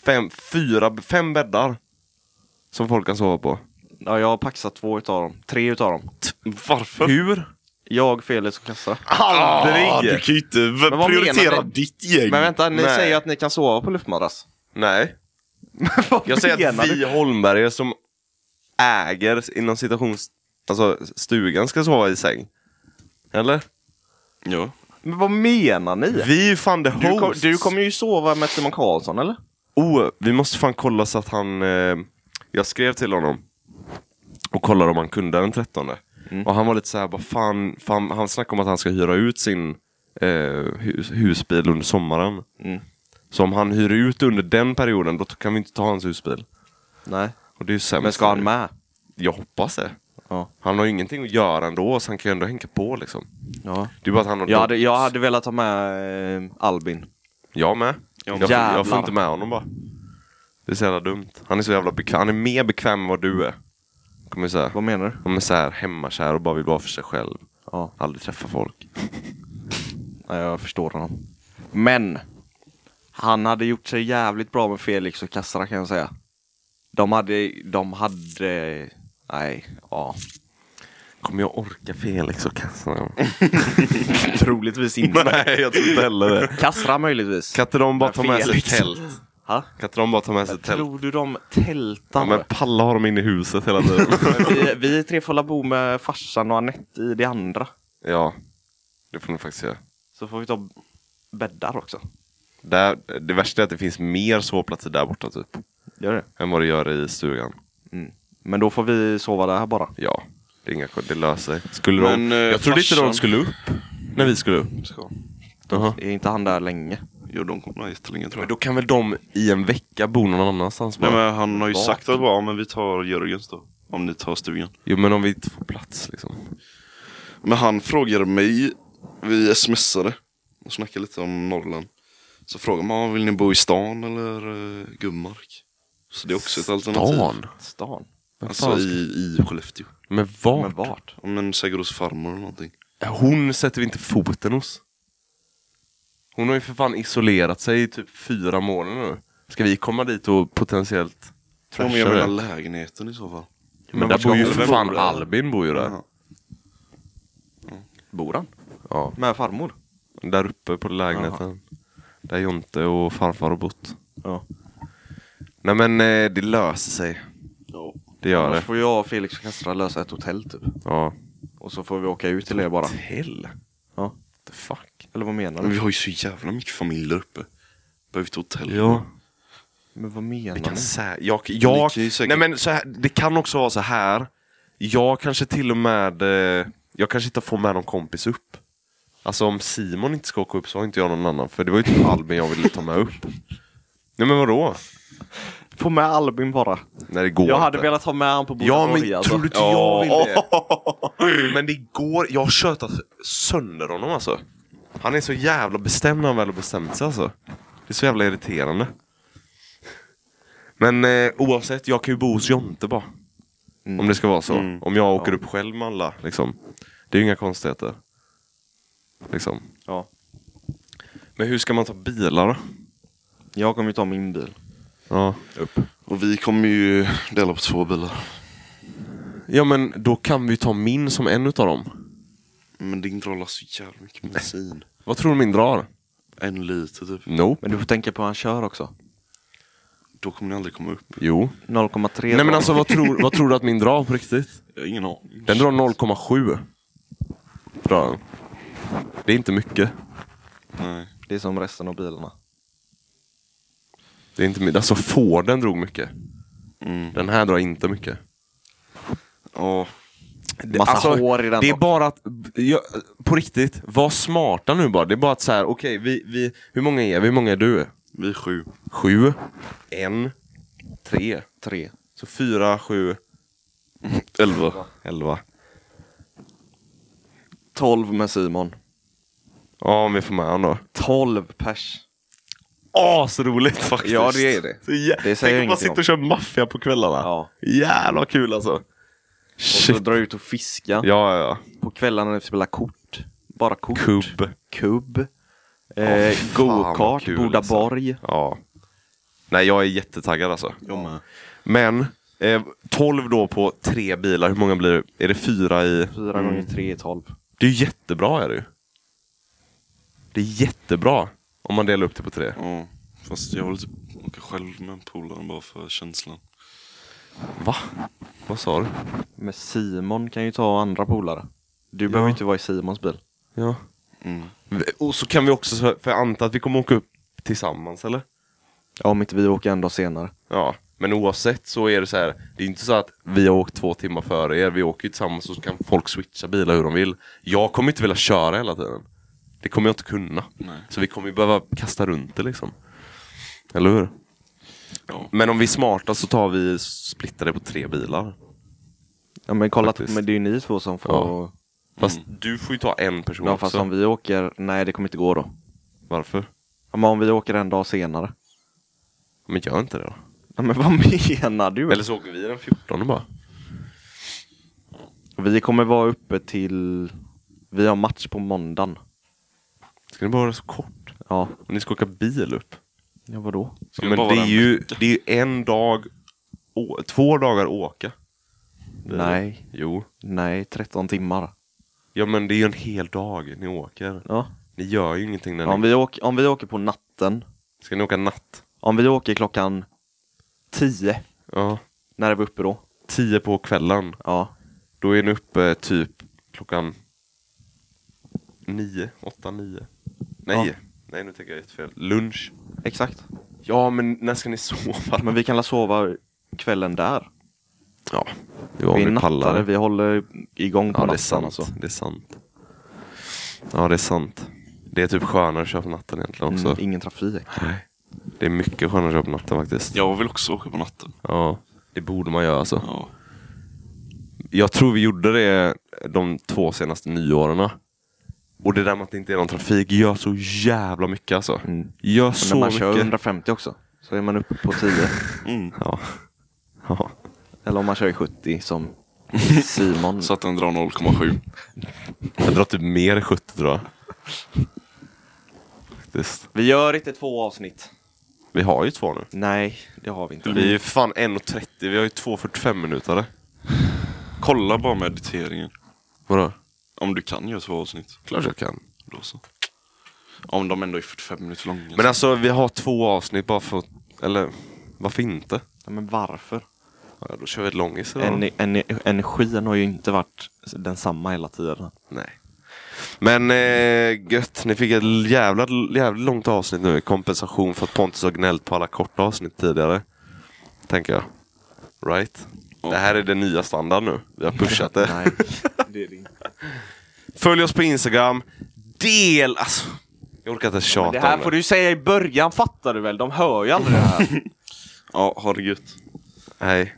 Speaker 1: fem, fyra, fem bäddar. Som folk kan sova på.
Speaker 4: Ja, jag har paxat två utav dem. Tre utav dem.
Speaker 2: Varför?
Speaker 1: Hur?
Speaker 4: Jag, Felix och Kassa.
Speaker 1: Aldrig!
Speaker 2: Ah, du kan ju inte v-
Speaker 4: vad menar
Speaker 2: prioritera
Speaker 4: ni?
Speaker 2: ditt gäng.
Speaker 4: Men vänta, ni
Speaker 1: Nej.
Speaker 4: säger ju att ni kan sova på luftmadrass.
Speaker 1: Nej.
Speaker 4: Vad
Speaker 1: Jag säger
Speaker 4: menar
Speaker 1: att
Speaker 4: du?
Speaker 1: vi Holmbergare som äger, inom citations... Alltså stugan ska sova i säng. Eller?
Speaker 2: Ja.
Speaker 4: Men vad menar ni?
Speaker 1: Vi är ju fan the host.
Speaker 4: Du, kom, du kommer ju sova med Simon Karlsson, eller?
Speaker 1: Oh, vi måste fan kolla så att han... Eh, jag skrev till honom och kollade om han kunde den 13.
Speaker 4: Mm.
Speaker 1: Och han var lite så här, bara fan, fan, han snackade om att han ska hyra ut sin eh, hus, husbil under sommaren.
Speaker 4: Mm.
Speaker 1: Så om han hyr ut under den perioden, då kan vi inte ta hans husbil.
Speaker 4: Nej.
Speaker 1: Och det är ju sämst.
Speaker 4: Men ska han med?
Speaker 1: Jag hoppas det.
Speaker 4: Ja.
Speaker 1: Han har ju ingenting att göra ändå, så han kan ju ändå hänga på liksom.
Speaker 4: ja.
Speaker 1: Det är bara att han har...
Speaker 4: Jag, hade, jag hade velat ha med eh, Albin.
Speaker 1: Jag med. Jag, får,
Speaker 4: Jävlar.
Speaker 1: jag får inte med honom bara. Det är så jävla dumt. Han är så jävla bekväm. Han är mer bekväm än vad du är. Kommer säga.
Speaker 4: Vad menar du?
Speaker 1: De är så här hemmakär och bara vill vara för sig själv.
Speaker 4: Ja,
Speaker 1: Aldrig träffa folk.
Speaker 4: nej, jag förstår honom. Men! Han hade gjort sig jävligt bra med Felix och Kassara kan jag säga. De hade, de hade, nej, ja.
Speaker 1: Kommer jag orka Felix och Kassara?
Speaker 4: Troligtvis inte.
Speaker 1: Nej, jag tror inte heller det.
Speaker 4: Kassra möjligtvis.
Speaker 1: Kan inte de bara ta med sig
Speaker 4: Felix.
Speaker 1: tält?
Speaker 4: Ha?
Speaker 1: Kan inte de bara ta med sig tält?
Speaker 4: Tror du de
Speaker 1: Ja,
Speaker 4: tältar?
Speaker 1: men palla har de inne i huset hela tiden.
Speaker 4: vi, vi tre får la bo med farsan och Anette i det andra.
Speaker 1: ja, det får de faktiskt göra.
Speaker 4: Så får vi ta bäddar också.
Speaker 1: Där, det värsta är att det finns mer sovplatser där borta typ.
Speaker 4: Gör det.
Speaker 1: Än vad det gör i stugan.
Speaker 4: Men då får vi sova där bara.
Speaker 1: Ja, det, är inga, ko- det löser sig. Skulle
Speaker 2: Men,
Speaker 1: de,
Speaker 2: eh,
Speaker 1: jag trodde inte de
Speaker 2: farsan-
Speaker 1: skulle upp när vi skulle upp. Jaha.
Speaker 4: Är inte han där länge?
Speaker 2: Jo, de kommer ha jättelänge tror
Speaker 1: Men
Speaker 2: jag.
Speaker 1: då kan väl de i en vecka bo någon annanstans bara?
Speaker 2: Nej, men han har ju
Speaker 1: Vart?
Speaker 2: sagt att bara, ja, men vi tar Jörgens då. Om ni tar stugan.
Speaker 1: Jo men om vi inte får plats liksom.
Speaker 2: Men han frågade mig, vi smsade och snackade lite om Norrland. Så frågade man, "Ah, vill ni bo i stan eller eh, Gummark? Så det är också ett alternativ.
Speaker 1: Stan?
Speaker 4: Stan?
Speaker 1: Vad
Speaker 2: Alltså
Speaker 1: fan
Speaker 2: i,
Speaker 1: ska-
Speaker 2: i Skellefteå.
Speaker 1: Men vart?
Speaker 4: Men vart?
Speaker 2: Om en Sägerås farmor eller någonting.
Speaker 1: Hon sätter vi inte foten hos. Hon har ju för fan isolerat sig i typ fyra månader nu. Ska vi komma dit och potentiellt
Speaker 2: Ja,
Speaker 1: trasha
Speaker 2: men jag menar
Speaker 1: det?
Speaker 2: lägenheten i så fall.
Speaker 1: Men,
Speaker 4: men
Speaker 1: där
Speaker 4: vart ska
Speaker 1: bor ju
Speaker 4: hon-
Speaker 1: för
Speaker 2: vem
Speaker 1: fan
Speaker 2: bor där?
Speaker 1: Albin bor ju där.
Speaker 2: Jaha.
Speaker 4: Bor han?
Speaker 1: Ja.
Speaker 4: Med farmor?
Speaker 1: Där uppe på lägenheten. Där Jonte och farfar har bott.
Speaker 4: Ja.
Speaker 1: Nej men eh, det löser sig.
Speaker 2: Ja.
Speaker 1: Det gör
Speaker 4: Annars
Speaker 1: det.
Speaker 4: får jag och Felix och Kassra lösa ett hotell typ.
Speaker 1: Ja.
Speaker 4: Och så får vi åka ut till er bara.
Speaker 1: Hell.
Speaker 4: Ja.
Speaker 1: The fuck.
Speaker 4: Eller vad menar
Speaker 2: Men
Speaker 4: du?
Speaker 2: vi har ju så jävla mycket familj där uppe. Behöver vi ett hotell?
Speaker 1: Ja.
Speaker 4: Men vad menar
Speaker 1: Det
Speaker 4: ni?
Speaker 1: kan sä- jag, jag,
Speaker 2: Ni kan ju
Speaker 1: nej
Speaker 2: säkert-
Speaker 1: men så här, det kan också vara så här. Jag kanske till och med, eh, jag kanske inte får med någon kompis upp. Alltså om Simon inte ska åka upp så har inte jag någon annan. För det var ju typ Albin jag ville ta med upp. Nej men vadå?
Speaker 4: Få med Albin bara.
Speaker 1: Nej det går
Speaker 4: Jag hade
Speaker 1: inte.
Speaker 4: velat ha med han på alltså. bordet
Speaker 1: Ja men
Speaker 4: Norge,
Speaker 1: tror du inte jag
Speaker 2: Ja.
Speaker 1: vill det? Men det går, jag har tjötat sönder honom alltså. Han är så jävla bestämd när han väl har bestämt sig alltså. Det är så jävla irriterande. Men eh, oavsett, jag kan ju bo hos Jonte bara.
Speaker 4: Mm.
Speaker 1: Om det ska vara så.
Speaker 2: Mm.
Speaker 1: Om jag åker upp själv med alla liksom. Det är ju inga konstigheter. Liksom.
Speaker 4: Ja.
Speaker 1: Men hur ska man ta bilar då?
Speaker 4: Jag kommer ju ta min bil.
Speaker 1: Ja. Upp.
Speaker 2: Och vi kommer ju dela på två bilar.
Speaker 1: ja men då kan vi ju ta min som en utav dem.
Speaker 2: Men din drar så jävla mycket bensin.
Speaker 1: Vad tror du min drar?
Speaker 2: En liter typ.
Speaker 1: Nope.
Speaker 4: Men du får tänka på hur han kör också.
Speaker 2: Då kommer ni aldrig komma upp.
Speaker 1: Jo.
Speaker 4: 0,3
Speaker 1: Nej men alltså vad tror, vad tror du att min drar på riktigt?
Speaker 2: Jag har ingen aning.
Speaker 1: Den drar 0,7. Drar den. Det är inte mycket.
Speaker 2: Nej.
Speaker 4: Det är som resten av bilarna.
Speaker 1: Det är inte mycket. Alltså Forden drog mycket.
Speaker 2: Mm.
Speaker 1: Den här drar inte mycket.
Speaker 2: Ja.
Speaker 1: Det,
Speaker 4: Massa alltså, hår i den
Speaker 1: Det är
Speaker 4: också.
Speaker 1: bara att, jag, på riktigt, var smarta nu bara. Det är bara att så här, okej, vi, vi, hur många är vi? Hur många är du?
Speaker 2: Vi är sju.
Speaker 1: Sju? En? Tre?
Speaker 4: Tre.
Speaker 1: Så fyra, sju,
Speaker 2: Elva.
Speaker 1: elva.
Speaker 4: 12 med Simon.
Speaker 1: Ja, om vi får med honom då.
Speaker 4: 12 pers.
Speaker 1: Asroligt faktiskt!
Speaker 4: Ja, det är det.
Speaker 1: Så jä-
Speaker 4: Det säger
Speaker 1: Tänk om man
Speaker 4: ingenting
Speaker 1: sitter
Speaker 4: om.
Speaker 1: och kör maffia på kvällarna.
Speaker 4: Ja.
Speaker 1: Jävlar vad kul alltså!
Speaker 4: Och så
Speaker 1: Shit.
Speaker 4: drar ut och fiska.
Speaker 1: Ja, ja, ja.
Speaker 4: På kvällarna när vi spelar kort. Bara kort.
Speaker 1: Kubb.
Speaker 4: Kubb.
Speaker 1: Ja,
Speaker 4: Eh,
Speaker 1: fy fan vad
Speaker 4: Go-kart.
Speaker 1: kul,
Speaker 4: Bodaborg.
Speaker 1: Ja. Nej, jag är jättetaggad alltså.
Speaker 2: Jag med.
Speaker 1: Men, eh, 12 då på tre bilar, hur många blir det? Är det fyra i?
Speaker 4: Fyra gånger tre är 12.
Speaker 1: Det är ju jättebra är det ju. Det är jättebra om man delar upp det på tre.
Speaker 2: Ja. Fast jag vill typ åka själv med en polare bara för känslan.
Speaker 1: Va? Vad sa du?
Speaker 4: Men Simon kan ju ta andra polare. Du behöver ju inte vara i Simons bil.
Speaker 1: Ja.
Speaker 2: Mm.
Speaker 1: Och så kan vi också, för jag antar att vi kommer åka upp tillsammans eller?
Speaker 4: Ja, om inte vi åker en dag senare.
Speaker 1: Ja. Men oavsett så är det så här, det är inte så att vi har åkt två timmar före er, vi åker ju tillsammans och så kan folk switcha bilar hur de vill. Jag kommer inte vilja köra hela tiden. Det kommer jag inte kunna.
Speaker 2: Nej.
Speaker 1: Så vi kommer ju behöva kasta runt det liksom. Eller hur?
Speaker 2: Ja.
Speaker 1: Men om vi är smarta så tar vi splittar det på tre bilar.
Speaker 4: Ja, men kolla,
Speaker 1: Faktiskt.
Speaker 4: men det är ju ni två som får...
Speaker 1: Ja. Fast du får ju ta en person
Speaker 4: Ja,
Speaker 1: också.
Speaker 4: fast om vi åker... Nej, det kommer inte gå då.
Speaker 1: Varför?
Speaker 4: Ja, men om vi åker en dag senare.
Speaker 1: Men gör inte det då.
Speaker 4: Ja, men vad menar du?
Speaker 1: Eller så åker vi den 14 bara.
Speaker 4: Vi kommer vara uppe till... Vi har match på måndagen.
Speaker 1: Ska ni bara vara så kort?
Speaker 4: Ja,
Speaker 1: Och ni ska åka bil upp.
Speaker 4: Ja, vadå?
Speaker 2: Ska
Speaker 1: Men
Speaker 2: bara
Speaker 1: det
Speaker 2: vara
Speaker 1: är,
Speaker 2: en
Speaker 1: ju, det är ju en dag, å, två dagar åka. Det är-
Speaker 4: Nej,
Speaker 1: Jo.
Speaker 4: nej, 13 timmar.
Speaker 1: Ja men det är ju en hel dag ni åker.
Speaker 4: Ja.
Speaker 1: Ni gör ju ingenting när
Speaker 4: Om,
Speaker 1: ni...
Speaker 4: vi åker, om vi åker på natten,
Speaker 1: Ska ni åka natt?
Speaker 4: om vi åker klockan 10,
Speaker 1: Ja.
Speaker 4: när är vi uppe då?
Speaker 1: Tio på kvällen.
Speaker 4: Ja,
Speaker 1: Då är ni uppe typ klockan nio, åtta, nio. Nej,
Speaker 4: Ja.
Speaker 1: nej nu tänker jag jättefel. Lunch.
Speaker 4: exakt.
Speaker 1: Ja men när ska ni sova?
Speaker 4: Men vi kan la sova kvällen där.
Speaker 1: Ja, det var om
Speaker 4: vi
Speaker 1: ni
Speaker 4: nattar,
Speaker 1: pallar.
Speaker 4: vi håller igång på
Speaker 1: Ja, det är
Speaker 4: natten
Speaker 1: sant.
Speaker 4: alltså.
Speaker 1: Det är sant. Ja, det är sant. Det är typ skönare att köra på natten egentligen också.
Speaker 4: Mm, ingen trafik.
Speaker 1: Nej. Det är mycket skönare att köra på natten faktiskt.
Speaker 2: Jag vill också åka på natten.
Speaker 1: Ja, det borde man göra alltså.
Speaker 2: Ja.
Speaker 1: Jag tror vi gjorde det de två senaste nyåren. Och det där med att det inte är någon trafik gör så jävla mycket alltså.
Speaker 4: Mm.
Speaker 1: Gör
Speaker 4: Men
Speaker 1: så
Speaker 4: när man
Speaker 1: mycket.
Speaker 4: kör 150 också, så är man uppe på 10.
Speaker 2: Mm.
Speaker 1: Ja. ja.
Speaker 4: Eller om man kör i 70 som Simon.
Speaker 2: Så att den drar 0,7.
Speaker 1: Jag drar typ mer 70 tror jag. Faktiskt.
Speaker 4: Vi gör inte två avsnitt.
Speaker 1: Vi har ju två nu.
Speaker 4: Nej, det har vi inte.
Speaker 1: Vi är ju fan 1.30, vi har ju 2.45 minuter.
Speaker 2: Kolla bara mediteringen.
Speaker 1: Vadå?
Speaker 2: Om du kan göra två avsnitt.
Speaker 1: Klart jag kan.
Speaker 2: Då så. Om de ändå är 45 minuter långa.
Speaker 1: Men alltså vi har två avsnitt bara för Eller varför inte?
Speaker 4: Ja, men varför?
Speaker 1: Ja, då kör vi ett långis idag.
Speaker 4: En, en, energin har ju inte varit densamma hela tiden.
Speaker 1: Nej. Men eh, gött, ni fick ett jävla, jävligt långt avsnitt nu. Kompensation för att Pontus har gnällt på alla korta avsnitt tidigare. Tänker jag. Right? Det här är den nya standarden nu. Vi har pushat det.
Speaker 4: Nej.
Speaker 1: Följ oss på Instagram. Del... Alltså, jag orkar inte tjata
Speaker 4: Det här
Speaker 1: om
Speaker 4: får du ju säga i början, fattar du väl? De hör ju aldrig det här.
Speaker 2: Ja, ha det gött.
Speaker 1: Nej.